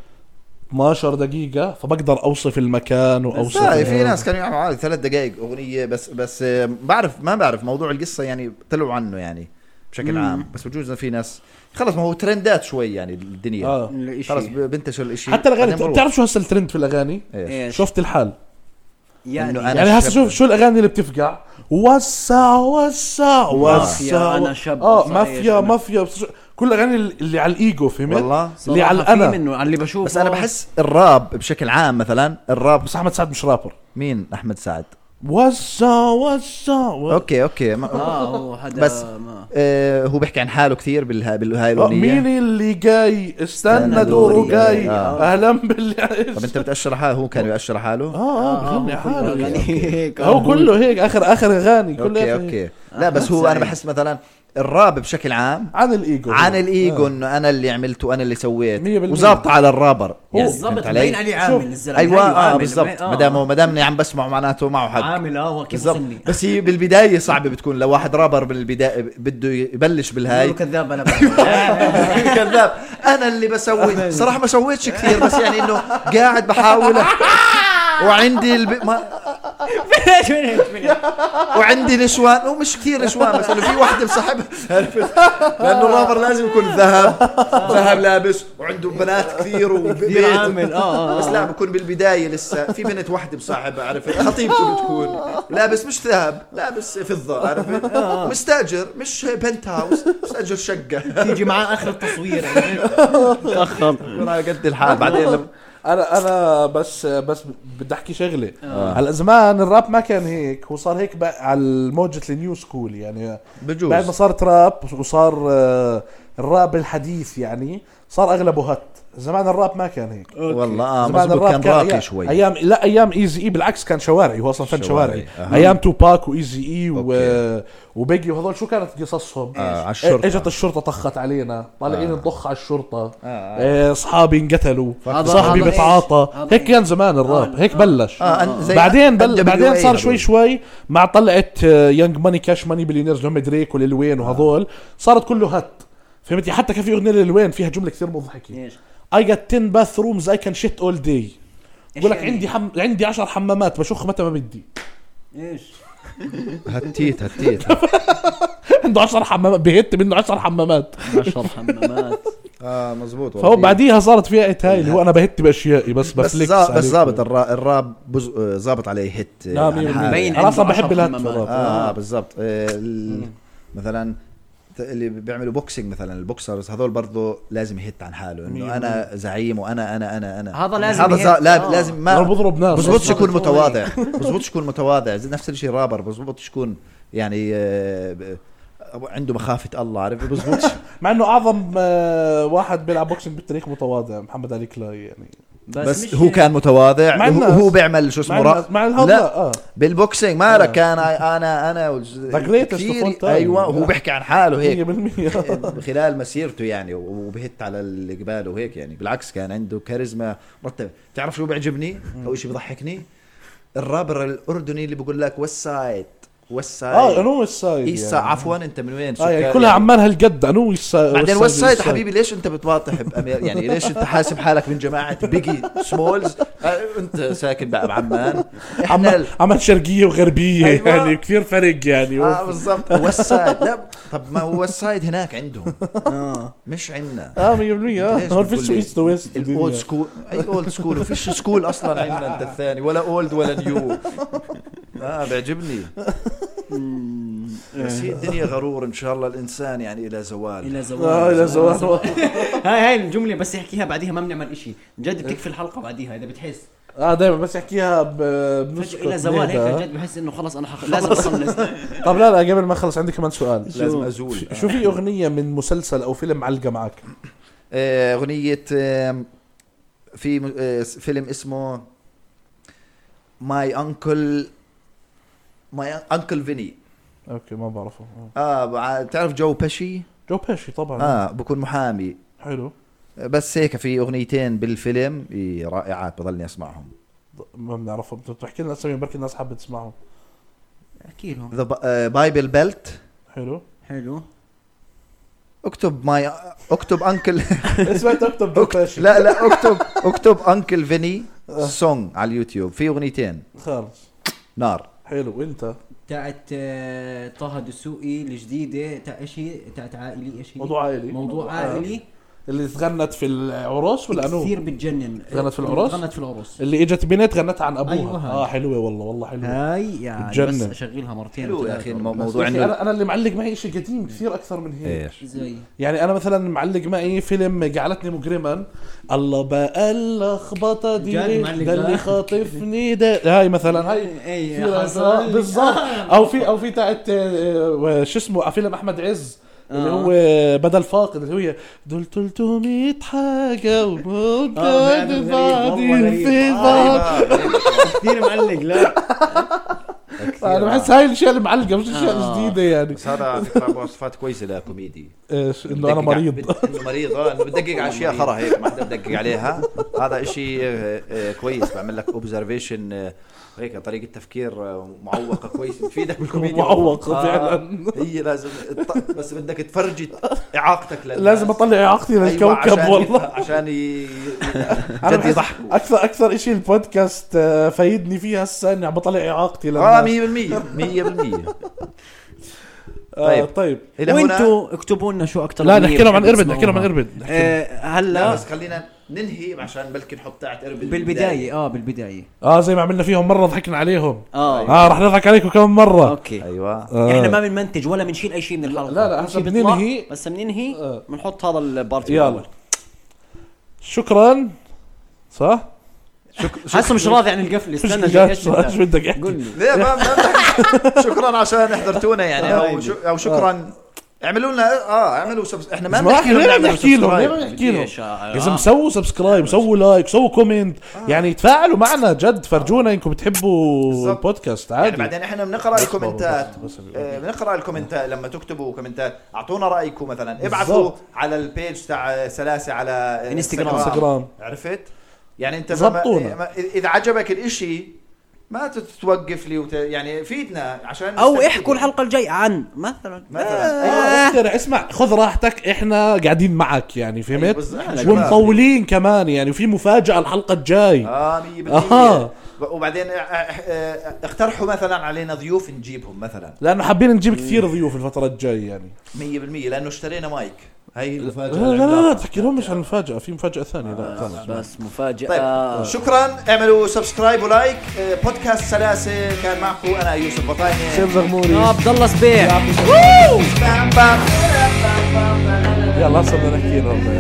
Speaker 3: 12 دقيقة فبقدر اوصف المكان
Speaker 4: بس
Speaker 3: واوصف
Speaker 4: لا، في ناس كانوا يعملوا عادي ثلاث دقائق اغنيه بس بس آه، بعرف ما بعرف موضوع القصه يعني طلعوا عنه يعني بشكل عام بس بجوز إنه في ناس خلص ما هو ترندات شوي يعني الدنيا
Speaker 3: آه.
Speaker 1: الاشي
Speaker 4: خلص ب- بنتشر الاشي
Speaker 3: حتى الاغاني
Speaker 4: بعدين بروح.
Speaker 3: بتعرف شو هسه الترند في الاغاني؟
Speaker 4: إيش.
Speaker 1: إيش؟
Speaker 3: شفت الحال
Speaker 1: يعني
Speaker 4: إنه أنا
Speaker 3: يعني هسه
Speaker 4: شاب.
Speaker 3: شوف شو الاغاني اللي بتفقع وسع وسع وسع
Speaker 1: أنا شاب
Speaker 3: اه
Speaker 1: وصايع
Speaker 3: مافيا
Speaker 1: شاب.
Speaker 3: مافيا بس- كل الاغاني اللي على الايجو فهمت؟
Speaker 4: والله.
Speaker 3: اللي على
Speaker 1: صراحة في
Speaker 3: الانا
Speaker 1: منه على اللي بشوفه
Speaker 4: بس انا بحس الراب بشكل عام مثلا الراب
Speaker 3: بس احمد سعد مش رابر
Speaker 4: مين احمد سعد
Speaker 3: وسع وسع و-
Speaker 4: اوكي اوكي ما
Speaker 3: آه.
Speaker 1: اه هو حدا
Speaker 4: بس-
Speaker 1: بس ما
Speaker 4: آه هو بيحكي عن حاله كثير بالها بالهاي
Speaker 3: آه،
Speaker 4: الاغنيه
Speaker 3: مين اللي جاي استنى
Speaker 4: استنى
Speaker 3: دوره
Speaker 4: دوري.
Speaker 3: جاي
Speaker 4: آه.
Speaker 3: اهلا بالله
Speaker 4: طب انت بتاشر حاله هو
Speaker 3: آه.
Speaker 4: كان بيأشر حاله
Speaker 3: اه اه
Speaker 1: آه،
Speaker 3: بغني
Speaker 1: هو
Speaker 3: حاله
Speaker 1: يعني هيك
Speaker 3: هو كله هيك اخر اخر اغاني كلها
Speaker 4: اوكي
Speaker 3: هيك.
Speaker 4: اوكي
Speaker 3: آه،
Speaker 4: لا بس هو انا بحس مثلا الراب بشكل عام
Speaker 3: عن الايجو
Speaker 4: عن الايجو انه انا اللي عملته انا اللي سويت
Speaker 3: مية بالمية.
Speaker 4: وزابط على الرابر يعني
Speaker 1: بالضبط
Speaker 4: فهمت علي؟
Speaker 1: باين عليه عامل
Speaker 3: شوف.
Speaker 1: الزلمه
Speaker 4: ايوه
Speaker 1: أيوة،
Speaker 4: اه
Speaker 1: عامل.
Speaker 4: بالضبط
Speaker 1: آه.
Speaker 4: ما دام ما دامني عم بسمعه معناته معه حق
Speaker 5: عامل اه كيف
Speaker 4: بالضبط
Speaker 5: وصلني
Speaker 4: بس هي بالبدايه صعبه بتكون لو واحد رابر بالبدايه بده يبلش بالهاي
Speaker 5: هاي كذاب انا بعرف.
Speaker 4: كذاب انا اللي بسوي صراحه ما سويتش كثير بس يعني انه قاعد بحاول وعندي الب... ما...
Speaker 3: آه.
Speaker 4: وعندي نشوان ومش كثير نشوان بس انه في وحده مصاحبها عرفت؟ لانه الرابر لازم يكون ذهب ذهب لابس وعنده بنات كثير وبيت
Speaker 5: عامل، آه، آه.
Speaker 4: بس لا بكون بالبدايه لسه في بنت وحده مصاحبها عرفت خطيبته بتكون لابس مش ذهب لابس فضه عرفت مستاجر مش بنت هاوس مستاجر شقه
Speaker 5: تيجي معاه اخر التصوير
Speaker 1: تاخر
Speaker 4: يكون على قد الحال بعدين لما
Speaker 3: انا انا بس بس بدي احكي شغله هلا زمان الراب ما كان هيك هو صار هيك بقى على موجة النيو سكول يعني
Speaker 4: بجوز
Speaker 3: بعد ما صار تراب وصار آه، الراب الحديث يعني صار اغلبه هت زمان الراب ما كان هيك
Speaker 4: والله اه
Speaker 3: زمان
Speaker 4: مزبوط كان راقي
Speaker 3: أيام-
Speaker 4: شوي
Speaker 3: ايام لا ايام ايزي اي بالعكس كان شوارعي هو اصلا فن
Speaker 4: شوارعي.
Speaker 3: شوارعي,
Speaker 4: أها.
Speaker 3: ايام توباك وايزي اي و...
Speaker 4: أوكي.
Speaker 3: وبيجي وهذول شو كانت قصصهم؟
Speaker 4: آه، على الشرطة.
Speaker 3: اجت الشرطه طخت علينا طالعين
Speaker 4: آه.
Speaker 3: نضخ على الشرطه
Speaker 4: آه.
Speaker 3: آه، اصحابي انقتلوا
Speaker 1: هذا-
Speaker 3: صاحبي
Speaker 1: هذا
Speaker 3: بتعاطى
Speaker 1: إيش؟
Speaker 3: هيك كان زمان الراب
Speaker 1: آه،
Speaker 3: هيك
Speaker 1: آه.
Speaker 3: بلش
Speaker 4: آه، أن- زي
Speaker 3: بعدين
Speaker 4: NWA
Speaker 3: بل... بعدين صار
Speaker 4: هذول.
Speaker 3: شوي شوي مع طلعت آه، يانج ماني كاش ماني بليونيرز اللي هم دريك وليل
Speaker 4: آه.
Speaker 3: وين وهذول صارت كله هت فهمتي حتى كان في اغنيه للوين فيها جمله كثير
Speaker 4: إيه.
Speaker 3: مضحكه
Speaker 1: ايش
Speaker 3: اي جت 10 باث رومز اي كان شيت اول داي بقول لك
Speaker 1: يعني؟
Speaker 3: عندي حم... عندي 10 حمامات بشخ متى ما بدي
Speaker 1: ايش
Speaker 4: هتيت هتيت
Speaker 3: عنده 10 حمامات بهت منه 10 حمامات
Speaker 1: 10 حمامات
Speaker 4: اه مزبوط
Speaker 3: فهو بعديها صارت فيها هاي اللي هو انا بهت باشيائي بس
Speaker 4: بس
Speaker 3: بفليكس
Speaker 4: زا- بس
Speaker 3: عليكم.
Speaker 4: ظابط الرا- الراب بز- آه، ظابط عليه هيت آه،
Speaker 3: لا،
Speaker 4: عن
Speaker 3: نعم، مية بالمية.
Speaker 4: حاله.
Speaker 1: باين
Speaker 3: انا اصلا
Speaker 1: عنده
Speaker 3: بحب
Speaker 1: 10
Speaker 3: الهت في
Speaker 1: حمامات.
Speaker 3: الراب
Speaker 4: اه آه، بالضبط آه، ال- مثلا ت- اللي بيعملوا بوكسينج مثلا البوكسرز هذول برضه لازم يهت عن حاله انه انا زعيم وانا انا انا انا
Speaker 1: هذا لازم
Speaker 4: هذا
Speaker 1: يهت.
Speaker 4: زا- لا-
Speaker 1: آه.
Speaker 4: لازم
Speaker 3: انا
Speaker 4: ما
Speaker 3: بضرب ناس
Speaker 4: بزبطش يكون
Speaker 1: بالضبط.
Speaker 4: متواضع بزبطش يكون متواضع زي نفس الشيء رابر بزبطش يكون يعني آه، ب- عنده مخافة الله عارف بزبطش
Speaker 3: مع انه اعظم آه، واحد بيلعب بوكسينج بالتاريخ متواضع محمد علي كلاي يعني
Speaker 4: بس,
Speaker 1: مش-
Speaker 4: بس هو كان متواضع
Speaker 3: مع
Speaker 4: هو,
Speaker 3: الناس.
Speaker 4: هو بيعمل شو
Speaker 3: مع
Speaker 4: اسمه
Speaker 3: الناس
Speaker 4: را...
Speaker 3: مع الهضبة
Speaker 4: لا.
Speaker 3: اه
Speaker 4: بالبوكسينج
Speaker 3: آه.
Speaker 4: مالك انا انا انا والج-
Speaker 3: greatest
Speaker 4: كثير-
Speaker 3: of all time.
Speaker 4: ايوه هو
Speaker 3: لا.
Speaker 4: بيحكي عن حاله هيك إيه.
Speaker 3: 100%
Speaker 4: خلال مسيرته يعني وبهت على الجبال وهيك يعني بالعكس كان عنده كاريزما مرتبه بتعرف شو بيعجبني او شيء بضحكني الرابر الاردني اللي بقول لك ويست سايد ويست
Speaker 3: اه
Speaker 4: سايد
Speaker 3: انو السايد
Speaker 4: ايست سايد عفوا انت من وين؟
Speaker 3: اه يعني
Speaker 4: سكري.
Speaker 3: كلها عمال هالقد انو السايد
Speaker 4: بعدين ويست سايد حبيبي ليش انت بتواطح بأمير يعني ليش انت حاسب حالك من جماعه بيجي سمولز آه، انت ساكن بقى بعمان احنا
Speaker 3: عمال
Speaker 4: ال-
Speaker 3: عمال شرقيه وغربيه
Speaker 4: أيوة.
Speaker 3: يعني كثير فرق يعني
Speaker 4: اه بالضبط ويست سايد لا طب ما هو ويست سايد هناك عندهم مش عندنا
Speaker 3: اه 100% اه
Speaker 4: ليش
Speaker 3: هون
Speaker 4: بتقول
Speaker 3: فيش
Speaker 4: لي
Speaker 3: ايست ويست
Speaker 4: الاولد سكول اي اولد سكول وفيش سكول اصلا عندنا انت الثاني ولا اولد ولا نيو اه بيعجبني بس هي الدنيا غرور ان شاء الله الانسان يعني الى آه. زوال
Speaker 5: الى زوال
Speaker 3: اه
Speaker 4: آه،
Speaker 3: لا زوال
Speaker 5: هاي هاي الجمله بس يحكيها بعديها ما بنعمل إشي جد بتكفي الحلقه بعديها اذا بتحس
Speaker 3: اه دائما بس احكيها ب- بنسكت
Speaker 5: فجاه الى زوال
Speaker 3: ليه
Speaker 5: هيك
Speaker 3: ده؟
Speaker 5: جد بحس انه خلص انا حق... لازم اخلص
Speaker 3: طب لا لا قبل ما اخلص عندي كمان سؤال
Speaker 4: لازم ازول
Speaker 3: شو في اغنيه من مسلسل او فيلم معلقه معك
Speaker 4: آه، اغنيه آم، في م- آه، فيلم اسمه ماي انكل ماي انكل فيني
Speaker 3: اوكي ما بعرفه آه.
Speaker 4: اه بع- بتعرف جو بشي
Speaker 3: جو بيشي طبعا
Speaker 4: اه بكون محامي
Speaker 3: حلو
Speaker 4: بس هيك في اغنيتين بالفيلم إيه، رائعات بضلني اسمعهم
Speaker 3: ض- ما بنعرفه بت- بتحكي لنا اسامي بركي الناس حابه تسمعه
Speaker 5: احكي لهم
Speaker 4: ذا بايبل بيلت
Speaker 3: حلو
Speaker 5: حلو
Speaker 4: اكتب ماي اكتب انكل
Speaker 3: اسمع تكتب جو بيشي
Speaker 4: لا لا اكتب اكتب انكل فيني سونج على اليوتيوب في اغنيتين
Speaker 3: خالص
Speaker 4: نار
Speaker 3: حلو وانت
Speaker 5: تاعت آه، طه دسوقي الجديده تاع ايش هي تاعت عائلي ايش هي
Speaker 3: موضوع عائلي
Speaker 5: موضوع
Speaker 3: آه.
Speaker 5: عائلي
Speaker 3: اللي تغنت في العروس ولا انو
Speaker 5: كثير بتجنن
Speaker 3: غنت في العرس؟
Speaker 5: غنت في العرس
Speaker 3: اللي اجت بنت غنتها عن ابوها
Speaker 5: أيوة هاي.
Speaker 3: اه حلوه والله والله حلوه
Speaker 5: هاي يعني بس
Speaker 3: بتجنن.
Speaker 5: اشغلها مرتين
Speaker 4: حلو يا
Speaker 5: وثلاثة.
Speaker 4: اخي المو-
Speaker 3: بس
Speaker 4: موضوع
Speaker 3: يا أخي
Speaker 4: انه
Speaker 3: انا انا اللي معلق معي شيء قديم كثير اكثر من هيك
Speaker 4: ايش
Speaker 5: زي
Speaker 3: يعني انا مثلا معلق معي فيلم جعلتني مجرما الله بقى اللخبطه دي
Speaker 5: جد
Speaker 3: ليه؟
Speaker 5: معلق
Speaker 3: ده اللي
Speaker 5: ده.
Speaker 3: خاطفني ده هاي مثلا هاي
Speaker 1: إيه،
Speaker 5: اي
Speaker 3: كثير
Speaker 5: حصل
Speaker 3: أزرق.
Speaker 5: لي.
Speaker 3: بالضبط
Speaker 5: آه.
Speaker 3: او في او في تاعت آه، آه، شو اسمه على فيلم احمد عز
Speaker 5: آه.
Speaker 3: اللي هو بدل فاقد اللي هو دول 300 حاجه وبعد
Speaker 5: آه، بعد غريب، والله
Speaker 3: بعدين
Speaker 5: غريب.
Speaker 3: في
Speaker 5: آه،
Speaker 3: بعض
Speaker 5: كثير معلق لا
Speaker 3: انا بحس هاي الاشياء اللي معلقه مش اشياء جديده يعني
Speaker 4: بس هذا على فكره مواصفات كويسه لكوميدي
Speaker 3: إيش، انه انا مريض
Speaker 4: انه مريض اه انه بتدقق على اشياء خرا هيك ما حدا بدقق عليها هذا اشي آه، آه، كويس بعمل لك اوبزرفيشن هيك طريقه تفكير آه، معوقه كويس بتفيدك بالكوميديا
Speaker 3: معوقة
Speaker 4: آه،
Speaker 3: فعلاً.
Speaker 4: هي لازم الط- بس بدك تفرجي إعاقتك للناس
Speaker 3: لازم اطلع اعاقتي للكوكب
Speaker 4: أيوة، عشان
Speaker 3: والله
Speaker 4: عشان ي-
Speaker 3: أنا
Speaker 4: جد
Speaker 3: بحس
Speaker 4: يضحكوا
Speaker 3: اكثر اكثر شيء البودكاست آه، فايدني فيه هسه اني عم بطلع اعاقتي
Speaker 4: اه
Speaker 3: للناس
Speaker 4: 100% 100%
Speaker 3: آه،
Speaker 4: طيب.
Speaker 3: طيب
Speaker 4: الى هنا
Speaker 5: وانتوا اكتبوا لنا شو اكثر
Speaker 3: لا
Speaker 5: أغنية
Speaker 3: نحكي لهم عن
Speaker 5: بتحبوا
Speaker 3: اربد نحكي لهم عن
Speaker 5: تسمعوها.
Speaker 3: اربد
Speaker 1: آه،
Speaker 4: لا
Speaker 1: هلا
Speaker 4: بس خلينا ننهي عشان بلكي نحط تاعت اربد
Speaker 5: بالبدايه
Speaker 1: آه،
Speaker 5: اه بالبدايه
Speaker 3: اه زي ما عملنا فيهم مره ضحكنا عليهم
Speaker 1: اه
Speaker 3: اه رح نضحك عليكم كم مره
Speaker 1: اوكي
Speaker 4: ايوه
Speaker 3: آه.
Speaker 1: احنا ما بنمنتج ولا بنشيل اي شيء من الحلقه
Speaker 3: لا، لا،
Speaker 1: كل
Speaker 3: هسا
Speaker 1: شيء بيطلع،
Speaker 3: بننهي.
Speaker 1: بس بننهي
Speaker 3: آه.
Speaker 1: بنحط هذا البارت
Speaker 3: يلا
Speaker 1: الأول.
Speaker 3: شكرا صح؟
Speaker 1: حاسه مش راضي عن القفل
Speaker 3: مش
Speaker 1: استنى جاي
Speaker 3: بدك
Speaker 1: إيش بدك؟
Speaker 3: ايش بدك
Speaker 1: قول
Speaker 3: احكي
Speaker 1: لي
Speaker 4: ليه ما ما- شكرا عشان حضرتونا يعني او شو- او شكرا اعملوا لنا اه اعملوا سبس... احنا ما
Speaker 3: ما
Speaker 4: بنحكي
Speaker 3: احنا
Speaker 4: لهم
Speaker 3: ليه عم
Speaker 4: نعملوا
Speaker 3: نحكي لهم؟ ليه
Speaker 4: سبسكرايب.
Speaker 3: ما نحكي لهم؟
Speaker 1: بديش، آه،
Speaker 3: يا زلمه سووا سبسكرايب سووا لايك سووا كومنت يعني تفاعلوا معنا جد فرجونا انكم بتحبوا
Speaker 4: بالضبط.
Speaker 3: البودكاست
Speaker 4: يعني
Speaker 3: عادي
Speaker 4: بعدين احنا بنقرا الكومنتات
Speaker 3: بس- بس- بس-
Speaker 4: آه، بنقرا الكومنتات لما تكتبوا كومنتات اعطونا رايكم مثلا ابعثوا على البيج تاع سلاسه على آه،
Speaker 1: انستغرام.
Speaker 3: انستغرام.
Speaker 4: عرفت يعني انت
Speaker 3: زبطونا.
Speaker 4: زبطونا اذا عجبك الاشي ما تتوقف لي وت... يعني فيدنا عشان
Speaker 1: او
Speaker 4: نستفيد.
Speaker 1: احكوا الحلقه الجايه عن مثلا
Speaker 4: مثلا
Speaker 3: آه، اقترح اسمع خذ راحتك احنا قاعدين معك يعني
Speaker 4: أيوة،
Speaker 3: فهمت
Speaker 4: بس إحنا
Speaker 3: ومطولين كمان يعني وفي مفاجاه الحلقه الجاي
Speaker 4: اه 100%
Speaker 3: آه.
Speaker 4: وبعدين آه، آه، اقترحوا مثلا علينا ضيوف نجيبهم مثلا
Speaker 3: لانه حابين نجيب كثير ضيوف الفتره الجايه يعني
Speaker 4: 100% لانه اشترينا مايك هاي
Speaker 3: لا
Speaker 4: المفاجاه
Speaker 3: لا
Speaker 4: اللي
Speaker 3: لا, لا
Speaker 4: عندنا.
Speaker 3: تحكي لهم مش عن مفاجاه في مفاجاه ثانيه لا ثانية.
Speaker 1: بس
Speaker 4: طيب
Speaker 3: آه.
Speaker 1: مفاجاه
Speaker 4: شكرا اعملوا سبسكرايب ولايك آه، بودكاست سلاسه كان معكم انا يوسف بطاينه
Speaker 3: شيب زغموري
Speaker 1: عبد الله سبيع
Speaker 3: يلا هسه بدنا نحكي لهم